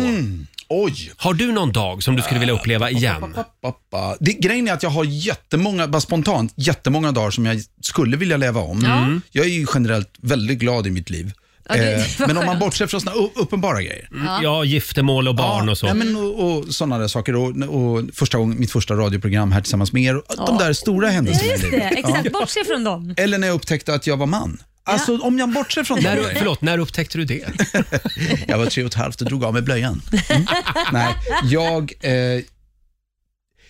[SPEAKER 9] Oj!
[SPEAKER 1] Har du någon dag som du skulle vilja uppleva igen?
[SPEAKER 9] Pappa. Det, grejen är att jag har jättemånga, bara spontant, jättemånga dagar som jag skulle vilja leva om.
[SPEAKER 1] Ja.
[SPEAKER 9] Jag är ju generellt väldigt glad i mitt liv.
[SPEAKER 1] Ja, det-
[SPEAKER 9] Eh,
[SPEAKER 1] vad
[SPEAKER 9] men om man
[SPEAKER 1] skönt.
[SPEAKER 9] bortser från såna u- uppenbara grejer.
[SPEAKER 1] Ja, giftermål och barn och så.
[SPEAKER 9] Nej, men och, och sådana där saker. Och, och första gången, mitt första radioprogram här tillsammans med er. Och De där stora händelserna
[SPEAKER 4] Just
[SPEAKER 9] i
[SPEAKER 4] det,
[SPEAKER 9] livet.
[SPEAKER 4] exakt.
[SPEAKER 9] Ja.
[SPEAKER 4] Bortse från dem.
[SPEAKER 9] Eller när jag upptäckte att jag var man. Alltså om jag bortser från
[SPEAKER 1] När-
[SPEAKER 9] det.
[SPEAKER 1] förlåt, när upptäckte du det?
[SPEAKER 9] jag var tre och ett halvt och drog av mig blöjan. Mm. Nej, jag... Eh,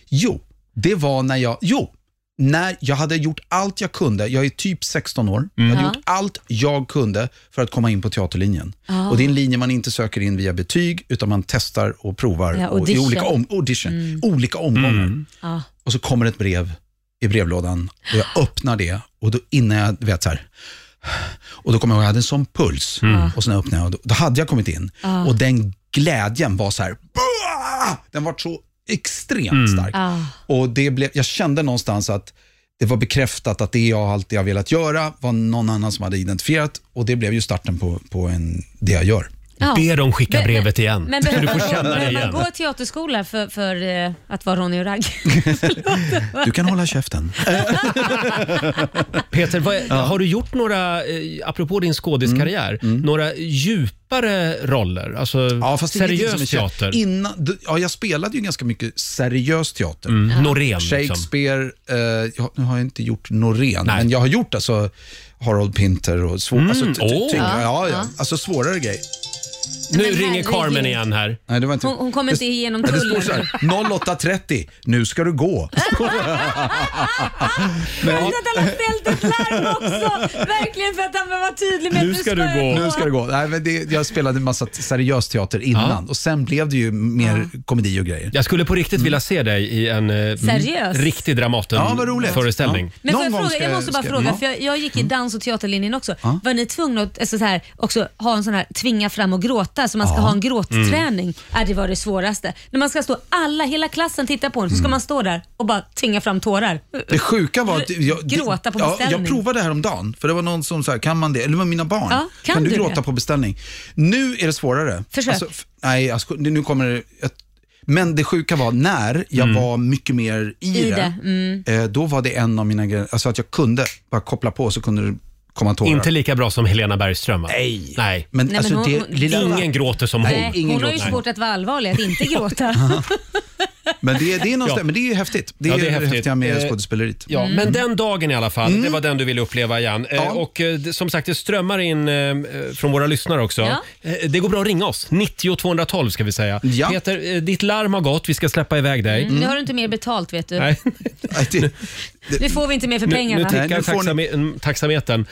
[SPEAKER 9] jo, det var när jag... Jo, när jag hade gjort allt jag kunde. Jag är typ 16 år. Jag hade
[SPEAKER 2] Ja.
[SPEAKER 9] gjort allt jag kunde för att komma in på teaterlinjen.
[SPEAKER 2] Ah.
[SPEAKER 9] Och Det är en linje man inte söker in via betyg, utan man testar och provar
[SPEAKER 2] Ja,
[SPEAKER 9] och, i
[SPEAKER 2] audition.
[SPEAKER 9] olika, om, audition, olika omgångar.
[SPEAKER 4] Ja.
[SPEAKER 9] Och så kommer ett brev i brevlådan och jag öppnar det och då innan jag du vet så här. Och då kommer jag ihåg, jag hade en sån puls. Och sen öppnade jag och då, då hade jag kommit in.
[SPEAKER 2] Ja.
[SPEAKER 9] Och den glädjen var så här, "Bah!" den var så extremt stark. Och det blev, jag kände någonstans att det var bekräftat att det jag alltid har velat göra var någon annan som hade identifierat och det blev ju starten på, på en, det jag gör.
[SPEAKER 4] Ja.
[SPEAKER 1] Be dem skicka
[SPEAKER 4] Men-
[SPEAKER 1] brevet igen.
[SPEAKER 4] Men
[SPEAKER 1] så
[SPEAKER 4] behöver
[SPEAKER 1] du får
[SPEAKER 4] man gå-
[SPEAKER 1] känna det
[SPEAKER 4] behöver man
[SPEAKER 1] igen.
[SPEAKER 4] gå i teaterskola för, för eh, att vara Ronny och Ragg?
[SPEAKER 9] Du kan hålla käften.
[SPEAKER 1] Peter, vad, har du gjort några, eh, apropå din skådiskarriär, några djupare roller? Alltså
[SPEAKER 9] Mm. Ja, fast det är ingenting
[SPEAKER 1] seriös
[SPEAKER 9] som är känt.
[SPEAKER 1] teater?
[SPEAKER 9] Innan, d- ja, jag spelade ju ganska mycket seriös teater.
[SPEAKER 1] Mm, Ja. Norén, liksom.
[SPEAKER 9] Shakespeare, eh, jag, nu har jag inte gjort Norén, men jag har gjort alltså Harold Pinter och svår,
[SPEAKER 1] Mm,
[SPEAKER 9] alltså, ty- ty-
[SPEAKER 1] åh.
[SPEAKER 9] tyngre,
[SPEAKER 1] Ja,
[SPEAKER 9] ja, ja,
[SPEAKER 1] ja.
[SPEAKER 9] alltså svårare grejer.
[SPEAKER 1] Nu Men ringer herregud. Carmen igen här.
[SPEAKER 9] Nej, det var inte,
[SPEAKER 4] Hon- hon kommer
[SPEAKER 9] det-
[SPEAKER 4] inte igenom
[SPEAKER 9] Nej, det
[SPEAKER 4] tullen.
[SPEAKER 9] står så här, 08.30, nu ska du gå. Men-
[SPEAKER 4] också, verkligen för att han behöver vara tydlig med att
[SPEAKER 9] Nu ska du gå. Nej, men det, jag spelade en massa t- seriös teater innan och sen blev det ju mer komedi och grejer.
[SPEAKER 1] Jag skulle på riktigt vilja se dig i en eh,
[SPEAKER 4] Seriös?
[SPEAKER 1] riktig
[SPEAKER 9] Mm. Ja, vad roligt.
[SPEAKER 1] Dramaten-föreställning.
[SPEAKER 4] Men får jag, fråga, jag måste bara fråga, för jag, jag gick
[SPEAKER 9] Mm.
[SPEAKER 4] i dans och teaterlinjen också.
[SPEAKER 1] Ja.
[SPEAKER 4] Var ni tvungna att alltså, så här, också ha en sån här tvinga fram och gråta, så man ska
[SPEAKER 1] Ja.
[SPEAKER 9] Mm.
[SPEAKER 4] ha en gråtträning? Äh, det var det svåraste. När man ska stå, alla, hela klassen tittar på en, så
[SPEAKER 9] Mm.
[SPEAKER 4] ska man stå där och bara tvinga fram tårar.
[SPEAKER 9] Det sjuka var att jag,
[SPEAKER 4] Gråta på
[SPEAKER 9] ja,
[SPEAKER 4] beställning.
[SPEAKER 9] jag provade häromdagen, för det var någon som sa, kan man det? Eller det var mina barn.
[SPEAKER 4] Ja, kan
[SPEAKER 9] du
[SPEAKER 4] du
[SPEAKER 9] gråta
[SPEAKER 4] det?
[SPEAKER 9] på beställning? Nu är det svårare. Alltså,
[SPEAKER 4] Försök.
[SPEAKER 9] f- nej, jag sko- nu kommer det... Jag, men det sjuka var när jag
[SPEAKER 1] Mm.
[SPEAKER 9] var mycket mer i,
[SPEAKER 4] I det. Mm.
[SPEAKER 9] eh, då var det en av mina grejer, alltså att jag kunde bara koppla på så kunde det komma tårar.
[SPEAKER 1] Inte lika bra som Helena Bergström va?
[SPEAKER 9] Nej.
[SPEAKER 1] Nej.
[SPEAKER 9] Men,
[SPEAKER 4] Nej, alltså, men hon- det hon- lilla-
[SPEAKER 1] Ingen gråter som hon.
[SPEAKER 4] Nej, hon har ju svårt att vara allvarlig, att inte gråta.
[SPEAKER 9] Men det, det, är någonstans,
[SPEAKER 1] Ja.
[SPEAKER 9] men det är ju häftigt. Det är,
[SPEAKER 1] Ja,
[SPEAKER 9] det
[SPEAKER 1] häftigt.
[SPEAKER 9] häftiga med
[SPEAKER 1] Eh,
[SPEAKER 9] skådespeleriet.
[SPEAKER 1] Ja, men den dagen i alla fall,
[SPEAKER 9] Mm.
[SPEAKER 1] det var den du ville uppleva igen. Eh, Och eh, det- som sagt, det strömmar in eh, från våra lyssnare också.
[SPEAKER 2] Ja.
[SPEAKER 1] Eh, Det går bra att ringa oss, 90 212 ska vi säga. Peter, eh, ditt larm har gått, vi ska släppa iväg dig.
[SPEAKER 4] Mm. Nu har du inte mer betalt vet du.
[SPEAKER 1] Nej.
[SPEAKER 4] Nu får vi inte mer för pengarna.
[SPEAKER 1] Nu, nu tickar taxame- taxametern.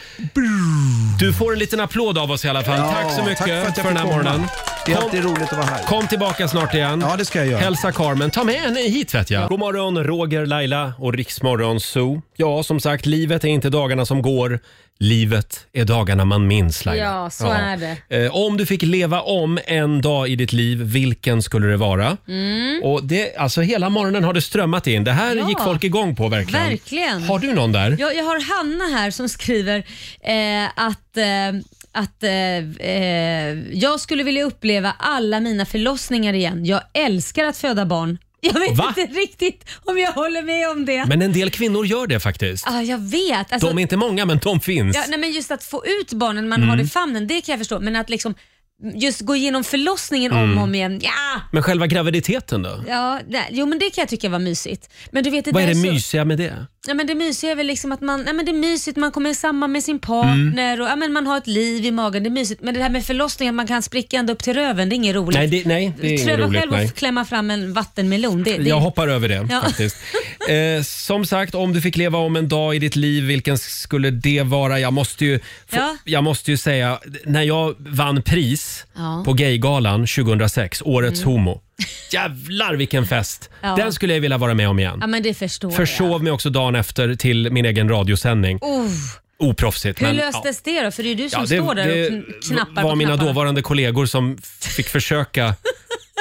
[SPEAKER 1] Du får en liten applåd av oss i alla fall.
[SPEAKER 9] Ja,
[SPEAKER 1] tack så mycket
[SPEAKER 9] tack för att jag
[SPEAKER 1] för, den här
[SPEAKER 9] fick komma.
[SPEAKER 1] morgonen.
[SPEAKER 9] Det är alltid roligt att vara här.
[SPEAKER 1] Kom tillbaka snart igen. Ja, det ska jag göra. Hälsa Carmen. Ta med henne hit vet jag. God morgon Roger, Laila och Riksmorgon Zoo. Ja, som sagt, livet är inte dagarna som går. Livet är dagarna man minns Laila.
[SPEAKER 4] Ja, så är det.
[SPEAKER 1] Eh, Om du fick leva om en dag i ditt liv, vilken skulle det vara?
[SPEAKER 4] Mm.
[SPEAKER 1] Och det, alltså hela morgonen har det strömmat in. Det här
[SPEAKER 4] Ja.
[SPEAKER 1] gick folk igång på verkligen.
[SPEAKER 4] Verkligen.
[SPEAKER 1] Har du någon där?
[SPEAKER 4] Jag, jag har Hanna här som skriver eh, att eh, att eh, eh, jag skulle vilja uppleva alla mina förlossningar igen. Jag älskar att föda barn. Jag vet
[SPEAKER 1] Va?
[SPEAKER 4] inte riktigt om jag håller med om det.
[SPEAKER 1] Men en del kvinnor gör det faktiskt.
[SPEAKER 4] Ja, jag vet. Alltså-
[SPEAKER 1] de är inte många, men de finns.
[SPEAKER 4] Ja, nej, men just att få ut barnen man
[SPEAKER 1] Mm.
[SPEAKER 4] har i famnen, det kan jag förstå. Men att liksom just gå igenom förlossningen om
[SPEAKER 1] Mm.
[SPEAKER 4] och om igen, ja!
[SPEAKER 1] Men själva graviditeten då?
[SPEAKER 4] ja nej, jo men det kan jag tycka var mysigt. Men du vet, det
[SPEAKER 1] Vad är
[SPEAKER 4] där
[SPEAKER 1] det
[SPEAKER 4] så-
[SPEAKER 1] mysiga med det?
[SPEAKER 4] Ja, men det mysiga är väl liksom att man, ja, men det är mysigt, man kommer samman med sin partner och ja, men man har ett liv i magen. Det är mysigt. Men det här med förlossningen, man kan spricka ända upp till röven, det är inget roligt.
[SPEAKER 1] Nej, det, nej, det är inget
[SPEAKER 4] Pröva
[SPEAKER 1] roligt.
[SPEAKER 4] själv
[SPEAKER 1] Nej.
[SPEAKER 4] att klämma fram en vattenmelon. Det, det,
[SPEAKER 1] Jag hoppar över det
[SPEAKER 4] Ja.
[SPEAKER 1] faktiskt. Eh, som sagt, om du fick leva om en dag i ditt liv, vilken skulle det vara? Jag måste ju, få,
[SPEAKER 4] Ja.
[SPEAKER 1] jag måste ju säga, när jag vann pris
[SPEAKER 4] Ja.
[SPEAKER 1] på Gaygalan 2006, Årets
[SPEAKER 4] Mm.
[SPEAKER 1] homo. Jävlar vilken fest!
[SPEAKER 4] Ja.
[SPEAKER 1] Den skulle jag vilja vara med om igen.
[SPEAKER 4] ja, men det förstår
[SPEAKER 1] Försov mig också dagen efter till min egen radiosändning.
[SPEAKER 4] jag. Oh,
[SPEAKER 1] Oproffsigt.
[SPEAKER 4] hur
[SPEAKER 1] men, ja.
[SPEAKER 4] löstes det då? För det är ju du som
[SPEAKER 1] Ja,
[SPEAKER 4] står där och
[SPEAKER 1] det
[SPEAKER 4] kn- knappar
[SPEAKER 1] var
[SPEAKER 4] på
[SPEAKER 1] mina
[SPEAKER 4] knapparna.
[SPEAKER 1] dåvarande kollegor som f- fick försöka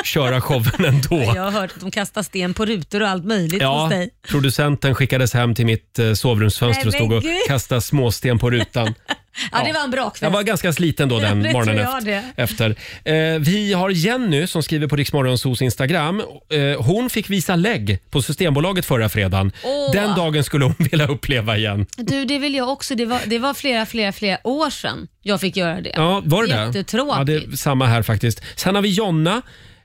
[SPEAKER 1] köra showen ändå.
[SPEAKER 4] Jag har hört att de kastar sten på rutor och allt möjligt
[SPEAKER 1] Ja,
[SPEAKER 4] hos dig.
[SPEAKER 1] producenten skickades hem till mitt eh, sovrumsfönster och
[SPEAKER 4] Nej, men
[SPEAKER 1] stod och
[SPEAKER 4] gud.
[SPEAKER 1] kastade småsten på rutan.
[SPEAKER 4] Ja, det var en brakfest.
[SPEAKER 1] Jag var ganska sliten då den
[SPEAKER 4] Det tror
[SPEAKER 1] morgonen
[SPEAKER 4] jag
[SPEAKER 1] efter. efter. Eh, vi har Jenny som skriver på Riksmorgonsos Instagram. Eh, hon fick visa lägg på Systembolaget förra fredagen.
[SPEAKER 4] Åh.
[SPEAKER 1] Den dagen skulle hon vilja uppleva igen.
[SPEAKER 4] Du, det vill jag också. Det var, det var flera, flera, flera år sedan jag fick göra det.
[SPEAKER 1] Ja, var det det?
[SPEAKER 4] Jättetråkigt.
[SPEAKER 1] Ja, det är samma här faktiskt. Sen har vi Jonna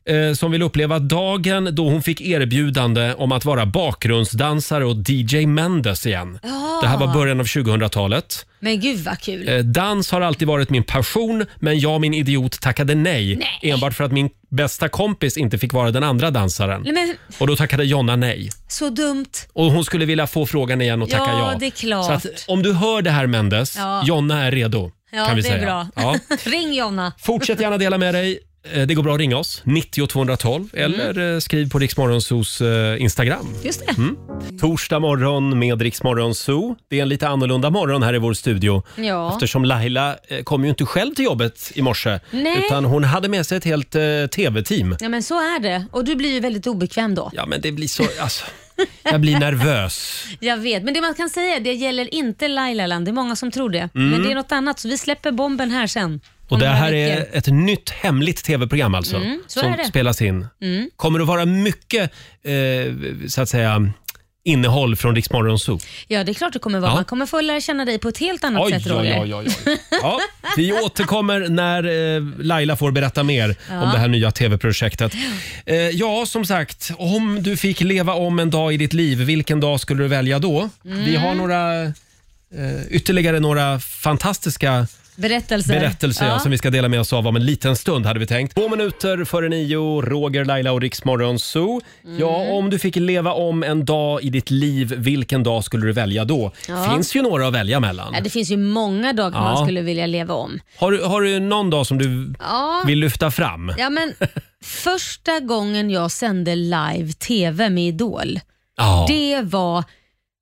[SPEAKER 1] eh, som vill uppleva dagen då hon fick erbjudande om att vara bakgrundsdansare och DJ Mendes igen.
[SPEAKER 4] Ja.
[SPEAKER 1] Det här var början av 2000-talet.
[SPEAKER 4] Men gud vad kul.
[SPEAKER 1] Eh, Dans har alltid varit min passion, men jag min idiot tackade nej,
[SPEAKER 4] Nej.
[SPEAKER 1] enbart för att min bästa kompis inte fick vara den andra dansaren.
[SPEAKER 4] Nej, Men,
[SPEAKER 1] Och då tackade Jonna nej.
[SPEAKER 4] så dumt.
[SPEAKER 1] Och hon skulle vilja få frågan igen och tacka
[SPEAKER 4] Ja,
[SPEAKER 1] ja.
[SPEAKER 4] det är klart.
[SPEAKER 1] Så att, om du hör det här Mendes,
[SPEAKER 4] Ja.
[SPEAKER 1] Jonna är redo.
[SPEAKER 4] Ja,
[SPEAKER 1] kan vi
[SPEAKER 4] det
[SPEAKER 1] säga.
[SPEAKER 4] är bra.
[SPEAKER 1] Ja.
[SPEAKER 4] Ring Jonna.
[SPEAKER 1] Fortsätt gärna dela med dig. Eh, Det går bra att ringa oss, 90 212
[SPEAKER 4] Mm.
[SPEAKER 1] eller eh, skriv på Riksmorgonsos eh, Instagram.
[SPEAKER 4] Just det.
[SPEAKER 1] Mm. Torsdag morgon med Riksmorgonso. Det är en lite annorlunda morgon här i vår studio.
[SPEAKER 4] Ja.
[SPEAKER 1] Eftersom Laila eh, kom ju inte själv till jobbet i morse.
[SPEAKER 4] Nej.
[SPEAKER 1] Utan hon hade med sig ett helt eh, tv-team.
[SPEAKER 4] Ja, men så är det. Och du blir ju väldigt obekväm då.
[SPEAKER 1] Ja men det blir så, alltså. Jag blir nervös.
[SPEAKER 4] Jag vet, men det man kan säga det gäller inte Lailaland. Det är många som tror det.
[SPEAKER 1] Mm.
[SPEAKER 4] Men det är något annat, så vi släpper bomben här sen.
[SPEAKER 1] Och
[SPEAKER 4] Om
[SPEAKER 1] det
[SPEAKER 4] några
[SPEAKER 1] här är
[SPEAKER 4] veckor.
[SPEAKER 1] ett nytt hemligt tv-program alltså.
[SPEAKER 4] Mm, så
[SPEAKER 1] som
[SPEAKER 4] är det.
[SPEAKER 1] spelas in.
[SPEAKER 4] Mm.
[SPEAKER 1] Kommer det vara mycket, eh, så att säga, innehåll från Riksmorgon Zoo?
[SPEAKER 4] Ja, det är klart det kommer vara.
[SPEAKER 1] Ja.
[SPEAKER 4] Man kommer få lära känna dig på ett helt annat
[SPEAKER 1] Oj,
[SPEAKER 4] sätt,
[SPEAKER 1] oj,
[SPEAKER 4] Roger.
[SPEAKER 1] oj, oj, oj. Ja, vi återkommer när eh, Laila får berätta mer
[SPEAKER 4] Ja.
[SPEAKER 1] om det här nya tv-projektet. Eh, ja, som sagt, om du fick leva om en dag i ditt liv, vilken dag skulle du välja då?
[SPEAKER 4] Mm.
[SPEAKER 1] Vi har några, eh, ytterligare några fantastiska
[SPEAKER 4] Berättelser.
[SPEAKER 1] berättelser ja. som vi ska dela med oss av om en liten stund hade vi tänkt. Två minuter före nio, Roger, Laila och Riksmorgon Zoo. Ja,
[SPEAKER 4] Mm.
[SPEAKER 1] om du fick leva om en dag i ditt liv, vilken dag skulle du välja då?
[SPEAKER 4] Ja.
[SPEAKER 1] Finns ju några att välja mellan.
[SPEAKER 4] Ja, det finns ju många dagar
[SPEAKER 1] Ja.
[SPEAKER 4] man skulle vilja leva om.
[SPEAKER 1] Har du, har du någon dag som du
[SPEAKER 4] Ja.
[SPEAKER 1] vill lyfta fram?
[SPEAKER 4] Ja, men första gången jag sände live TV med Idol,
[SPEAKER 1] Ja.
[SPEAKER 4] det var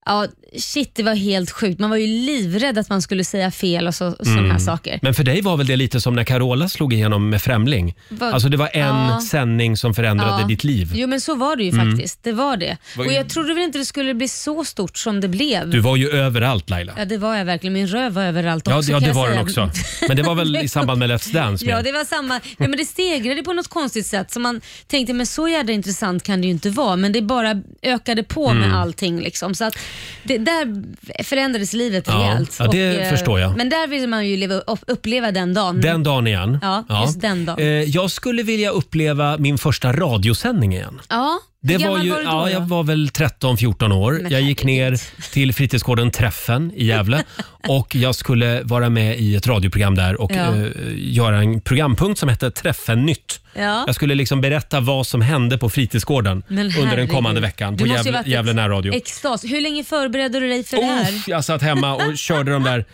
[SPEAKER 4] Ja, shit, det var helt sjukt. Man var ju livrädd att man skulle säga fel och så, sådana här
[SPEAKER 1] Mm.
[SPEAKER 4] saker.
[SPEAKER 1] Men för dig var väl det lite som när Carola slog igenom med Främling?
[SPEAKER 4] Vad-
[SPEAKER 1] Alltså det var en
[SPEAKER 4] Ja.
[SPEAKER 1] sändning som förändrade
[SPEAKER 4] Ja.
[SPEAKER 1] ditt liv.
[SPEAKER 4] Jo, men så var det ju
[SPEAKER 1] Mm.
[SPEAKER 4] faktiskt. Det var det.
[SPEAKER 1] Vad-
[SPEAKER 4] Och jag trodde väl inte det skulle bli så stort som det blev.
[SPEAKER 1] Du var ju överallt Laila.
[SPEAKER 4] Ja, det var jag verkligen. Min röv var överallt
[SPEAKER 1] Ja,
[SPEAKER 4] också
[SPEAKER 1] ja
[SPEAKER 4] kan
[SPEAKER 1] det
[SPEAKER 4] jag
[SPEAKER 1] var den
[SPEAKER 4] säga.
[SPEAKER 1] också. Men det var väl i samband med Let's Dance?
[SPEAKER 4] Ja,
[SPEAKER 1] mer?
[SPEAKER 4] det var samma. Ja, men det stegrade på något konstigt sätt. Så man tänkte, men så jädra intressant kan det ju inte vara. Men det bara ökade på
[SPEAKER 1] Mm.
[SPEAKER 4] med allting. Liksom. Så att det, där förändrades livet
[SPEAKER 1] Ja,
[SPEAKER 4] rejält.
[SPEAKER 1] ja, det
[SPEAKER 4] eh,
[SPEAKER 1] förstår jag.
[SPEAKER 4] Men där vill man ju leva, upp- uppleva den dagen.
[SPEAKER 1] Den dagen igen.
[SPEAKER 4] Ja, just den dagen.
[SPEAKER 1] Eh, Jag skulle vilja uppleva min första radiosändning igen.
[SPEAKER 4] Ja,
[SPEAKER 1] Det
[SPEAKER 4] Hur
[SPEAKER 1] var
[SPEAKER 4] gammal
[SPEAKER 1] ju,
[SPEAKER 4] var du då,
[SPEAKER 1] ja,
[SPEAKER 4] då?
[SPEAKER 1] jag var väl 13-14 år.
[SPEAKER 4] Men
[SPEAKER 1] Jag gick ner till fritidsgården Träffen i Gävle och jag skulle vara med i ett radioprogram där och
[SPEAKER 4] Ja.
[SPEAKER 1] eh, göra en programpunkt som hette Träffen nytt.
[SPEAKER 4] Ja.
[SPEAKER 1] Jag skulle liksom berätta vad som hände på fritidsgården
[SPEAKER 4] Men
[SPEAKER 1] under den
[SPEAKER 4] herregud.
[SPEAKER 1] kommande veckan på
[SPEAKER 4] Du måste ju
[SPEAKER 1] Gävle,
[SPEAKER 4] varit
[SPEAKER 1] Gävle närradio. Oh,
[SPEAKER 4] Extas. Hur länge förberedde du dig för det här?
[SPEAKER 1] Uff, jag satt hemma och körde de där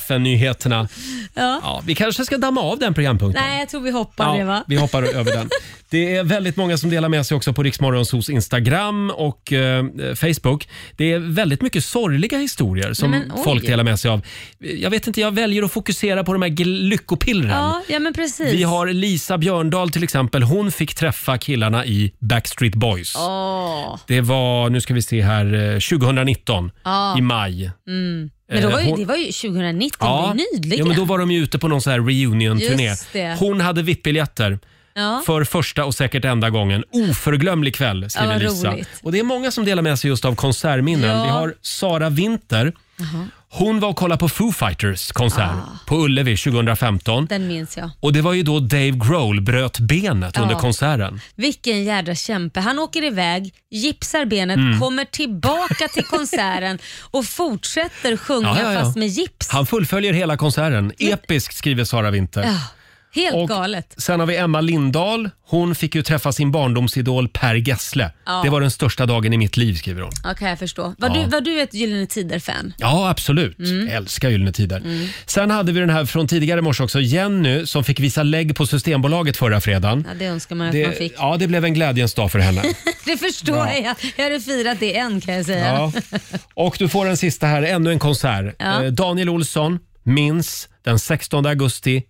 [SPEAKER 1] Träffen-nyheterna.
[SPEAKER 4] Ja.
[SPEAKER 1] Ja, vi kanske ska damma av den programpunkten.
[SPEAKER 4] Nej, jag tror vi hoppar det va?
[SPEAKER 1] Vi hoppar över den. Det är väldigt många som delar med sig också på Riksmorgonsos Instagram och eh, Facebook. Det är väldigt mycket sorgliga historier som
[SPEAKER 4] Nej, men oj.
[SPEAKER 1] folk delar med sig av. Jag vet inte, jag väljer att fokusera på de här gl- lyckopillren.
[SPEAKER 4] Ja, ja, men precis.
[SPEAKER 1] Vi har Lisa Björndal till exempel. Hon fick träffa killarna i Backstreet Boys.
[SPEAKER 4] Åh.
[SPEAKER 1] Det var, nu ska vi se här, eh, 2019
[SPEAKER 4] Ja.
[SPEAKER 1] i maj.
[SPEAKER 4] Mm. Men då
[SPEAKER 1] Eh,
[SPEAKER 4] var ju,
[SPEAKER 1] hon-
[SPEAKER 4] det var ju 2019, det är nyligen.
[SPEAKER 1] ja, men då var de ju ute på någon sån här reunion-turné.
[SPEAKER 4] Just det.
[SPEAKER 1] Hon hade VIP-biljetter.
[SPEAKER 4] Ja.
[SPEAKER 1] För första och säkert enda gången. Oförglömlig kväll, skriver
[SPEAKER 4] Ja, vad
[SPEAKER 1] Lisa.
[SPEAKER 4] roligt.
[SPEAKER 1] Och Det är många som delar med sig just av konsertminnen.
[SPEAKER 4] Ja.
[SPEAKER 1] Vi har Sara Winter.
[SPEAKER 4] Jaha, Ah.
[SPEAKER 1] Hon var och kollade på Foo Fighters konsert på Ullevi 2015.
[SPEAKER 4] den minns jag.
[SPEAKER 1] Och Det var ju då Dave Grohl bröt benet
[SPEAKER 4] Ja.
[SPEAKER 1] under konserten.
[SPEAKER 4] Vilken jädra kämpe. Han åker iväg, gipsar benet,
[SPEAKER 1] Mm.
[SPEAKER 4] kommer tillbaka till konserten och fortsätter sjunga
[SPEAKER 1] Ja, ja, ja.
[SPEAKER 4] fast med gips.
[SPEAKER 1] Han fullföljer hela konserten. Episkt, skriver Sara Winter.
[SPEAKER 4] Ja, helt
[SPEAKER 1] Och-
[SPEAKER 4] galet.
[SPEAKER 1] Sen har vi Emma Lindahl. Hon fick ju träffa sin barndomsidol Per Gessle.
[SPEAKER 4] Ja.
[SPEAKER 1] Det var den största dagen i mitt liv, skriver hon.
[SPEAKER 4] Ja, kan jag förstå. Var,
[SPEAKER 1] Ja.
[SPEAKER 4] du, var du ett Gyllene Tider-fan?
[SPEAKER 1] Ja, absolut.
[SPEAKER 4] Mm.
[SPEAKER 1] Jag älskar Gyllene Tider.
[SPEAKER 4] Mm.
[SPEAKER 1] Sen hade vi den här från tidigare i morse också, Jenny som fick visa lägg på Systembolaget förra fredagen.
[SPEAKER 4] Ja, det önskar man ju att man
[SPEAKER 1] Det,
[SPEAKER 4] fick.
[SPEAKER 1] ja, det blev en glädjens dag för henne.
[SPEAKER 4] det förstår
[SPEAKER 1] Ja.
[SPEAKER 4] jag. Jag hade firat det än kan jag säga.
[SPEAKER 1] Ja. Och du får en sista här, ännu en konsert.
[SPEAKER 4] Ja.
[SPEAKER 1] Eh, Daniel Olsson minns den 16 augusti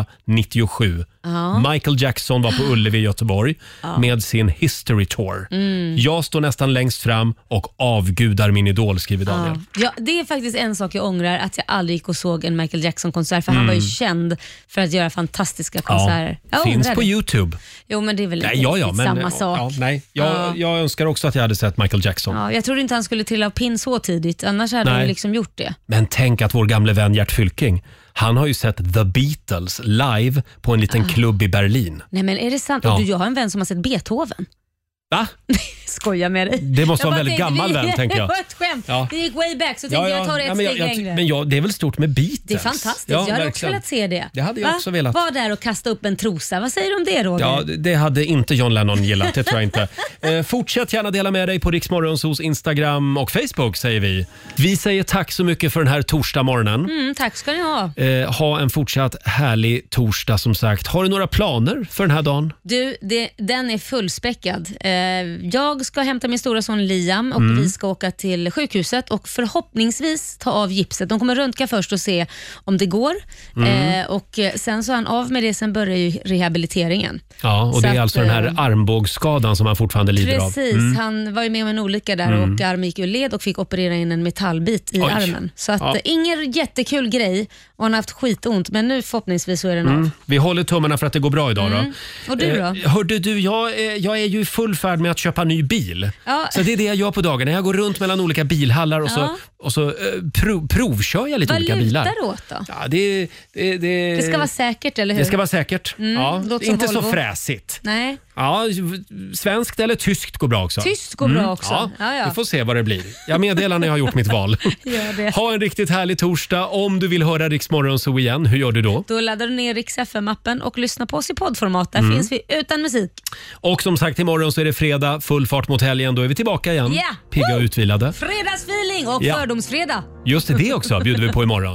[SPEAKER 1] 1997.
[SPEAKER 4] Ja.
[SPEAKER 1] Michael Jackson var på Ullevi i Göteborg
[SPEAKER 4] Ja.
[SPEAKER 1] med sin History Tour.
[SPEAKER 4] Mm.
[SPEAKER 1] Jag står nästan längst fram och avgudar min idol, skriver Daniel.
[SPEAKER 4] Ja, det är faktiskt en sak jag ångrar, att jag aldrig gick och såg en Michael Jackson-konsert, för han
[SPEAKER 1] Mm.
[SPEAKER 4] var ju känd för att göra fantastiska konserter. Jag
[SPEAKER 1] Finns
[SPEAKER 4] ångrar
[SPEAKER 1] på
[SPEAKER 4] det.
[SPEAKER 1] Youtube.
[SPEAKER 4] Jo, men det är väl inte
[SPEAKER 1] Nej, ja, ja,
[SPEAKER 4] riktigt
[SPEAKER 1] men,
[SPEAKER 4] samma
[SPEAKER 1] ja,
[SPEAKER 4] sak.
[SPEAKER 1] Ja, nej, jag,
[SPEAKER 4] Ja.
[SPEAKER 1] jag önskar också att jag hade sett Michael Jackson.
[SPEAKER 4] Ja, jag trodde inte han skulle trilla av pinn så tidigt, annars hade
[SPEAKER 1] Nej.
[SPEAKER 4] han ju liksom gjort det.
[SPEAKER 1] Men tänk att vår gamle vän Gert Fylking, han har ju sett The Beatles live på en liten
[SPEAKER 4] Ah.
[SPEAKER 1] klubb i Berlin.
[SPEAKER 4] Nej men är det sant?
[SPEAKER 1] Ja.
[SPEAKER 4] Du, jag har en vän som har sett Beethoven.
[SPEAKER 1] Va?
[SPEAKER 4] Skojar med dig.
[SPEAKER 1] Det måste
[SPEAKER 4] Jag
[SPEAKER 1] vara
[SPEAKER 4] bara
[SPEAKER 1] en väldigt
[SPEAKER 4] tänkte,
[SPEAKER 1] gammal
[SPEAKER 4] vi-
[SPEAKER 1] vän, tänker jag.
[SPEAKER 4] Det var ett skämt.
[SPEAKER 1] Ja.
[SPEAKER 4] Det gick way back, så tänkte jag tar det ett
[SPEAKER 1] men
[SPEAKER 4] steg
[SPEAKER 1] jag,
[SPEAKER 4] längre.
[SPEAKER 1] Men ja, det är väl stort med Beatles?
[SPEAKER 4] det är fantastiskt.
[SPEAKER 1] Ja,
[SPEAKER 4] jag hade också
[SPEAKER 1] verkligen.
[SPEAKER 4] velat se det.
[SPEAKER 1] Det hade jag också velat.
[SPEAKER 4] Var där och kasta upp en trosa. Vad säger du om det Roger?
[SPEAKER 1] Ja, det hade inte John Lennon gillat, det tror jag inte. Eh, fortsätt gärna dela med dig på Riksmorgonsos Instagram och Facebook säger vi. Vi säger tack så mycket för den här torsdagmorgonen.
[SPEAKER 4] Mm, tack ska ni ha.
[SPEAKER 1] Eh, ha en fortsatt härlig torsdag som sagt. Har du några planer för den här dagen?
[SPEAKER 4] Du, det, den är fullspäckad. Eh, jag ska hämta min stora son Liam och
[SPEAKER 1] Mm.
[SPEAKER 4] vi ska åka till sjukhuset och förhoppningsvis ta av gipset. De kommer röntga först och se om det går.
[SPEAKER 1] Mm.
[SPEAKER 4] Eh, och eh, sen så är han av med det, sen börjar ju rehabiliteringen.
[SPEAKER 1] Ja, och
[SPEAKER 4] Så
[SPEAKER 1] det är
[SPEAKER 4] att,
[SPEAKER 1] alltså den här
[SPEAKER 4] eh,
[SPEAKER 1] armbågsskadan som han fortfarande lider
[SPEAKER 4] Precis,
[SPEAKER 1] av. Mm.
[SPEAKER 4] han var ju med om en olycka där
[SPEAKER 1] Mm.
[SPEAKER 4] och armen gick ur led och fick operera in en metallbit i
[SPEAKER 1] Oj.
[SPEAKER 4] armen. Så att,
[SPEAKER 1] Ja.
[SPEAKER 4] eh, ingen jättekul grej och han har haft skitont men nu förhoppningsvis så är den av.
[SPEAKER 1] Mm. Vi håller tummarna för att det går bra idag
[SPEAKER 4] Mm.
[SPEAKER 1] då.
[SPEAKER 4] Och du då?
[SPEAKER 1] Eh, hörde du, jag, eh, jag är ju i full färd med att köpa ny bil.
[SPEAKER 4] Ja.
[SPEAKER 1] Så det är det jag gör på dagarna. Jag går runt mellan olika bilhallar och
[SPEAKER 4] Ja.
[SPEAKER 1] så, och så eh, prov, provkör jag lite
[SPEAKER 4] Vad
[SPEAKER 1] olika bilar.
[SPEAKER 4] lutar det åt då?
[SPEAKER 1] Ja, det, det, det,
[SPEAKER 4] Det ska vara säkert, eller hur?
[SPEAKER 1] Det ska vara säkert.
[SPEAKER 4] Mm,
[SPEAKER 1] ja.
[SPEAKER 4] låter som
[SPEAKER 1] Inte så
[SPEAKER 4] Volvo.
[SPEAKER 1] fräsigt.
[SPEAKER 4] Nej.
[SPEAKER 1] Ja, svenskt eller tyskt går bra också.
[SPEAKER 4] Tyskt går bra också.
[SPEAKER 1] Mm. Ja,
[SPEAKER 4] Ja, ja.
[SPEAKER 1] Vi får se vad det blir. Jag meddelar när jag har gjort mitt val.
[SPEAKER 4] Gör det.
[SPEAKER 1] Ha en riktigt härlig torsdag. Om du vill höra Rix Morgon Zoo igen, hur gör du då?
[SPEAKER 4] Då laddar du ner Rix FM-appen och lyssnar på oss i poddformat. Där
[SPEAKER 1] Mm.
[SPEAKER 4] finns vi utan musik.
[SPEAKER 1] Och som sagt, imorgon så är det fredag, full fart mot helgen. Då är vi tillbaka igen.
[SPEAKER 4] Ja.
[SPEAKER 1] Pigga och utvilade.
[SPEAKER 4] Fredagsfeeling och
[SPEAKER 1] Ja.
[SPEAKER 4] fördomsfredag.
[SPEAKER 1] Just det, det också bjuder vi på imorgon.